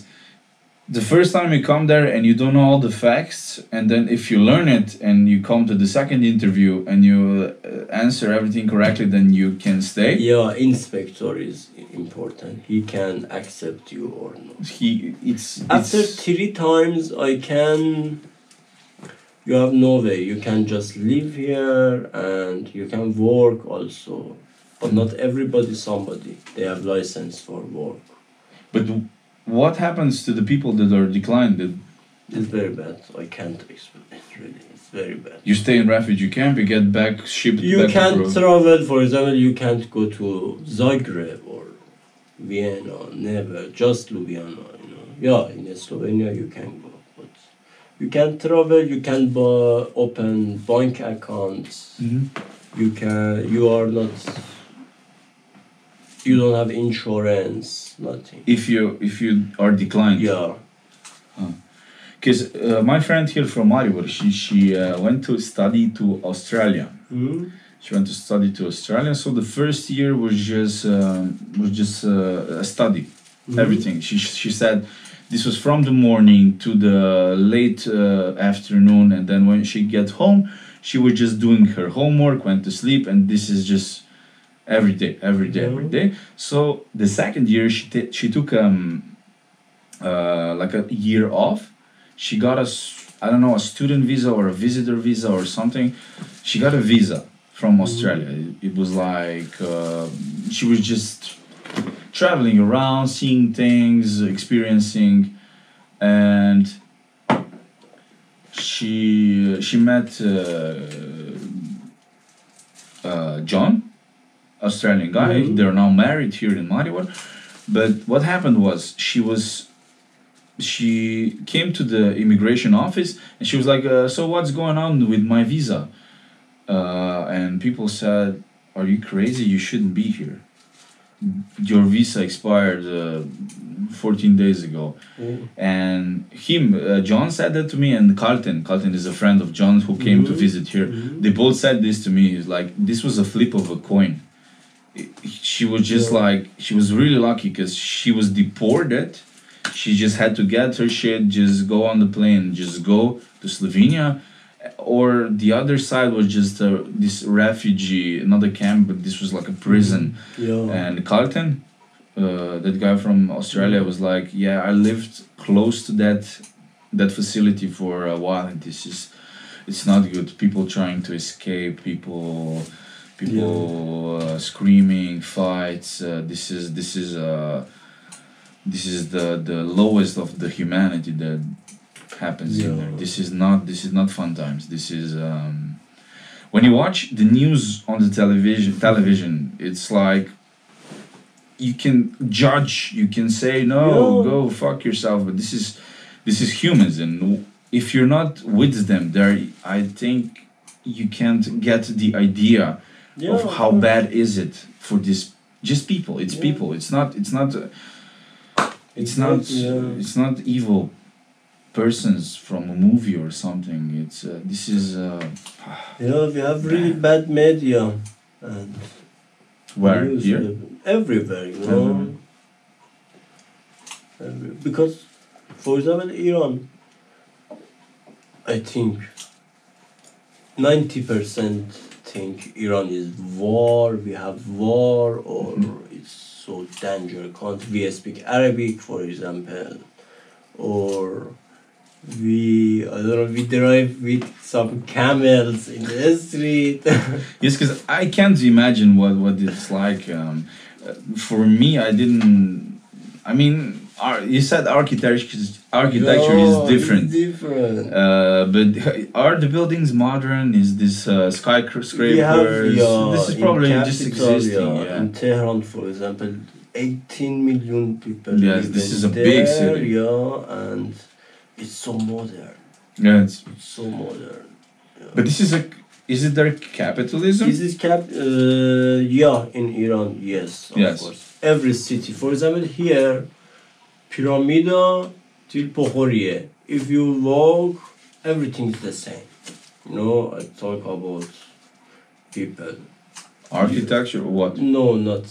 [SPEAKER 2] the first time you come there and you don't know all the facts, and then if you learn it and you come to the second interview and you uh, answer everything correctly, then you can stay.
[SPEAKER 1] yeah inspector is important he can accept you or not
[SPEAKER 2] He, it's
[SPEAKER 1] After
[SPEAKER 2] it's,
[SPEAKER 1] three times, I can. You have no way. You can just live here and you can work also. But not everybody, somebody. They have license for work.
[SPEAKER 2] but what happens to the people that are declined? That
[SPEAKER 1] It's very bad. I can't explain it really. It's very bad.
[SPEAKER 2] you stay in refugee camp, you get back shipped.
[SPEAKER 1] You
[SPEAKER 2] back to
[SPEAKER 1] can't
[SPEAKER 2] Europe.
[SPEAKER 1] travel, for example, you can't go to Zagreb or Vienna, never, just Ljubljana, you know. Yeah, in Slovenia you can go, but you can travel, you can buy, open bank accounts,
[SPEAKER 2] Mhm.
[SPEAKER 1] you can, you are not, you don't have insurance, nothing.
[SPEAKER 2] If you if you are declined.
[SPEAKER 1] Yeah.
[SPEAKER 2] Because uh, my friend here from Maribor, she she uh, went to study to Australia. She went to study to Australia. So the first year was just um, was just uh, a study,
[SPEAKER 1] Mm-hmm.
[SPEAKER 2] everything. She she said this was from the morning to the late uh, afternoon, and then when she get home, she was just doing her homework, went to sleep, and this is just every day, every day, every day. So the second year, she t- she took um uh, like a year off. She got a s- I don't know a student visa or a visitor visa or something. She got a visa from Australia. It, it was like uh, she was just traveling around, seeing things, experiencing, and she she met uh, uh, John, Australian guy.
[SPEAKER 1] Mhm.
[SPEAKER 2] They're now married here in Maribor. But what happened was she was she came to the immigration office and she was like, uh, "So what's going on with my visa?" Uh, and people said, "Are you crazy? You shouldn't be here. Your visa expired uh, 14 days ago." And him, uh, John said that to me, and Carlton. Carlton is a friend of John's who came to
[SPEAKER 1] Mhm.
[SPEAKER 2] visit here.
[SPEAKER 1] Mhm.
[SPEAKER 2] They both said this to me. It's like this was a flip of a coin. It- She was just
[SPEAKER 1] Yeah.
[SPEAKER 2] like she was really lucky because she was deported. She just had to get her shit, just go on the plane, just go to Slovenia, or the other side was just uh this refugee, not a camp, but this was like a prison.
[SPEAKER 1] Yeah.
[SPEAKER 2] And Carlton, uh, that guy from Australia, was like, "Yeah, I lived close to that that facility for a while, and this is it's not good. People trying to escape, people." People uh, screaming, fights. Uh, this is this is uh, this is the the lowest of the humanity that happens in there.
[SPEAKER 1] Yeah.
[SPEAKER 2] This is not this is not fun times. This is um, when you watch the news on the television television it's like you can judge you can say no
[SPEAKER 1] Yeah.
[SPEAKER 2] go fuck yourself but this is this is humans and if you're not with them there i think you can't get the idea
[SPEAKER 1] yeah. Mm-hmm.
[SPEAKER 2] of how bad is it for this just people it's
[SPEAKER 1] Yeah.
[SPEAKER 2] people it's not it's not uh, it's not
[SPEAKER 1] yeah.
[SPEAKER 2] it's not evil persons from a movie or something it's uh, this is uh,
[SPEAKER 1] yeah, we have really bad media. And
[SPEAKER 2] where
[SPEAKER 1] news
[SPEAKER 2] here
[SPEAKER 1] Everywhere, you know.
[SPEAKER 2] Everywhere. Oh.
[SPEAKER 1] Every- Because, for example, Iran, I think 90% think Iran is war, we have war, or
[SPEAKER 2] Mm-hmm.
[SPEAKER 1] it's so dangerous. Can't we speak Arabic, for example, or we, I don't know, we drive with some camels in the street.
[SPEAKER 2] Yes, because I can't imagine what what it's like. Um, uh, for me, I didn't. I mean, ar- you said architecture architecture
[SPEAKER 1] No,
[SPEAKER 2] is different,
[SPEAKER 1] It's different.
[SPEAKER 2] uh, but are the buildings modern? Is this uh, skyscrapers?
[SPEAKER 1] We have, yeah,
[SPEAKER 2] this is
[SPEAKER 1] in
[SPEAKER 2] probably just
[SPEAKER 1] capital,
[SPEAKER 2] existing.
[SPEAKER 1] yeah,
[SPEAKER 2] Yeah.
[SPEAKER 1] In Tehran, for example, 18 million people.
[SPEAKER 2] Yes,
[SPEAKER 1] live
[SPEAKER 2] this
[SPEAKER 1] in
[SPEAKER 2] is a
[SPEAKER 1] there,
[SPEAKER 2] big city.
[SPEAKER 1] Yeah, and it's so modern.
[SPEAKER 2] yeah it's,
[SPEAKER 1] It's so modern.
[SPEAKER 2] but this is a. Is it their capitalism?
[SPEAKER 1] Is this cap? Uh, yeah, in Iran, yes, of
[SPEAKER 2] Yes.
[SPEAKER 1] course. Every city, for example, here, Pyramida till Pohoriye. If you walk, everything's the same. You know, I talk about people.
[SPEAKER 2] architecture or what?
[SPEAKER 1] No, not.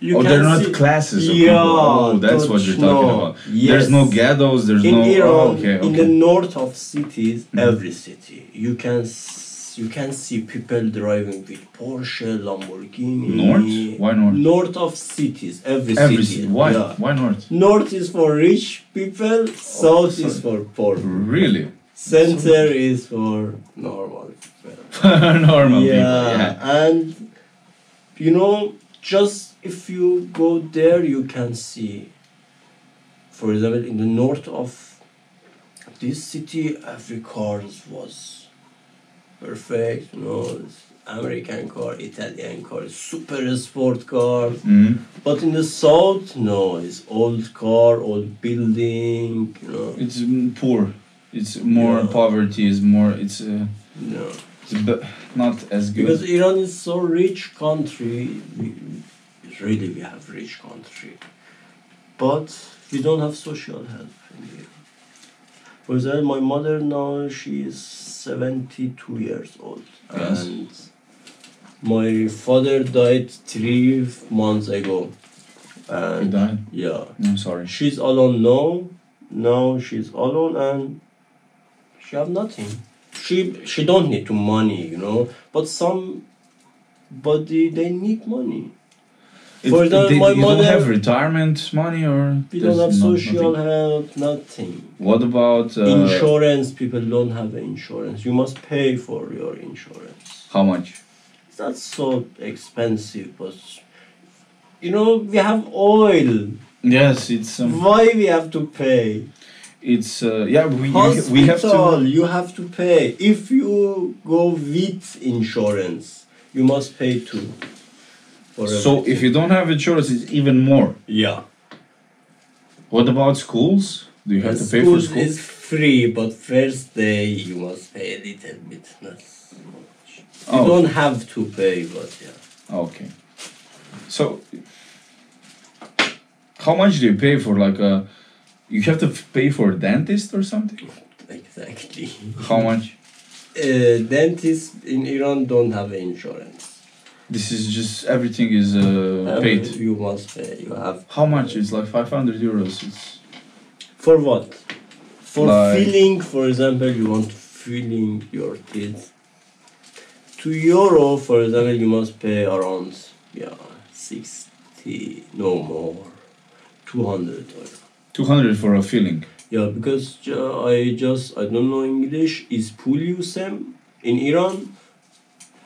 [SPEAKER 1] You
[SPEAKER 2] or Oh, they're
[SPEAKER 1] can
[SPEAKER 2] not
[SPEAKER 1] see-
[SPEAKER 2] classes of
[SPEAKER 1] Yeah,
[SPEAKER 2] people. Oh, that's what
[SPEAKER 1] don't-
[SPEAKER 2] you're talking
[SPEAKER 1] no.
[SPEAKER 2] about. There's no
[SPEAKER 1] Yes.
[SPEAKER 2] ghettos. There's
[SPEAKER 1] in
[SPEAKER 2] no.
[SPEAKER 1] Iran,
[SPEAKER 2] oh, okay, okay.
[SPEAKER 1] in the north of cities,
[SPEAKER 2] Mhm.
[SPEAKER 1] every city, you can s- you can see people driving with Porsche, Lamborghini.
[SPEAKER 2] North? Why north?
[SPEAKER 1] North of cities, every,
[SPEAKER 2] Every
[SPEAKER 1] city.
[SPEAKER 2] ci- Why? Oh,
[SPEAKER 1] yeah.
[SPEAKER 2] Why not?
[SPEAKER 1] North is for rich people, south is for poor.
[SPEAKER 2] Mm-hmm. Really?
[SPEAKER 1] Center is for normal people.
[SPEAKER 2] Normal people.
[SPEAKER 1] yeah,
[SPEAKER 2] Yeah.
[SPEAKER 1] and you know, just if you go there, you can see. For example, in the north of this city, every car was perfect. You know, American car, Italian car, super sport car.
[SPEAKER 2] hmm
[SPEAKER 1] But in the south, no, it's old car, old building. You know,
[SPEAKER 2] It's mm, poor. It's more
[SPEAKER 1] Yeah.
[SPEAKER 2] poverty. Is more. It's uh,
[SPEAKER 1] no.
[SPEAKER 2] it's b- not as good.
[SPEAKER 1] Because Iran is so rich country, we, really we have rich country, but we don't have social help in Iran. For example, my mother now she is 72 years old,
[SPEAKER 2] Yes.
[SPEAKER 1] and my father died three months ago. And
[SPEAKER 2] died?
[SPEAKER 1] Yeah,
[SPEAKER 2] I'm sorry.
[SPEAKER 1] she's alone now. Now she's alone and she have nothing. She she don't need to money, you know. But somebody they need money. For example,
[SPEAKER 2] they,
[SPEAKER 1] my
[SPEAKER 2] you
[SPEAKER 1] mother-
[SPEAKER 2] don't have retirement money or
[SPEAKER 1] We don't have
[SPEAKER 2] there's no-
[SPEAKER 1] social
[SPEAKER 2] nothing?
[SPEAKER 1] help, nothing.
[SPEAKER 2] What about uh,
[SPEAKER 1] insurance, people don't have insurance. You must pay for your insurance.
[SPEAKER 2] How much?
[SPEAKER 1] It's not so expensive, but you know, we have oil.
[SPEAKER 2] Yes, it's um,
[SPEAKER 1] Why we have to pay?
[SPEAKER 2] it's uh, yeah we
[SPEAKER 1] Hospital,
[SPEAKER 2] we have to
[SPEAKER 1] you have to pay. If you go with insurance, you must pay too. For
[SPEAKER 2] So if
[SPEAKER 1] everything.
[SPEAKER 2] you don't have insurance, it's even more.
[SPEAKER 1] yeah,
[SPEAKER 2] What about schools? Do you have to pay for
[SPEAKER 1] Schools
[SPEAKER 2] school?
[SPEAKER 1] is free, but first day you must pay a little bit. Not so much. You
[SPEAKER 2] Oh,
[SPEAKER 1] don't have to pay, but yeah.
[SPEAKER 2] okay. So how much do you pay for like a? You have to f- pay for a dentist or something.
[SPEAKER 1] Exactly.
[SPEAKER 2] How much?
[SPEAKER 1] Uh, dentists in Iran don't have insurance.
[SPEAKER 2] This is just everything is uh,
[SPEAKER 1] Um,
[SPEAKER 2] paid.
[SPEAKER 1] You must pay. You have.
[SPEAKER 2] How much? It's like five hundred euros. It's
[SPEAKER 1] For what? For
[SPEAKER 2] Like-
[SPEAKER 1] filling, for example, you want filling your teeth. To euro, for example, you must pay around yeah sixty, no more, two hundred euro.
[SPEAKER 2] two hundred for a filling.
[SPEAKER 1] Yeah, because ju- I just I don't know English. Is pulyusem in Iran?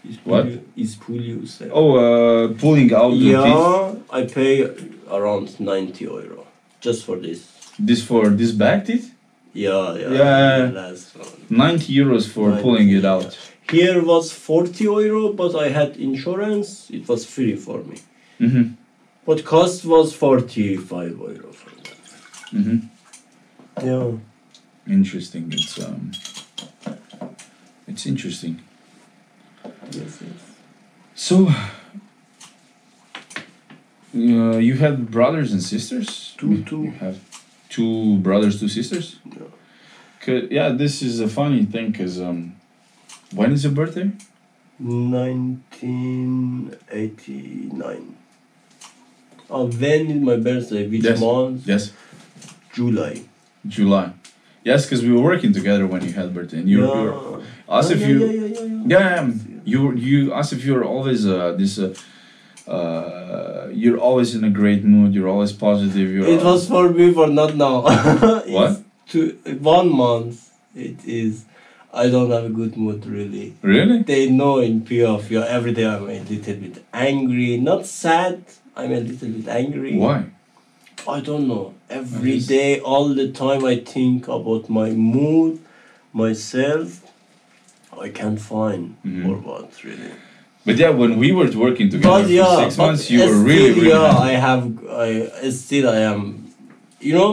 [SPEAKER 1] Is
[SPEAKER 2] What?
[SPEAKER 1] Is pulyusem?
[SPEAKER 2] Oh, uh, pulling out the teeth.
[SPEAKER 1] Yeah, I pay around 90 euro just for this.
[SPEAKER 2] This for this back teeth.
[SPEAKER 1] Yeah, yeah.
[SPEAKER 2] Yeah.
[SPEAKER 1] Last one.
[SPEAKER 2] Ninety euros for
[SPEAKER 1] 90,
[SPEAKER 2] pulling it out.
[SPEAKER 1] Here was 40 euro, but I had insurance. It was free for me.
[SPEAKER 2] Mm-hmm.
[SPEAKER 1] But cost was 45 euro for that.
[SPEAKER 2] Mm-hmm.
[SPEAKER 1] Yeah.
[SPEAKER 2] Interesting. It's um, it's interesting.
[SPEAKER 1] Yes, yes.
[SPEAKER 2] So, uh, you had brothers and sisters.
[SPEAKER 1] Two,
[SPEAKER 2] You-
[SPEAKER 1] two.
[SPEAKER 2] You have two brothers, two sisters.
[SPEAKER 1] Yeah.
[SPEAKER 2] 'Cause- yeah, this is a funny thing. Cause um, when is your birthday?
[SPEAKER 1] 1989. Oh, when is my birthday? Which
[SPEAKER 2] Yes.
[SPEAKER 1] month?
[SPEAKER 2] Yes,
[SPEAKER 1] July.
[SPEAKER 2] July. Yes, because we were working together when you had birthday, and you
[SPEAKER 1] yeah. Oh,
[SPEAKER 2] were us
[SPEAKER 1] yeah,
[SPEAKER 2] if
[SPEAKER 1] yeah,
[SPEAKER 2] you.
[SPEAKER 1] Yeah, yeah, yeah.
[SPEAKER 2] Yeah, yeah, um, you you as if you're always uh, this. Uh, uh, you're always in a great mood. You're always positive. You're
[SPEAKER 1] It was for me, but not now. It's
[SPEAKER 2] What?
[SPEAKER 1] Two, one month. It is. I don't have a good mood really.
[SPEAKER 2] really.
[SPEAKER 1] They know in PF, yeah, every day I'm a little bit angry. Not sad. I'm a little bit angry.
[SPEAKER 2] Why?
[SPEAKER 1] I don't know. Every
[SPEAKER 2] Nice.
[SPEAKER 1] day, all the time, I think about my mood, myself. I can't find
[SPEAKER 2] Mhm.
[SPEAKER 1] for what really.
[SPEAKER 2] But yeah, when we were working together
[SPEAKER 1] But
[SPEAKER 2] for
[SPEAKER 1] yeah,
[SPEAKER 2] six
[SPEAKER 1] but
[SPEAKER 2] months, you
[SPEAKER 1] still,
[SPEAKER 2] were really, really
[SPEAKER 1] yeah.
[SPEAKER 2] happy.
[SPEAKER 1] I have, I still, I am, you know,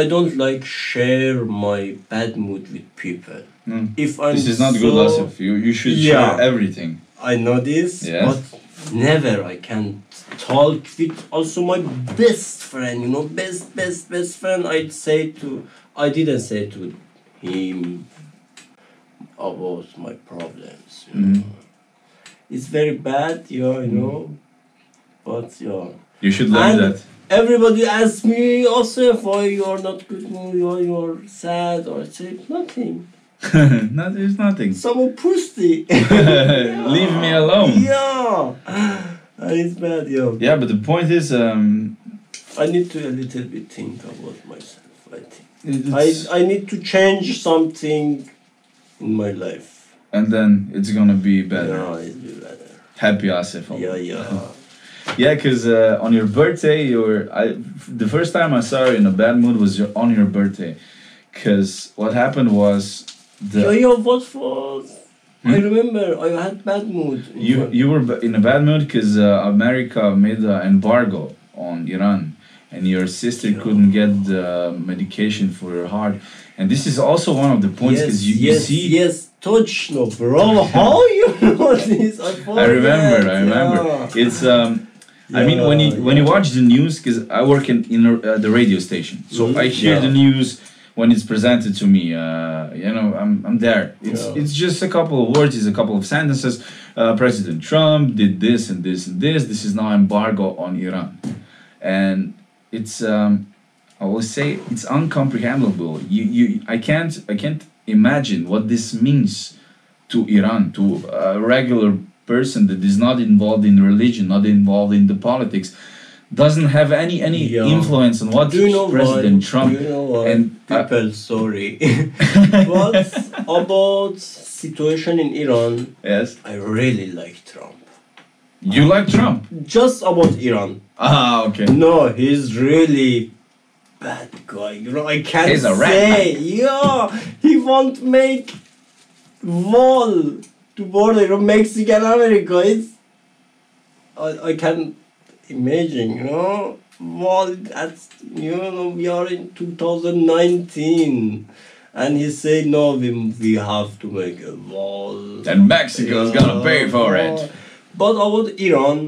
[SPEAKER 1] I don't like share my bad mood with people.
[SPEAKER 2] Mm.
[SPEAKER 1] If I'm
[SPEAKER 2] This is not
[SPEAKER 1] so,
[SPEAKER 2] good, Asif. You you should
[SPEAKER 1] Yeah.
[SPEAKER 2] share everything.
[SPEAKER 1] I know this,
[SPEAKER 2] Yeah.
[SPEAKER 1] but never I can talk with also my best friend. You know, best, best, best friend. I'd say to, I didn't say to him about my problems. You
[SPEAKER 2] Mhm.
[SPEAKER 1] know. It's very bad, yeah, you know, but yeah.
[SPEAKER 2] You should learn
[SPEAKER 1] And-
[SPEAKER 2] that.
[SPEAKER 1] Everybody asks me also why you are not good mood, why you are sad, or I say nothing.
[SPEAKER 2] no, there's nothing.
[SPEAKER 1] Someone pushed me.
[SPEAKER 2] Leave me alone.
[SPEAKER 1] Yeah, And it's bad, yeah.
[SPEAKER 2] Yeah, but the point is, um,
[SPEAKER 1] I need to a little bit think about myself. I think
[SPEAKER 2] it- it's,
[SPEAKER 1] I I need to change something in my life.
[SPEAKER 2] and then it's gonna be better.
[SPEAKER 1] Yeah, it'll be better.
[SPEAKER 2] Happy Asif.
[SPEAKER 1] Yeah, yeah.
[SPEAKER 2] Yeah, because uh, on your birthday, you were, I, the first time I saw you in a bad mood was your, on your birthday. Because what happened was
[SPEAKER 1] Yeah,
[SPEAKER 2] the,
[SPEAKER 1] yeah. What for? I
[SPEAKER 2] Hmm?
[SPEAKER 1] remember I had bad mood.
[SPEAKER 2] you, you were ba- in a bad mood because uh, America made an embargo on Iran and your sister
[SPEAKER 1] Yeah.
[SPEAKER 2] couldn't get the medication for her heart. And this is also one of the points
[SPEAKER 1] yes,
[SPEAKER 2] because you, you
[SPEAKER 1] yes,
[SPEAKER 2] see.
[SPEAKER 1] yes, точно, bro. How you know this? I,
[SPEAKER 2] I remember, I
[SPEAKER 1] forget,
[SPEAKER 2] remember.
[SPEAKER 1] yeah.
[SPEAKER 2] It's um, I mean when you
[SPEAKER 1] Yeah,
[SPEAKER 2] when you
[SPEAKER 1] yeah.
[SPEAKER 2] watch the news because I work in in a- uh, the radio station, so
[SPEAKER 1] Mhm.
[SPEAKER 2] I hear
[SPEAKER 1] Yeah.
[SPEAKER 2] the news when it's presented to me. Uh, you know, I'm, I'm there. It's
[SPEAKER 1] Yeah.
[SPEAKER 2] it's just a couple of words, it's a couple of sentences. Uh, President Trump did this and this and this. This is now embargo on Iran, and it's um, I will say it's uncomprehendable. You you I can't I can't imagine what this means to Iran to a regular person that is not involved in religion, not involved in the politics, doesn't have any any
[SPEAKER 1] Yeah.
[SPEAKER 2] influence on what
[SPEAKER 1] Do you know
[SPEAKER 2] President
[SPEAKER 1] why?
[SPEAKER 2] Trump
[SPEAKER 1] Do you know why?
[SPEAKER 2] and uh,
[SPEAKER 1] people, sorry. what about situation in Iran?
[SPEAKER 2] yes,
[SPEAKER 1] I really like Trump.
[SPEAKER 2] you like Trump.
[SPEAKER 1] Just about Iran.
[SPEAKER 2] Ah, okay.
[SPEAKER 1] No, he's really bad guy. You know, I can't
[SPEAKER 2] He's a rat
[SPEAKER 1] say. Yeah, he won't make wall to border of Mexican America. It's I, I can imagine. You know, wall. That's you know we are in two thousand nineteen. And he said, no, we, we have to make a wall.
[SPEAKER 2] And Mexico's gonna pay for
[SPEAKER 1] Yeah.
[SPEAKER 2] it.
[SPEAKER 1] Oh, But about Iran,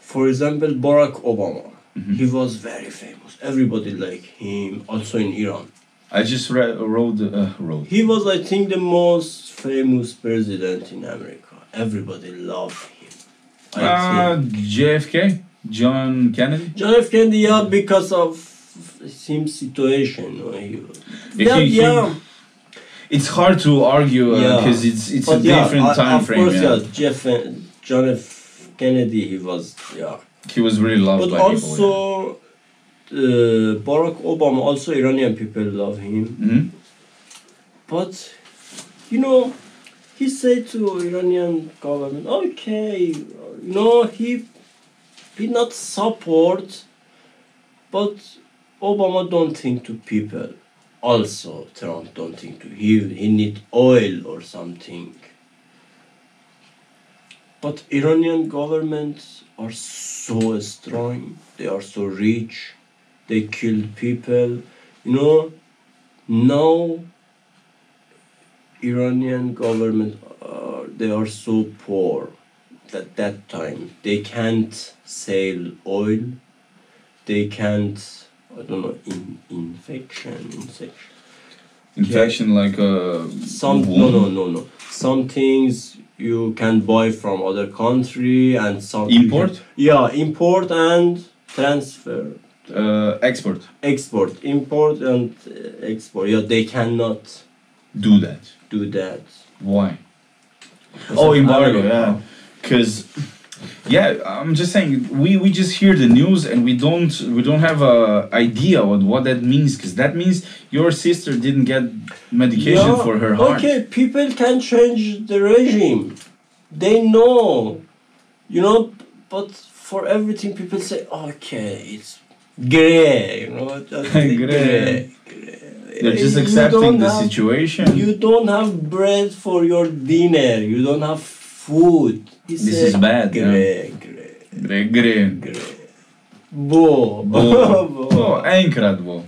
[SPEAKER 1] for example, Barack Obama,
[SPEAKER 2] Mm-hmm.
[SPEAKER 1] he was very famous. Everybody liked him, also in Iran.
[SPEAKER 2] I just re- wrote uh, wrote.
[SPEAKER 1] He was, I think, the most famous president in America. Everybody loved him. I
[SPEAKER 2] Uh,
[SPEAKER 1] think.
[SPEAKER 2] JFK, John Kennedy.
[SPEAKER 1] John F. Kennedy, yeah, because of him situation. you know, he was-
[SPEAKER 2] He-
[SPEAKER 1] yeah,
[SPEAKER 2] he-
[SPEAKER 1] yeah.
[SPEAKER 2] It's hard to argue
[SPEAKER 1] Yeah.
[SPEAKER 2] because it's it's
[SPEAKER 1] But
[SPEAKER 2] a
[SPEAKER 1] yeah,
[SPEAKER 2] different
[SPEAKER 1] uh,
[SPEAKER 2] time
[SPEAKER 1] of
[SPEAKER 2] frame.
[SPEAKER 1] course,
[SPEAKER 2] yeah.
[SPEAKER 1] yeah. Jeff, John F. Kennedy, he was, yeah.
[SPEAKER 2] He was really loved
[SPEAKER 1] but
[SPEAKER 2] by people. yeah.
[SPEAKER 1] also uh, Barack Obama, also Iranian people love him.
[SPEAKER 2] Mhm.
[SPEAKER 1] But you know, he said to Iranian government, okay, no, he did not support, but Obama don't think to people. Also, Trump don't think to he he need oil or something. But Iranian governments are so strong. They are so rich. They kill people. You know, now Iranian government uh, they are so poor that that time they can't sell oil. They can't. I don't know in, infection, infection.
[SPEAKER 2] Infection like uh, a
[SPEAKER 1] Some no no no no. Some things you can buy from other country and some
[SPEAKER 2] Import?
[SPEAKER 1] Yeah, import and transfer,
[SPEAKER 2] uh, export
[SPEAKER 1] export, import and uh, export. Yeah, they cannot
[SPEAKER 2] do that.
[SPEAKER 1] do that.
[SPEAKER 2] Why? Oh,
[SPEAKER 1] of
[SPEAKER 2] embargo.
[SPEAKER 1] America.
[SPEAKER 2] Yeah, because yeah, I'm just saying we we just hear the news and we don't we don't have a idea what what that means because that means your sister didn't get medication
[SPEAKER 1] Yeah,
[SPEAKER 2] for her heart.
[SPEAKER 1] Okay, people can change the regime. They know, you know. But for everything, people say, okay, it's gray. You know, just
[SPEAKER 2] Grey.
[SPEAKER 1] grey, grey.
[SPEAKER 2] They're just
[SPEAKER 1] You
[SPEAKER 2] accepting
[SPEAKER 1] don't
[SPEAKER 2] the
[SPEAKER 1] have-
[SPEAKER 2] situation.
[SPEAKER 1] You don't have bread for your dinner. You don't have food. It's
[SPEAKER 2] This
[SPEAKER 1] a
[SPEAKER 2] is bad, yeah.
[SPEAKER 1] Gray, gray,
[SPEAKER 2] Regre.
[SPEAKER 1] gray. Bo,
[SPEAKER 2] Oh,
[SPEAKER 1] bo,
[SPEAKER 2] oh, incredible.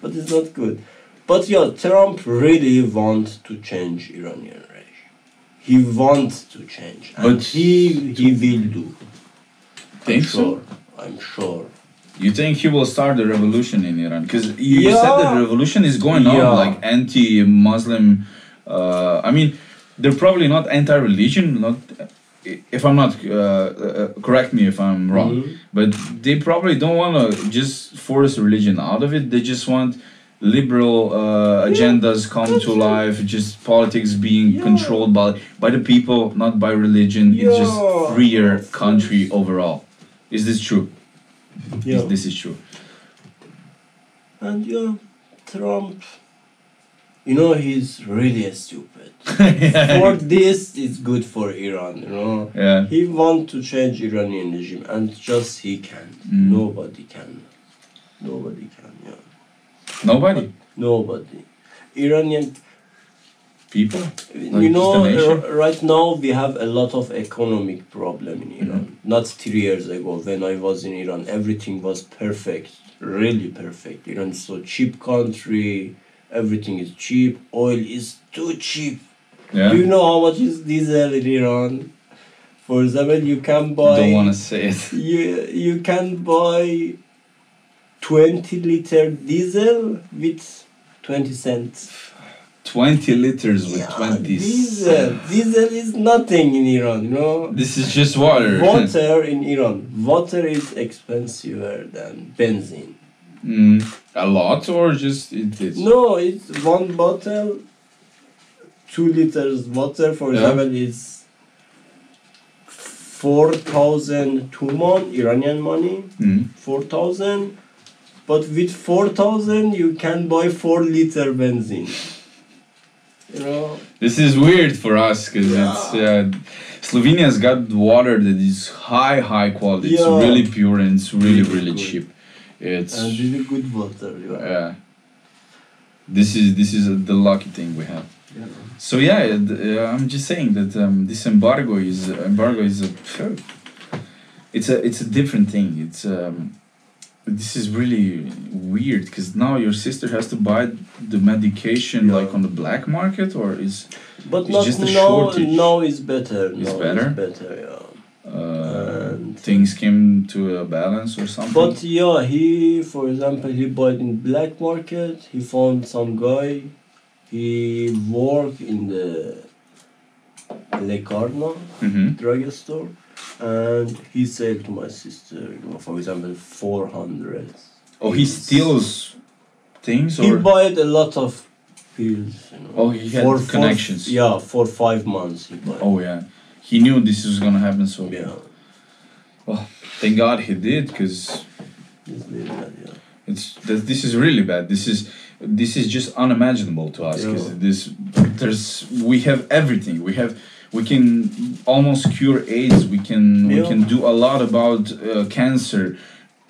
[SPEAKER 1] But it's not good. But yeah, Trump really wants to change Iranian regime. He wants to change, and
[SPEAKER 2] But-
[SPEAKER 1] he he will do. I'm
[SPEAKER 2] Think so?
[SPEAKER 1] sure. I'm sure.
[SPEAKER 2] You think he will start the revolution in Iran? Because you you
[SPEAKER 1] Yeah.
[SPEAKER 2] said that revolution is going
[SPEAKER 1] Yeah.
[SPEAKER 2] on, like anti-Muslim. Uh, I mean, they're probably not anti-religion. Not, if I'm not, uh, uh, correct me if I'm wrong.
[SPEAKER 1] Mhm.
[SPEAKER 2] But they probably don't want to just force religion out of it. They just want liberal uh, agendas come to life. Just politics being
[SPEAKER 1] Yeah.
[SPEAKER 2] controlled by by the people, not by religion. It's
[SPEAKER 1] Yeah.
[SPEAKER 2] just freer country overall. Is this true?
[SPEAKER 1] Yeah.
[SPEAKER 2] Is- This is true.
[SPEAKER 1] And yeah, Trump. You know he's really stupid. for this it's good for Iran, you know.
[SPEAKER 2] yeah.
[SPEAKER 1] He want to change Iranian regime, and just he can.
[SPEAKER 2] Mm.
[SPEAKER 1] Nobody can. Nobody can. Yeah.
[SPEAKER 2] Nobody.
[SPEAKER 1] Nobody. Iranian.
[SPEAKER 2] People.
[SPEAKER 1] you
[SPEAKER 2] just
[SPEAKER 1] know,
[SPEAKER 2] a nation.
[SPEAKER 1] r- right now we have a lot of economic problem in Iran. Not three years ago when I was in Iran, everything was perfect, really perfect. Iran is so cheap country. Everything is cheap. Oil is too cheap.
[SPEAKER 2] Yeah.
[SPEAKER 1] Do you know how much is diesel in Iran? For example, you can buy
[SPEAKER 2] Don't want to say it.
[SPEAKER 1] you you can buy 20 liter diesel with 20 cents.
[SPEAKER 2] 20 liters with
[SPEAKER 1] Yeah, uh,
[SPEAKER 2] 20.
[SPEAKER 1] Diesel. Diesel is nothing in Iran, you know.
[SPEAKER 2] This is just water.
[SPEAKER 1] Water in Iran. Water is expensive than benzene.
[SPEAKER 2] Mm, a lot or just it is?
[SPEAKER 1] No, it's one bottle, two liters water, for
[SPEAKER 2] Yeah.
[SPEAKER 1] example, is 4,000 tumon, Iranian money,
[SPEAKER 2] Mm.
[SPEAKER 1] 4,000. But with 4,000, you can buy 4 liter benzene. You know?
[SPEAKER 2] This is weird for us because
[SPEAKER 1] Yeah.
[SPEAKER 2] it's uh, Slovenia's got water that is high, high quality. It's
[SPEAKER 1] Yeah.
[SPEAKER 2] really pure and it's really,
[SPEAKER 1] Really
[SPEAKER 2] really
[SPEAKER 1] good.
[SPEAKER 2] cheap. It's
[SPEAKER 1] And really good water. You know?
[SPEAKER 2] yeah. This is this is uh, the lucky thing we have.
[SPEAKER 1] Yeah.
[SPEAKER 2] So yeah, it- uh, I'm just saying that um, this embargo is embargo is a it's a it's a different thing. It's um, this is really weird because now your sister has to buy the medication
[SPEAKER 1] Yeah.
[SPEAKER 2] like on the black market or is
[SPEAKER 1] But
[SPEAKER 2] It's
[SPEAKER 1] not
[SPEAKER 2] just a
[SPEAKER 1] now,
[SPEAKER 2] shortage.
[SPEAKER 1] now is better.
[SPEAKER 2] It's
[SPEAKER 1] now
[SPEAKER 2] better?
[SPEAKER 1] Is better, yeah.
[SPEAKER 2] uh,
[SPEAKER 1] And-
[SPEAKER 2] things came to a balance or something.
[SPEAKER 1] But yeah, he, for example, he bought in black market. He found some guy. He worked in the Lecarno
[SPEAKER 2] hmm
[SPEAKER 1] drugstore, and he said to my sister, you know, for example, four hundred.
[SPEAKER 2] oh, he steals things
[SPEAKER 1] He
[SPEAKER 2] or
[SPEAKER 1] bought a lot of pills. You know,
[SPEAKER 2] oh he had
[SPEAKER 1] for- for-
[SPEAKER 2] connections.
[SPEAKER 1] yeah, for five months he bought.
[SPEAKER 2] Oh yeah, he knew this was gonna happen. So
[SPEAKER 1] yeah.
[SPEAKER 2] thank God he did because.
[SPEAKER 1] It's really bad, yeah.
[SPEAKER 2] It's th- this is really bad. This is this is just unimaginable to us because
[SPEAKER 1] Yeah.
[SPEAKER 2] this there's we have everything. We have we can almost cure AIDS. We can we
[SPEAKER 1] Yeah.
[SPEAKER 2] can do a lot about uh, cancer,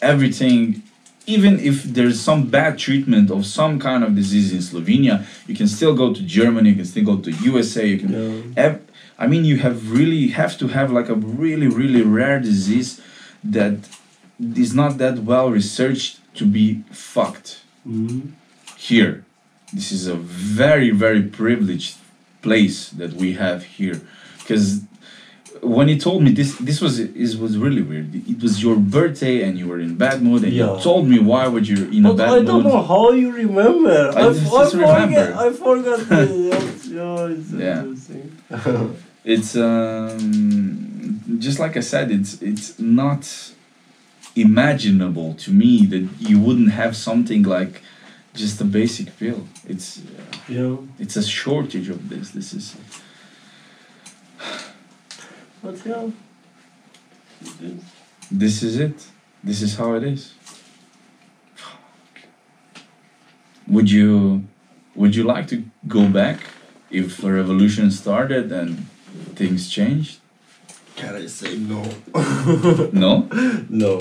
[SPEAKER 2] everything. Even if there's some bad treatment of some kind of disease in Slovenia, you can still go to Germany. You can still go to USA. You can
[SPEAKER 1] Yeah.
[SPEAKER 2] Ev- I mean, you have really have to have like a really really rare disease that is not that well researched to be fucked
[SPEAKER 1] Mhm.
[SPEAKER 2] here. This is a very very privileged place that we have here, because when he told me this this was it was really weird. It was your birthday and you were in bad mood and
[SPEAKER 1] Yeah.
[SPEAKER 2] you told me why were you in a
[SPEAKER 1] But
[SPEAKER 2] bad
[SPEAKER 1] I
[SPEAKER 2] mood.
[SPEAKER 1] don't know how you remember.
[SPEAKER 2] I
[SPEAKER 1] I, I
[SPEAKER 2] just- just
[SPEAKER 1] forget.
[SPEAKER 2] remember.
[SPEAKER 1] I forgot. the- yeah, it's
[SPEAKER 2] Yeah.
[SPEAKER 1] interesting.
[SPEAKER 2] it's um, just like I said, it's it's not imaginable to me that you wouldn't have something like just a basic pill. It's
[SPEAKER 1] Yeah.
[SPEAKER 2] it's a shortage of this. This is
[SPEAKER 1] But yeah. It-
[SPEAKER 2] this is it. This is how it is. Would you would you like to go back if a revolution started and things changed?
[SPEAKER 1] Can I say no?
[SPEAKER 2] No.
[SPEAKER 1] No.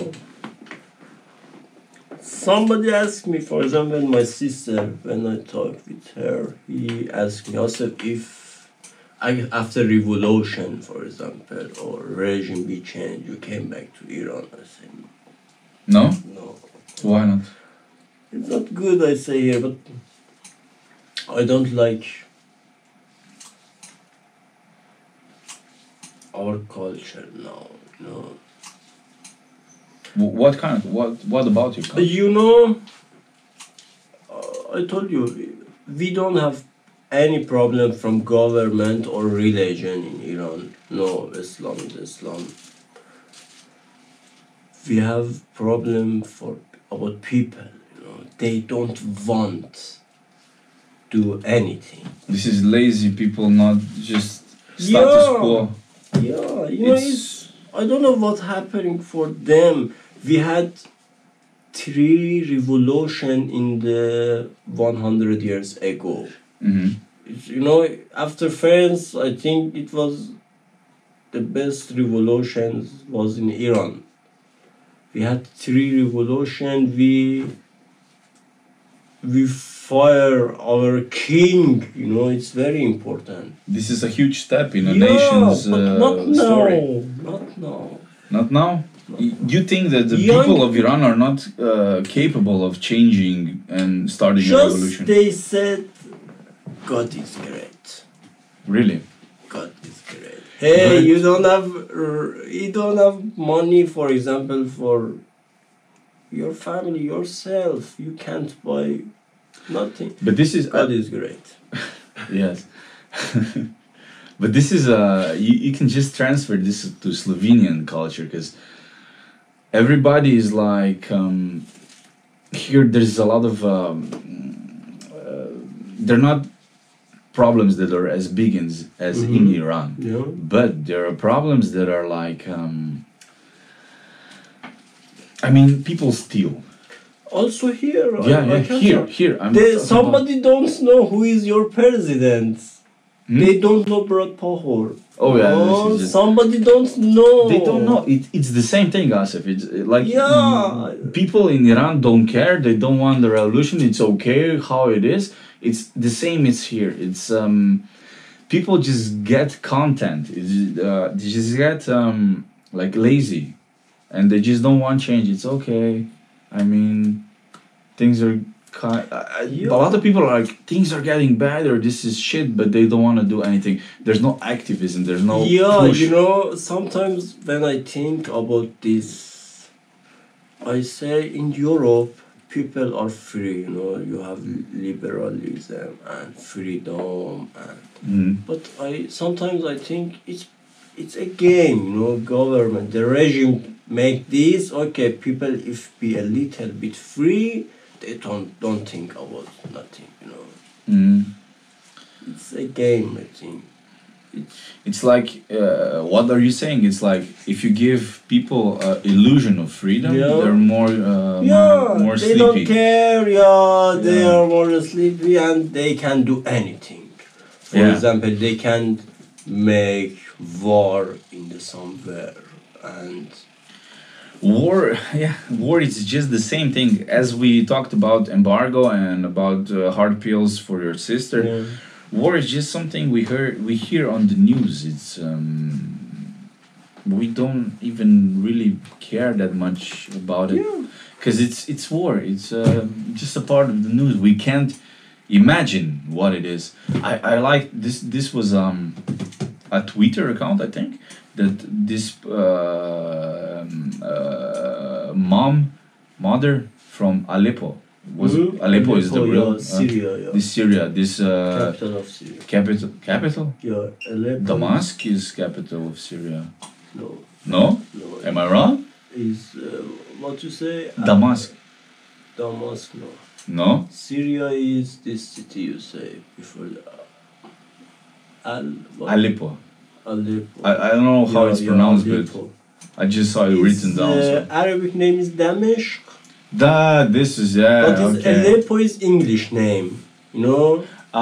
[SPEAKER 1] Somebody asked me, for example, my sister, when I talked with her, he asked me also if I- after revolution, for example, or regime be changed, you came back to Iran. I said,
[SPEAKER 2] No.
[SPEAKER 1] no.
[SPEAKER 2] Why not?
[SPEAKER 1] It's not good, I say here, but I don't like our culture now. No,
[SPEAKER 2] Wh- What kind of what? What about your country?
[SPEAKER 1] you know, uh, I told you we don't have any problem from government or religion in Iran. No, Islam is Islam. We have problem for about people. You know, they don't want do anything.
[SPEAKER 2] This is lazy people, not just status
[SPEAKER 1] Yeah.
[SPEAKER 2] quo.
[SPEAKER 1] Yeah, you know, it's, I don't know what's happening for them. We had three revolution in the 100 years ago.
[SPEAKER 2] Mhm.
[SPEAKER 1] It's, you know, after France, I think it was the best revolutions was in Iran. We had three revolution. We we fire our king. You know, it's very important
[SPEAKER 2] This is a huge step in a nation's
[SPEAKER 1] but
[SPEAKER 2] uh,
[SPEAKER 1] not now.
[SPEAKER 2] story.
[SPEAKER 1] Not now.
[SPEAKER 2] Not now. Y- Do you think that the
[SPEAKER 1] Young-
[SPEAKER 2] people of Iran are not uh, capable of changing and starting a revolution?
[SPEAKER 1] Just they said, God is great.
[SPEAKER 2] Really?
[SPEAKER 1] God is great. Hey,
[SPEAKER 2] But-
[SPEAKER 1] you don't have r- you don't have money, for example, for your family, yourself. You can't buy nothing.
[SPEAKER 2] But this is uh,
[SPEAKER 1] God is great.
[SPEAKER 2] yes. but this is uh you, you can just transfer this to Slovenian culture because everybody is like um, here there's a lot of um, uh, they're not problems that are as big in, as
[SPEAKER 1] Mhm.
[SPEAKER 2] in Iran
[SPEAKER 1] Yeah.
[SPEAKER 2] but there are problems that are like um, I mean people steal
[SPEAKER 1] Also here. I-
[SPEAKER 2] yeah,
[SPEAKER 1] I
[SPEAKER 2] yeah
[SPEAKER 1] can't
[SPEAKER 2] here
[SPEAKER 1] tell.
[SPEAKER 2] here I'm
[SPEAKER 1] They,
[SPEAKER 2] not talking about-
[SPEAKER 1] somebody don't know who is your president.
[SPEAKER 2] Hmm?
[SPEAKER 1] They don't know Brad Pahor.
[SPEAKER 2] oh yeah this is
[SPEAKER 1] Oh,
[SPEAKER 2] just-
[SPEAKER 1] somebody don't know.
[SPEAKER 2] They don't know. It, it's the same thing, Asif. It's uh, like
[SPEAKER 1] Yeah.
[SPEAKER 2] mm, people in Iran don't care. They don't want the revolution. It's okay how it is. It's the same. It's here. It's um, people just get content. It's, uh, they just get um, like lazy, and they just don't want change. It's okay. I mean, things are. ki- I- I- A lot of people are like things are getting bad or this is shit, but they don't want to do anything. There's no activism. There's no
[SPEAKER 1] yeah,
[SPEAKER 2] push.
[SPEAKER 1] you know, sometimes when I think about this, I say in Europe, people are free, you know, you have liberalism and freedom. And,
[SPEAKER 2] Mm.
[SPEAKER 1] but I sometimes I think it's it's a game, you know, government, the regime make this, okay, people if be a little bit free, they don't don't think about nothing, you know.
[SPEAKER 2] Mm.
[SPEAKER 1] It's a game, I think.
[SPEAKER 2] it's like uh, what are you saying it's like if you give people uh, illusion of freedom
[SPEAKER 1] Yeah.
[SPEAKER 2] they're more uh,
[SPEAKER 1] yeah,
[SPEAKER 2] more, more
[SPEAKER 1] they
[SPEAKER 2] sleepy
[SPEAKER 1] don't care. Yeah, they
[SPEAKER 2] Yeah.
[SPEAKER 1] are more sleepy and they can do anything. For
[SPEAKER 2] Yeah.
[SPEAKER 1] example, they can make war in the somewhere and
[SPEAKER 2] war yeah war is just the same thing as we talked about embargo and about uh, hard pills for your sister war is just something we heard we hear on the news it's um, we don't even really care that much about it
[SPEAKER 1] Yeah.
[SPEAKER 2] because it's it's war it's uh, just a part of the news we can't imagine what it is i i like this this was um a twitter account i think that this uh, um, uh, mom mother from aleppo was
[SPEAKER 1] Mhm.
[SPEAKER 2] aleppo is the real
[SPEAKER 1] yeah,
[SPEAKER 2] uh,
[SPEAKER 1] Syria, yeah.
[SPEAKER 2] this syria this uh,
[SPEAKER 1] capital of Syria.
[SPEAKER 2] capital capital
[SPEAKER 1] Yeah, Aleppo.
[SPEAKER 2] Damascus is capital of Syria
[SPEAKER 1] No,
[SPEAKER 2] no
[SPEAKER 1] no.
[SPEAKER 2] am I wrong
[SPEAKER 1] Is uh, what you say?
[SPEAKER 2] Damask
[SPEAKER 1] Damask, no.
[SPEAKER 2] no
[SPEAKER 1] Syria is this city you say before. the- uh, Al. what?
[SPEAKER 2] Aleppo
[SPEAKER 1] Aleppo.
[SPEAKER 2] I, I don't know how
[SPEAKER 1] Yeah,
[SPEAKER 2] it's
[SPEAKER 1] yeah,
[SPEAKER 2] pronounced but
[SPEAKER 1] Aleppo.
[SPEAKER 2] I just saw it
[SPEAKER 1] Its,
[SPEAKER 2] written down
[SPEAKER 1] uh,
[SPEAKER 2] so.
[SPEAKER 1] Arabic name is Dameshq,
[SPEAKER 2] that this is yeah
[SPEAKER 1] but it's
[SPEAKER 2] okay
[SPEAKER 1] Aleppo is English name. You know.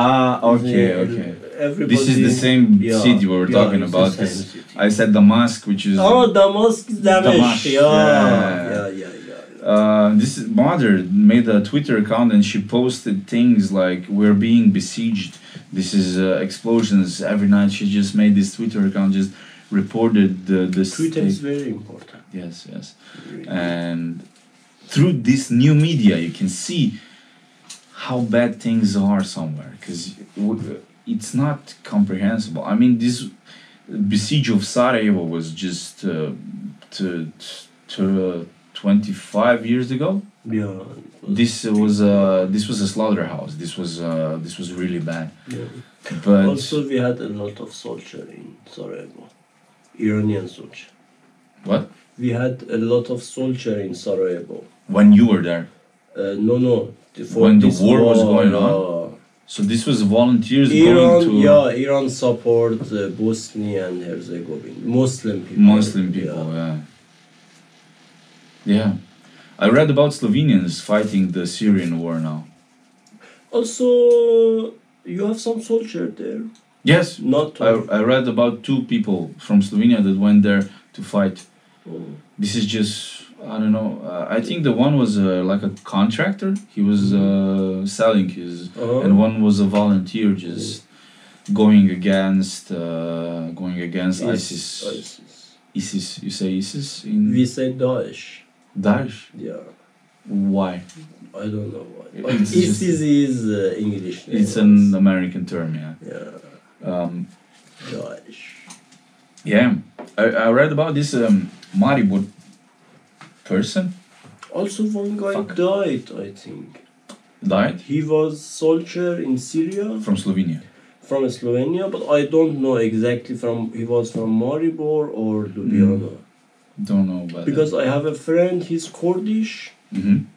[SPEAKER 2] ah okay
[SPEAKER 1] The-
[SPEAKER 2] okay
[SPEAKER 1] Everybody.
[SPEAKER 2] this is the same
[SPEAKER 1] Yeah,
[SPEAKER 2] city we were
[SPEAKER 1] yeah,
[SPEAKER 2] talking
[SPEAKER 1] it's the
[SPEAKER 2] about
[SPEAKER 1] same
[SPEAKER 2] because
[SPEAKER 1] city.
[SPEAKER 2] I said Damask which is
[SPEAKER 1] Oh, Damask is Damesh.
[SPEAKER 2] Damash,
[SPEAKER 1] yeah.
[SPEAKER 2] yeah.
[SPEAKER 1] Yeah, yeah, yeah. yeah.
[SPEAKER 2] Uh, this is- mother made a Twitter account and she posted things like "We're being besieged." This is uh, explosions every night. She just made this Twitter account, just reported the the
[SPEAKER 1] Twitter is
[SPEAKER 2] state-
[SPEAKER 1] very important.
[SPEAKER 2] Yes, yes.
[SPEAKER 1] really.
[SPEAKER 2] Uh, And through this new media, you can see how bad things are somewhere because it's not comprehensible. I mean, this besiege of Sarajevo was just uh, to, to 25 years ago.
[SPEAKER 1] yeah.
[SPEAKER 2] This was a this was a slaughterhouse. This was uh, this was really bad.
[SPEAKER 1] yeah.
[SPEAKER 2] But
[SPEAKER 1] Also, we had a lot of soldier in Sarajevo, Iranian soldier.
[SPEAKER 2] what?
[SPEAKER 1] We had a lot of soldier in Sarajevo.
[SPEAKER 2] When you were there,
[SPEAKER 1] Uh, no, no. for
[SPEAKER 2] When the
[SPEAKER 1] this
[SPEAKER 2] war was going on?
[SPEAKER 1] yeah.
[SPEAKER 2] so this was volunteers
[SPEAKER 1] Iran,
[SPEAKER 2] going to
[SPEAKER 1] yeah, Iran support uh, Bosnia and Herzegovina, Muslim people.
[SPEAKER 2] Muslim people, yeah. yeah. I read about Slovenians fighting the Syrian war now.
[SPEAKER 1] Also, you have some soldier there.
[SPEAKER 2] Yes,
[SPEAKER 1] Not
[SPEAKER 2] I, I read about two people from Slovenia that went there to fight.
[SPEAKER 1] Oh,
[SPEAKER 2] This is just, I don't know. Uh, I think the one was uh, like a contractor, he was uh, selling his,
[SPEAKER 1] uh-huh.
[SPEAKER 2] and one was a volunteer just. Going against, uh, going against ISIS. ISIS.
[SPEAKER 1] ISIS.
[SPEAKER 2] You say ISIS in
[SPEAKER 1] We say Daesh.
[SPEAKER 2] Daesh?
[SPEAKER 1] Yeah,
[SPEAKER 2] Why?
[SPEAKER 1] I don't know why. But
[SPEAKER 2] It's just-
[SPEAKER 1] ISIS is uh, English. name.
[SPEAKER 2] It's an American term, yeah.
[SPEAKER 1] yeah
[SPEAKER 2] Um,
[SPEAKER 1] Daesh.
[SPEAKER 2] yeah, I, I read about this um, Maribor person
[SPEAKER 1] Also, one guy
[SPEAKER 2] Fuck.
[SPEAKER 1] died, I think.
[SPEAKER 2] Died
[SPEAKER 1] He was soldier in Syria
[SPEAKER 2] from Slovenia.
[SPEAKER 1] from Slovenia, but I don't know exactly from he was from Maribor or Ljubljana.
[SPEAKER 2] Don't know about
[SPEAKER 1] Because I have a friend, he's Kurdish.
[SPEAKER 2] hmm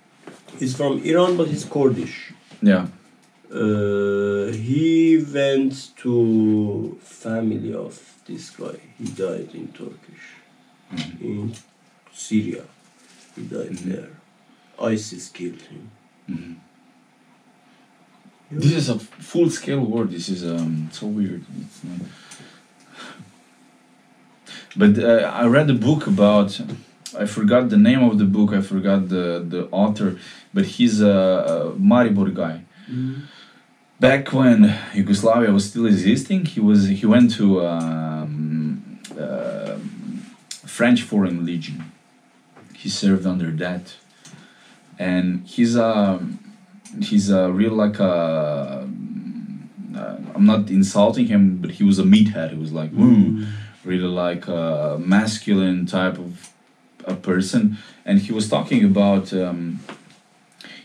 [SPEAKER 1] He's from Iran, but he's Kurdish.
[SPEAKER 2] Yeah.
[SPEAKER 1] Uh, he went to family of this guy. He died in Turkish, in Syria. He died
[SPEAKER 2] Mhm.
[SPEAKER 1] there. ISIS killed him.
[SPEAKER 2] Mhm. This is a full scale war. This is um, so weird. It's not... But uh, I read a book about. I forgot the name of the book. I forgot the the author, but he's a, a Maribor guy. Back when Yugoslavia was still existing, he was he went to um, uh, French Foreign Legion. He served under that, and he's a he's a real like a. Uh, I'm not insulting him, but he was a meathead. He was like, "Woo,
[SPEAKER 1] Mm-hmm.
[SPEAKER 2] really like a masculine type of a person and he was talking about um,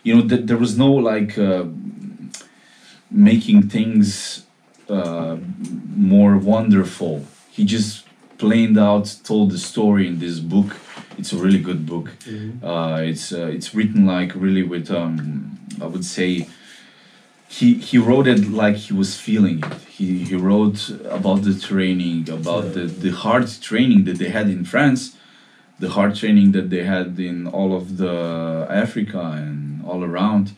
[SPEAKER 2] you know that there was no like uh, making things uh, more wonderful he just plain out told the story in this book it's a really good book uh, it's uh, it's written like really with um, I would say he he wrote it like he was feeling it. He he wrote about the training, about the the hard training that they had in France, the hard training that they had in all of the Africa and all around.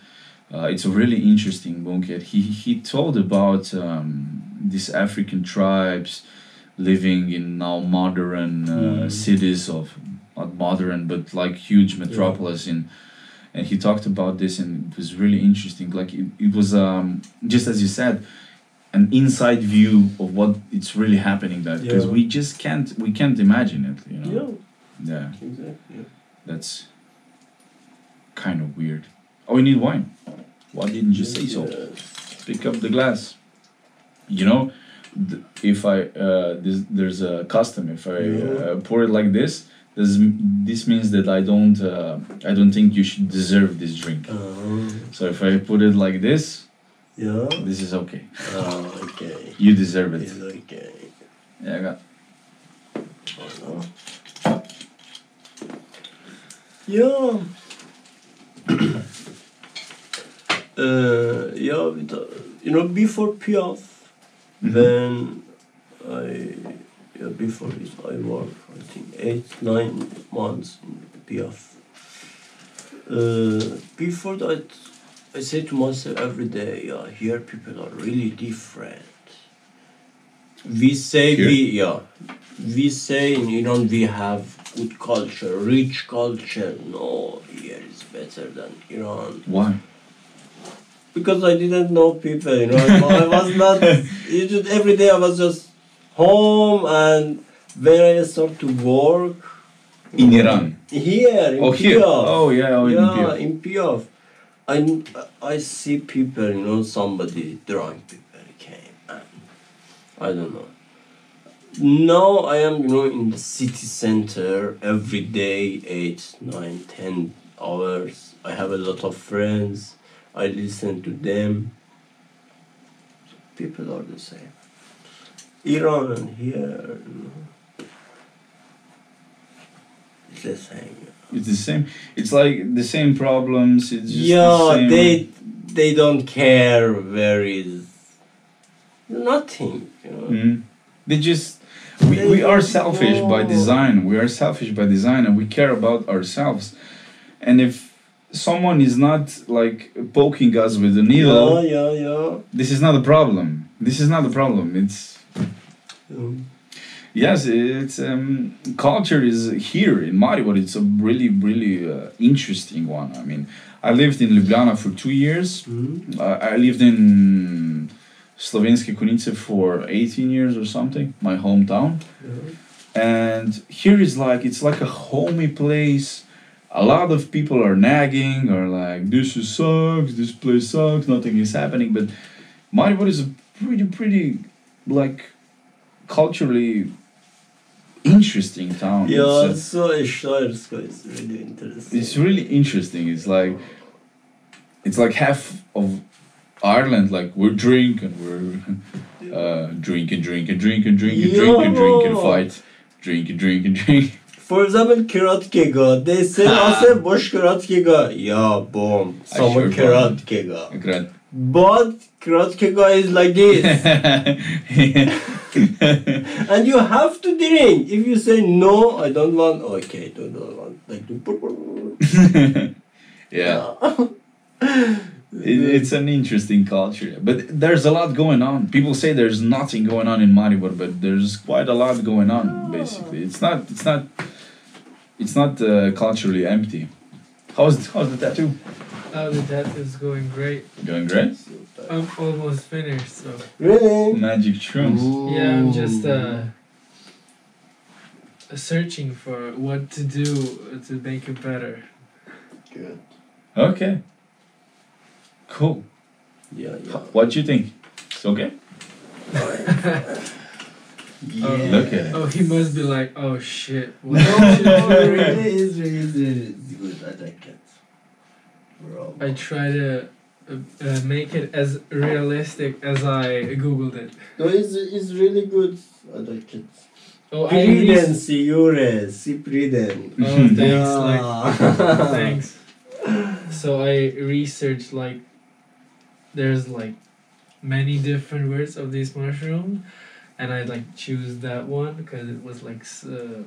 [SPEAKER 2] Uh, it's a really interesting book. And He he told about um, these African tribes living in now modern uh,
[SPEAKER 1] Mm.
[SPEAKER 2] cities of not modern but like huge metropolis in and he talked about this and it was really interesting like it, it was um just as you said an inside view of what it's really happening that because
[SPEAKER 1] Yeah.
[SPEAKER 2] we just can't we can't imagine it you know
[SPEAKER 1] Yeah,
[SPEAKER 2] yeah
[SPEAKER 1] exactly.
[SPEAKER 2] that's kind of weird oh we need wine why didn't you say so pick up the glass you know th- if i uh, this, there's a custom if i
[SPEAKER 1] Yeah.
[SPEAKER 2] uh, pour it like this this, this means that i don't uh, i don't think you should deserve this drink
[SPEAKER 1] Uh,
[SPEAKER 2] so if i put it like this
[SPEAKER 1] yeah.
[SPEAKER 2] this is okay
[SPEAKER 1] Ah, okay.
[SPEAKER 2] you deserve
[SPEAKER 1] It's
[SPEAKER 2] it
[SPEAKER 1] okay.
[SPEAKER 2] yeah I got-
[SPEAKER 1] Yeah. uh, yeah, with, uh, you know, before Piaf, then I, yeah, before it, I worked, I think, eight, nine months in Piaf. Uh, before that, I say to myself every day, yeah, here people are really different. We say
[SPEAKER 2] Here?
[SPEAKER 1] we, yeah, we say in Iran we have good culture, rich culture. No, here is better than Iran.
[SPEAKER 2] why
[SPEAKER 1] Because I didn't know people, you know. I was not. You just, every day I was just home, and when I start to work
[SPEAKER 2] in iran
[SPEAKER 1] here in
[SPEAKER 2] oh here
[SPEAKER 1] Piaf,
[SPEAKER 2] oh yeah oh in
[SPEAKER 1] yeah,
[SPEAKER 2] Kiev.
[SPEAKER 1] in Piaf, I I see people, you know, somebody drunk people came, and I don't know. Now I am, you know, in the city center every day, eight, nine, ten hours. I have a lot of friends. I listen to them. People are the same. Iran and here, you know, it's the same.
[SPEAKER 2] it's the same it's like the same problems it's just the
[SPEAKER 1] yeah
[SPEAKER 2] same.
[SPEAKER 1] they they don't care where is nothing you know
[SPEAKER 2] Mm. They just we, we are selfish by
[SPEAKER 1] No.
[SPEAKER 2] design. We are selfish by design and we care about ourselves. And if someone is not like poking us with a needle,
[SPEAKER 1] yeah yeah yeah
[SPEAKER 2] this is not a problem. This is not a problem. It's
[SPEAKER 1] Mm.
[SPEAKER 2] yes, it's um, culture is here in Maribor. It's a really really uh, interesting one. I mean, I lived in Ljubljana for 2 years.
[SPEAKER 1] Mm.
[SPEAKER 2] I I lived in Slovenske Kunice for 18 years or something, my hometown.
[SPEAKER 1] Yeah.
[SPEAKER 2] and here is like it's like a homey place a lot of people are nagging or like this is sucks this place sucks nothing is happening but Maribor is a pretty pretty like culturally interesting town.
[SPEAKER 1] Yeah,
[SPEAKER 2] It's, uh,
[SPEAKER 1] it's so Ishtarsko is really interesting.
[SPEAKER 2] it's really interesting. It's like it's like half of Ireland. Like we drink and we're uh, drink and drink and drink and drink and drink and drink and
[SPEAKER 1] Yo.
[SPEAKER 2] fight, drink and drink and drink.
[SPEAKER 1] For example, Karatkega. They say, I say, Bosh Karatkega. Yeah, boom.
[SPEAKER 2] I sure
[SPEAKER 1] Someone
[SPEAKER 2] bomb.
[SPEAKER 1] Karatkega.
[SPEAKER 2] Great.
[SPEAKER 1] But Karatkega is like this. and you have to drink. If you say, no, I don't want, okay, don't, don't want. Like, you-
[SPEAKER 2] yeah, it, it's an interesting culture, but there's a lot going on. People say there's nothing going on in Maribor, but there's quite a lot going on. Basically, it's not it's not it's not uh, culturally empty. How's how's the tattoo
[SPEAKER 4] Oh, the death is going great.
[SPEAKER 2] going? Great.
[SPEAKER 4] I'm almost finished, so.
[SPEAKER 1] Really?
[SPEAKER 2] Magic shrooms.
[SPEAKER 4] Yeah, I'm just uh, searching for what to do to make it better.
[SPEAKER 1] Good.
[SPEAKER 2] Okay. Cool.
[SPEAKER 1] Yeah, yeah.
[SPEAKER 2] What you think? It's okay.
[SPEAKER 1] yeah.
[SPEAKER 2] Look at it.
[SPEAKER 4] Oh, he must be like, oh shit.
[SPEAKER 1] No,
[SPEAKER 4] What
[SPEAKER 1] no,
[SPEAKER 4] should I do?"
[SPEAKER 1] really is, really is, really is good. I like it. Bro.
[SPEAKER 4] I try to uh, uh, make it as realistic as I googled it.
[SPEAKER 1] No, it's, it's really good. I like it.
[SPEAKER 4] Oh, I
[SPEAKER 1] Priden,
[SPEAKER 4] used-
[SPEAKER 1] signore, si priden.
[SPEAKER 4] Oh, thanks,
[SPEAKER 1] Yeah.
[SPEAKER 4] like, thanks. So I researched like, there's like, many different words of this mushroom, and I like choose that one because it was like. s- Uh,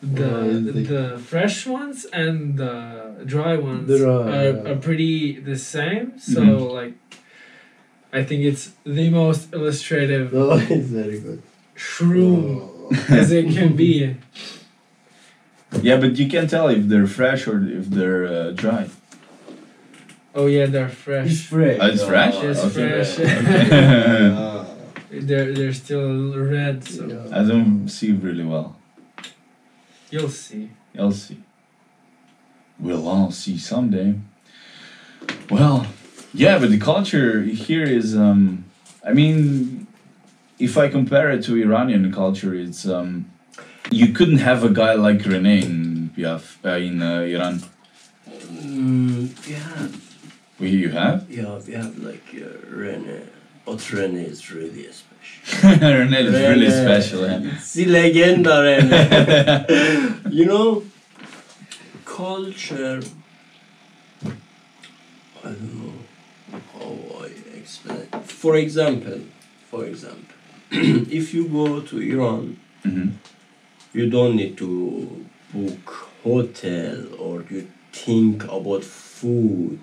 [SPEAKER 1] Yeah,
[SPEAKER 4] the,
[SPEAKER 1] it's like-
[SPEAKER 4] the fresh ones and the dry ones
[SPEAKER 1] Dry,
[SPEAKER 4] are,
[SPEAKER 1] yeah. Mm-hmm.
[SPEAKER 4] are pretty the same so
[SPEAKER 2] Mhm.
[SPEAKER 4] like i think it's the most illustrative
[SPEAKER 1] No, it's very good.
[SPEAKER 4] shroom
[SPEAKER 1] Oh.
[SPEAKER 4] as it can be
[SPEAKER 2] Yeah, but you can tell if they're fresh or if they're uh, dry.
[SPEAKER 4] oh yeah they're
[SPEAKER 1] It's
[SPEAKER 4] fresh
[SPEAKER 1] fresh.
[SPEAKER 2] Oh, it's fresh?
[SPEAKER 4] It's fresh.
[SPEAKER 1] Yeah.
[SPEAKER 4] they're, they're still red so
[SPEAKER 2] I don't see really well.
[SPEAKER 4] you'll see
[SPEAKER 2] I'll see. We'll all see someday. Well, yeah, but the culture here is, um, I mean, if I compare it to Iranian culture, it's, um, you couldn't have a guy like Rene in, Piaf, uh, in uh, Iran.
[SPEAKER 1] Mm, we have,
[SPEAKER 2] We, you have?
[SPEAKER 1] yeah, we have like uh, Rene. But Rene is really special.
[SPEAKER 2] Rene is really
[SPEAKER 1] Rene.
[SPEAKER 2] special. eh?
[SPEAKER 1] It's the legend, Rene. you know, culture. I don't know how I explain. For example, for example, if you go to Iran,
[SPEAKER 2] Mhm.
[SPEAKER 1] you don't need to book hotel or you think about food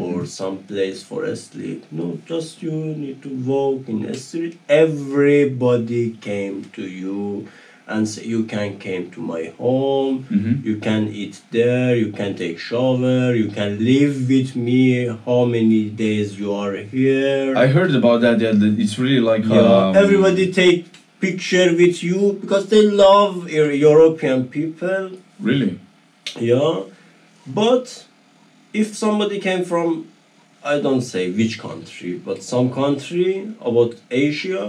[SPEAKER 1] or some place for a sleep no just you need to walk in a street everybody came to you and say you can came to my home
[SPEAKER 2] Mhm.
[SPEAKER 1] you can eat there you can take shower you can live with me how many days you are here
[SPEAKER 2] I heard about that. Yeah, that it's really like
[SPEAKER 1] yeah,
[SPEAKER 2] um,
[SPEAKER 1] everybody take picture with you because they love Eu- European people.
[SPEAKER 2] Really,
[SPEAKER 1] Yeah, but if somebody came from, I don't say which country, but some country about Asia.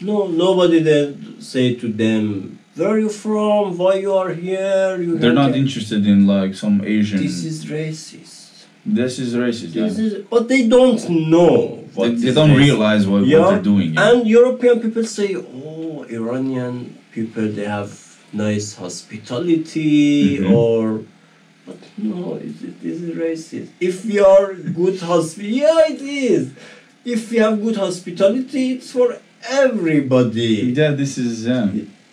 [SPEAKER 1] No, nobody then say to them, where you from? Why you are here? You
[SPEAKER 2] they're not
[SPEAKER 1] can't-
[SPEAKER 2] interested in like some Asian.
[SPEAKER 1] This is racist.
[SPEAKER 2] this is racist. yeah.
[SPEAKER 1] This is, but they don't know.
[SPEAKER 2] They,
[SPEAKER 1] what
[SPEAKER 2] they
[SPEAKER 1] is
[SPEAKER 2] don't
[SPEAKER 1] racist.
[SPEAKER 2] realize what,
[SPEAKER 1] Yeah,
[SPEAKER 2] what they're doing. yeah.
[SPEAKER 1] And European people say, oh, Iranian people, they have nice hospitality
[SPEAKER 2] Mhm.
[SPEAKER 1] or. But no, it, it is racist. If we are good hospitality, yeah, it is. If we have good hospitality, it's for everybody.
[SPEAKER 2] yeah, this is yeah.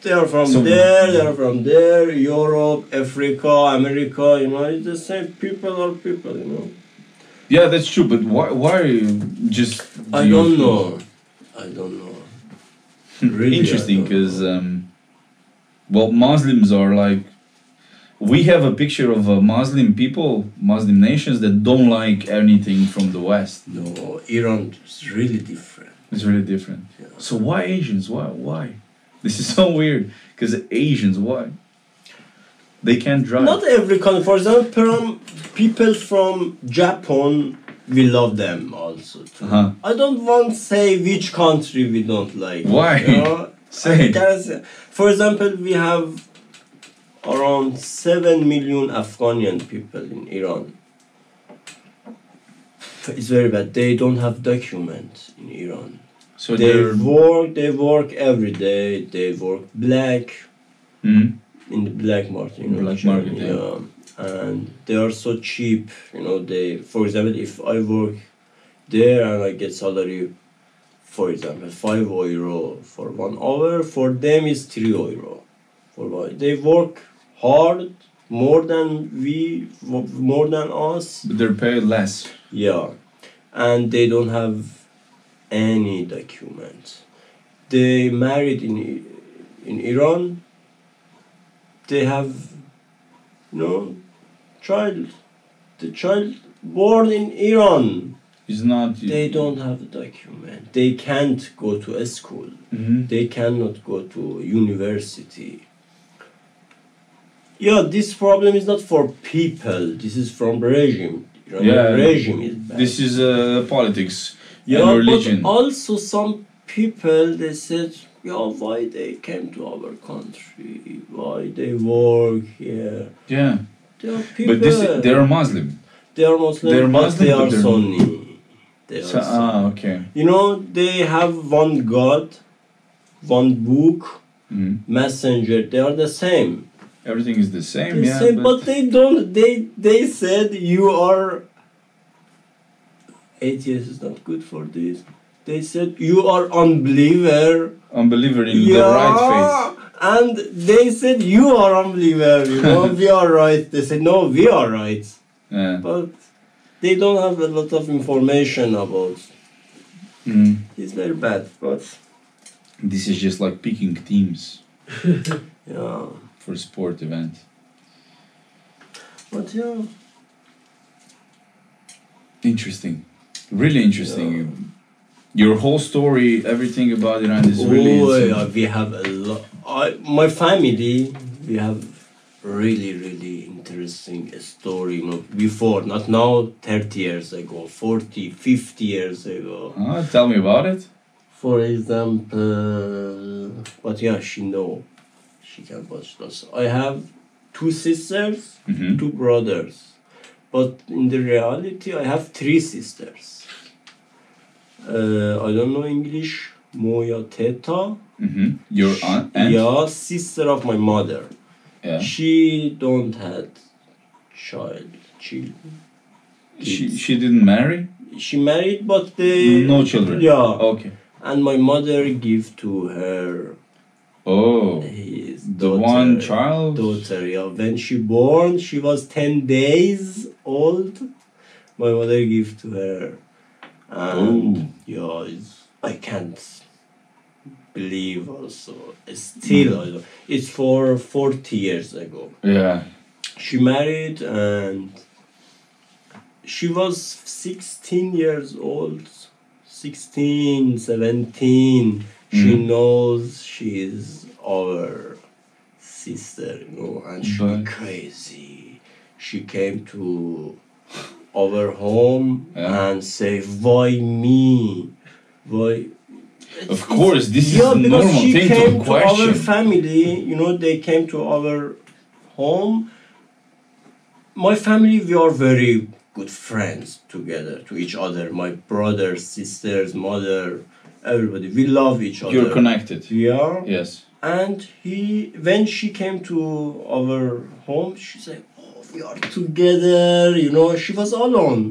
[SPEAKER 1] They are from
[SPEAKER 2] So-
[SPEAKER 1] there, they are from there, Europe, Africa, America, you know, it's the same. People are people, you know.
[SPEAKER 2] Yeah, that's true. But why? Why are you just?
[SPEAKER 1] I
[SPEAKER 2] do you
[SPEAKER 1] don't
[SPEAKER 2] feel-
[SPEAKER 1] know. I don't know. Really, I
[SPEAKER 2] Hmm. Interesting,
[SPEAKER 1] don't know.
[SPEAKER 2] because um, well, Muslims are like we have a picture of uh, Muslim people, Muslim nations that don't like anything from the West.
[SPEAKER 1] No, Iran is really different.
[SPEAKER 2] It's really different.
[SPEAKER 1] Yeah.
[SPEAKER 2] So why Asians? Why? Why? This is so weird. Because Asians, why? They can't drive.
[SPEAKER 1] Not every country. For example, from people from Japan, we love them also. Too.
[SPEAKER 2] Uh-huh.
[SPEAKER 1] I don't want to say which country we don't like.
[SPEAKER 2] Why?
[SPEAKER 1] you know?
[SPEAKER 2] Say.
[SPEAKER 1] I can't say- For example, we have around 7 million Afghanian people in Iran. It's very bad. They don't have documents in Iran.
[SPEAKER 2] So
[SPEAKER 1] they
[SPEAKER 2] they're.
[SPEAKER 1] work, they work every day. They work black
[SPEAKER 2] Mm,
[SPEAKER 1] in the black market. You know,
[SPEAKER 2] Black
[SPEAKER 1] Germany,
[SPEAKER 2] market, yeah.
[SPEAKER 1] And they are so cheap. You know, they. For example, if I work there and I get salary, for example, five euro for one hour. For them, is three euro. For one, they work hard more than we, wo- more than us.
[SPEAKER 2] but they're paid less.
[SPEAKER 1] Yeah, and they don't have any documents. They married in I- in Iran. They have no child. The child born in Iran.
[SPEAKER 2] It's not.
[SPEAKER 1] They don't have a document. They can't go to a school.
[SPEAKER 2] Mhm.
[SPEAKER 1] They cannot go to university. Yeah, this problem is not for people. This is from regime. Iranian
[SPEAKER 2] Yeah,
[SPEAKER 1] regime is bad.
[SPEAKER 2] This is uh, politics.
[SPEAKER 1] Yeah,
[SPEAKER 2] and religion.
[SPEAKER 1] but also some people they said, yeah, why they came to our country? Why they work here?
[SPEAKER 2] Yeah.
[SPEAKER 1] They are people.
[SPEAKER 2] But this, they're Muslim.
[SPEAKER 1] they are Muslim.
[SPEAKER 2] they're
[SPEAKER 1] but
[SPEAKER 2] Muslim,
[SPEAKER 1] They
[SPEAKER 2] but
[SPEAKER 1] are
[SPEAKER 2] they're-
[SPEAKER 1] Sunni. They are
[SPEAKER 2] So,
[SPEAKER 1] Sunni.
[SPEAKER 2] ah, okay.
[SPEAKER 1] You know, they have one God, one book,
[SPEAKER 2] Mm.
[SPEAKER 1] messenger. They are the same.
[SPEAKER 2] Everything is the same.
[SPEAKER 1] They
[SPEAKER 2] yeah.
[SPEAKER 1] say,
[SPEAKER 2] but,
[SPEAKER 1] but, they don't. They they said you are. Atheist is not good for this. They said you are unbeliever.
[SPEAKER 2] unbeliever in the right faith.
[SPEAKER 1] And they said, You are unbeliever, you know, we are right. They said, No, we are right.
[SPEAKER 2] Yeah.
[SPEAKER 1] But they don't have a lot of information about
[SPEAKER 2] Mm.
[SPEAKER 1] it's very bad, but
[SPEAKER 2] This is just like picking teams
[SPEAKER 1] yeah.
[SPEAKER 2] for sport event.
[SPEAKER 1] But yeah.
[SPEAKER 2] Interesting, really interesting. Your whole story, everything about Iran is really.
[SPEAKER 1] Oh, yeah,
[SPEAKER 2] insane.
[SPEAKER 1] we have a lot. I, my family, we have really, really interesting story. You know, before, not now, 30 years ago, 40, 50 years ago.
[SPEAKER 2] Ah, tell me about it.
[SPEAKER 1] For example, but yeah, she know, she can watch those. I have two sisters,
[SPEAKER 2] Mhm.
[SPEAKER 1] two brothers, but in the reality, I have three sisters. Uh, I don't know English. Moya Teta,
[SPEAKER 2] Mhm. Your aunt. aunt?
[SPEAKER 1] yeah, sister of my mother.
[SPEAKER 2] Yeah.
[SPEAKER 1] She don't had child. She
[SPEAKER 2] She she didn't marry.
[SPEAKER 1] she married, but they
[SPEAKER 2] No children. Oh.
[SPEAKER 1] Yeah,
[SPEAKER 2] Okay.
[SPEAKER 1] and my mother give to her
[SPEAKER 2] Oh,
[SPEAKER 1] his
[SPEAKER 2] the
[SPEAKER 1] daughter,
[SPEAKER 2] one child.
[SPEAKER 1] daughter yeah when she born she was 10 days old my mother give to her and
[SPEAKER 2] Oh.
[SPEAKER 1] yeah it's, i can't believe also
[SPEAKER 2] Hmm.
[SPEAKER 1] still I don't- it's for 40 years ago
[SPEAKER 2] Yeah.
[SPEAKER 1] she married and she was 16 years old 16 17 she
[SPEAKER 2] Mhm.
[SPEAKER 1] knows she is our sister you know and she
[SPEAKER 2] But-
[SPEAKER 1] crazy she came to our home
[SPEAKER 2] Yeah.
[SPEAKER 1] and say why me why
[SPEAKER 2] Of course, this
[SPEAKER 1] yeah,
[SPEAKER 2] is a
[SPEAKER 1] because
[SPEAKER 2] normal
[SPEAKER 1] she
[SPEAKER 2] thing
[SPEAKER 1] came
[SPEAKER 2] to question.
[SPEAKER 1] our family. You know, they came to our home. My family, we are very good friends together to each other. My brothers, sisters, mother, everybody. We love each other.
[SPEAKER 2] You're connected.
[SPEAKER 1] Yeah.
[SPEAKER 2] Yes.
[SPEAKER 1] And he, when she came to our home, she said, "Oh, we are together." You know, she was alone.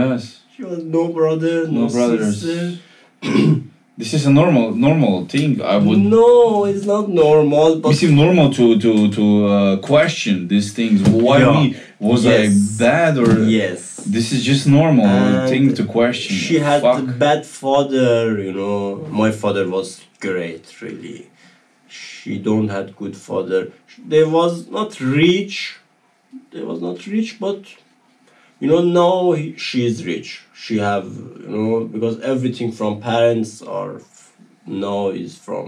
[SPEAKER 2] Yes.
[SPEAKER 1] She was no brother, no,
[SPEAKER 2] No brothers.
[SPEAKER 1] sister.
[SPEAKER 2] This is a normal normal thing. I would.
[SPEAKER 1] No, it's not normal. But
[SPEAKER 2] It seems normal to to to uh, question these things. Why
[SPEAKER 1] Yeah.
[SPEAKER 2] me? Was
[SPEAKER 1] Yes.
[SPEAKER 2] I bad or?
[SPEAKER 1] yes.
[SPEAKER 2] This is just normal
[SPEAKER 1] And
[SPEAKER 2] thing to question.
[SPEAKER 1] She had
[SPEAKER 2] Fuck.
[SPEAKER 1] bad father, you know. My father was great, really. She don't had good father. They was not rich. They was not rich, but you know now he, she is rich. She have you know because everything from parents are f- now is from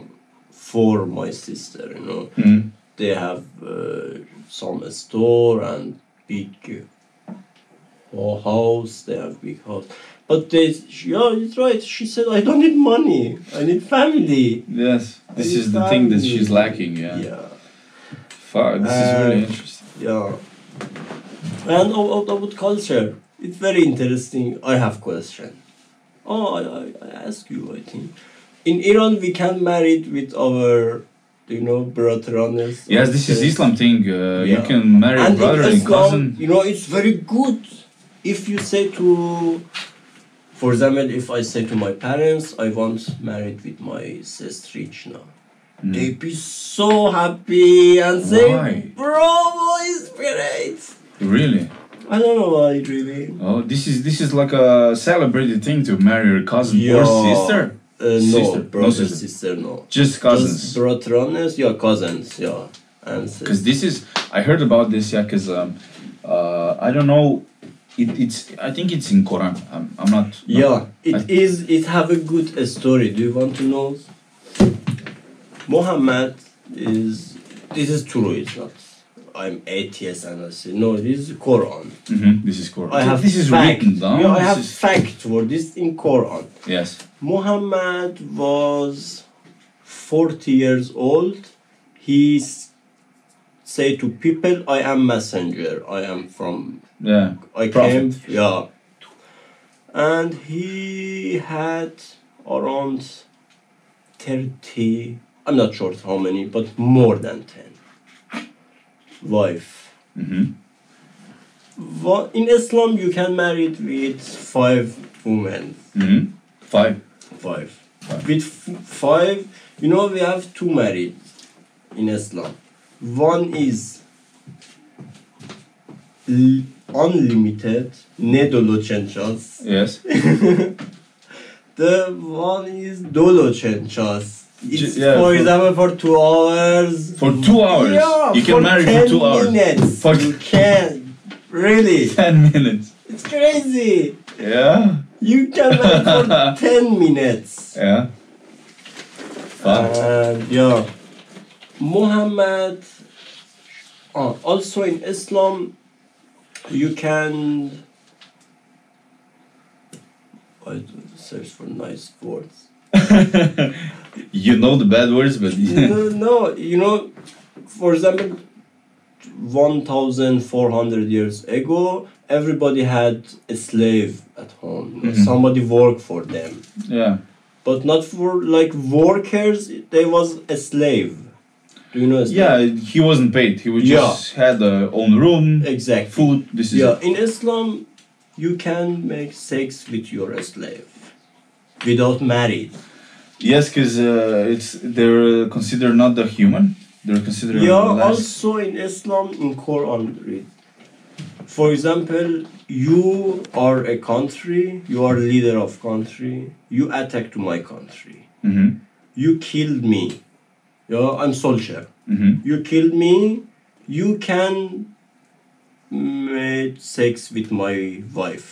[SPEAKER 1] for my sister, you know
[SPEAKER 2] Mm.
[SPEAKER 1] they have uh, some store and big uh, ho- house. They have big house, but they yeah, it's right. She said, "I don't need money. I need family."
[SPEAKER 2] Yes. This is the thing that she's lacking, yeah.
[SPEAKER 1] Yeah.
[SPEAKER 2] Fuck, this is really
[SPEAKER 1] Uh,
[SPEAKER 2] interesting.
[SPEAKER 1] Yeah. And a- a- about culture, it's very interesting. I have question. Oh, I, I, I ask you, I think. In Iran, we can marry it with our, you know, brothers.
[SPEAKER 2] Yes, this is Islam thing. Uh, You
[SPEAKER 1] Yeah.
[SPEAKER 2] can marry
[SPEAKER 1] And
[SPEAKER 2] a brother
[SPEAKER 1] in
[SPEAKER 2] and
[SPEAKER 1] Islam,
[SPEAKER 2] cousin.
[SPEAKER 1] you know, it's very good if you say to, for example, if I say to my parents, I want married with my sister now. They
[SPEAKER 2] Mm.
[SPEAKER 1] be so happy and say,
[SPEAKER 2] Why?
[SPEAKER 1] "Bravo, it's great."
[SPEAKER 2] Hmm. Really?
[SPEAKER 1] I don't know why, really.
[SPEAKER 2] Oh, this is this is like a celebrated thing to marry your cousin or
[SPEAKER 1] Yeah.
[SPEAKER 2] sister.
[SPEAKER 1] Uh,
[SPEAKER 2] Sister,
[SPEAKER 1] no,
[SPEAKER 2] no
[SPEAKER 1] brother,
[SPEAKER 2] sister.
[SPEAKER 1] sister. no.
[SPEAKER 2] Just
[SPEAKER 1] Just
[SPEAKER 2] cousins.
[SPEAKER 1] brothers, yeah, cousins, yeah, and sisters.
[SPEAKER 2] Because this is, I heard about this, yeah, because um, uh, I don't know, it, it's, I think it's in Quran. I'm, I'm not. not-
[SPEAKER 1] Yeah,
[SPEAKER 2] I-
[SPEAKER 1] it is. It have a good uh, story. Do you want to know? Muhammad is. This is true. It's not. I'm atheist and I say no. This is Quran.
[SPEAKER 2] Mhm, this is Quran.
[SPEAKER 1] I have
[SPEAKER 2] this is
[SPEAKER 1] fact.
[SPEAKER 2] written down.
[SPEAKER 1] Yeah, I
[SPEAKER 2] this
[SPEAKER 1] have
[SPEAKER 2] is-
[SPEAKER 1] fact for this in Quran.
[SPEAKER 2] yes.
[SPEAKER 1] Muhammad was 40 years old. He s- say to people, "I am messenger. I am from
[SPEAKER 2] Yeah.
[SPEAKER 1] I
[SPEAKER 2] Prophet.
[SPEAKER 1] came, yeah. And he had around 30, I'm not sure how many, but more than 10 wife.
[SPEAKER 2] Mhm.
[SPEAKER 1] Wha- In Islam, you can marry it with five women.
[SPEAKER 2] Mhm. Five.
[SPEAKER 1] Five.
[SPEAKER 2] Five.
[SPEAKER 1] With f- five, you know, we have two married in Islam. One is l- unlimited, ne dolocenchas.
[SPEAKER 2] Yes.
[SPEAKER 1] The one is dolocenchas. It's
[SPEAKER 2] Ju- yeah,
[SPEAKER 1] for
[SPEAKER 2] for-
[SPEAKER 1] example for two hours.
[SPEAKER 2] For two hours.
[SPEAKER 1] Yeah,
[SPEAKER 2] you can marry for
[SPEAKER 1] 10
[SPEAKER 2] two hours.
[SPEAKER 1] Minutes.
[SPEAKER 2] For
[SPEAKER 1] you can. Really.
[SPEAKER 2] ten minutes.
[SPEAKER 1] It's crazy.
[SPEAKER 2] Yeah.
[SPEAKER 1] You can marry for 10 minutes.
[SPEAKER 2] Yeah. Fuck.
[SPEAKER 1] And yeah. Muhammad. Oh, also in Islam, you can. I don't search for nice words.
[SPEAKER 2] you know the bad words, but
[SPEAKER 1] no, no, you know, for example, 1,400 years ago, everybody had a slave at home. you know,
[SPEAKER 2] Mhm.
[SPEAKER 1] Somebody worked for them.
[SPEAKER 2] yeah.
[SPEAKER 1] But not for like workers, they was a slave. Do you know? a slave?
[SPEAKER 2] Yeah, he wasn't paid. He was
[SPEAKER 1] Yeah.
[SPEAKER 2] just had a own room,
[SPEAKER 1] Exactly.
[SPEAKER 2] food. This is
[SPEAKER 1] Yeah,
[SPEAKER 2] it.
[SPEAKER 1] in Islam, you can make sex with your slave without marriage.
[SPEAKER 2] yes, because uh, it's they're considered not the human. They're considered
[SPEAKER 1] Yeah,
[SPEAKER 2] less.
[SPEAKER 1] also in Islam, in Quran, read. For example, you are a country, you are leader of country, you attack to my country,
[SPEAKER 2] Mhm,
[SPEAKER 1] you killed me. Yeah, I'm soldier.
[SPEAKER 2] mhm.
[SPEAKER 1] You killed me. You can make sex with my wife.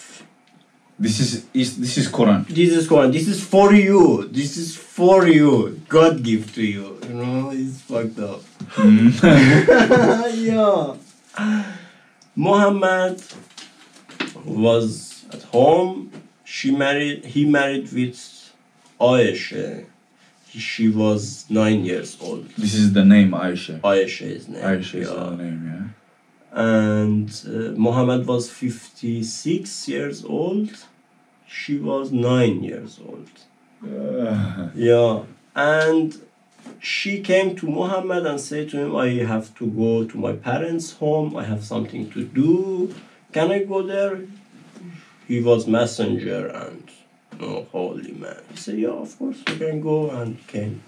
[SPEAKER 2] This is, is this is Quran.
[SPEAKER 1] This is Quran. This is for you. This is for you. God give to you. You know, it's fucked up.
[SPEAKER 2] Mm-hmm.
[SPEAKER 1] yeah. Muhammad was at home. She married. He married with Aisha. She was nine years old.
[SPEAKER 2] This is the name Aisha.
[SPEAKER 1] Aisha is name.
[SPEAKER 2] Aisha is
[SPEAKER 1] yeah.
[SPEAKER 2] the name.
[SPEAKER 1] And uh, Muhammad was fifty-six years old. She was nine years old.
[SPEAKER 2] Yeah. Uh,
[SPEAKER 1] Yeah, and she came to Muhammad and said to him, I have to go to my parents' home, I have something to do. Can I go there? He was messenger and no holy man. He said, Yeah, of course you can go and came.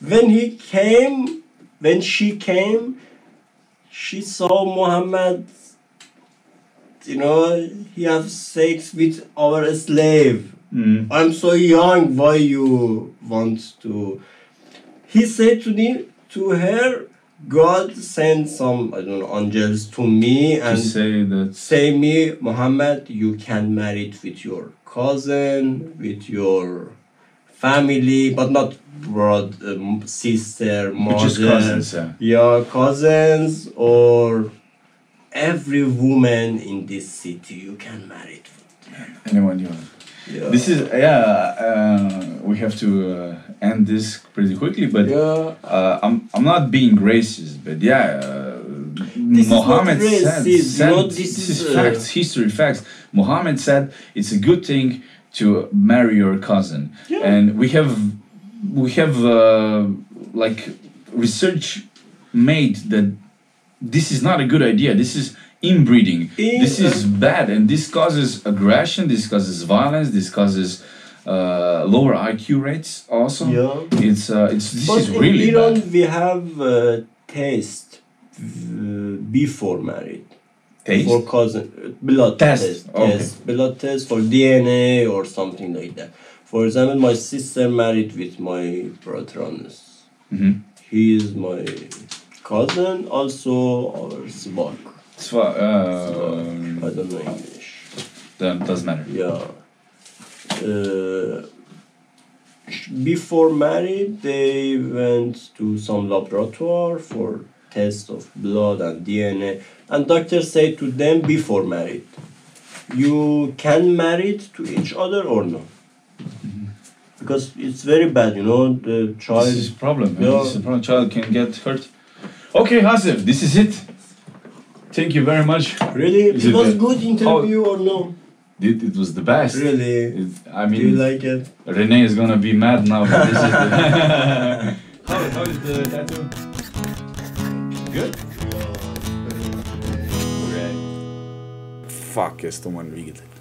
[SPEAKER 1] When he came, when she came, she saw Muhammad you know, he have sex with our slave.
[SPEAKER 2] mm.
[SPEAKER 1] I'm so young, why you want to? He said to me, to her, God send some, I don't know, angels to me
[SPEAKER 2] To
[SPEAKER 1] and
[SPEAKER 2] say that
[SPEAKER 1] say me, Muhammad, you can marry it with your cousin, with your family, but not broad, um, sister,
[SPEAKER 2] Which is
[SPEAKER 1] mother,
[SPEAKER 2] cousins, yeah.
[SPEAKER 1] your cousins or every woman in this city you can marry. it.
[SPEAKER 2] anyone you want.
[SPEAKER 1] Yeah.
[SPEAKER 2] This is yeah. Uh, we have to uh, end this pretty quickly, but
[SPEAKER 1] yeah.
[SPEAKER 2] uh, I'm I'm not being racist, but yeah. Uh,
[SPEAKER 1] This is not
[SPEAKER 2] Mohammed said,
[SPEAKER 1] racist,
[SPEAKER 2] said-
[SPEAKER 1] not- this
[SPEAKER 2] this
[SPEAKER 1] is,
[SPEAKER 2] is
[SPEAKER 1] uh,
[SPEAKER 2] facts, history facts. Mohammed said it's a good thing to marry your cousin,
[SPEAKER 1] Yeah.
[SPEAKER 2] and we have we have uh, like research made that this is not a good idea. This is inbreeding.
[SPEAKER 1] In-
[SPEAKER 2] this is bad, and this causes aggression. This causes violence. This causes uh, lower IQ rates. Also,
[SPEAKER 1] yeah.
[SPEAKER 2] it's uh, it's this
[SPEAKER 1] but
[SPEAKER 2] is
[SPEAKER 1] in
[SPEAKER 2] really
[SPEAKER 1] Iran
[SPEAKER 2] bad.
[SPEAKER 1] we have uh, taste uh, before marriage
[SPEAKER 2] Taste?
[SPEAKER 1] for cousin uh, blood
[SPEAKER 2] Test,
[SPEAKER 1] test, test,
[SPEAKER 2] okay.
[SPEAKER 1] blood test for DNA or something like that. For example, my sister married with my patronus.
[SPEAKER 2] Mhm.
[SPEAKER 1] He is my cousin, also our svak.
[SPEAKER 2] It's
[SPEAKER 1] Svak,
[SPEAKER 2] fa-
[SPEAKER 1] I
[SPEAKER 2] uh,
[SPEAKER 1] don't know English.
[SPEAKER 2] that doesn't matter.
[SPEAKER 1] Yeah. Uh, before marriage, they went to some laboratory for test of blood and DNA, and doctor said to them before marriage, you can marry to each other or no, because it's very bad, you know, the child.
[SPEAKER 2] This is problem. man.
[SPEAKER 1] Yeah.
[SPEAKER 2] This is a problem. Child can get hurt. Okay, Hasif, this is it. Thank you very much.
[SPEAKER 1] Really,
[SPEAKER 2] Is
[SPEAKER 1] it
[SPEAKER 2] it
[SPEAKER 1] was
[SPEAKER 2] bad? Oh.
[SPEAKER 1] good interview or no?
[SPEAKER 2] It, it was the best.
[SPEAKER 1] Really,
[SPEAKER 2] It- I
[SPEAKER 1] do you
[SPEAKER 2] mean,
[SPEAKER 1] like it?
[SPEAKER 2] Renee is gonna be mad now. But this is the how, how is the tattoo? Good.
[SPEAKER 5] Fuck, esto man riegelt.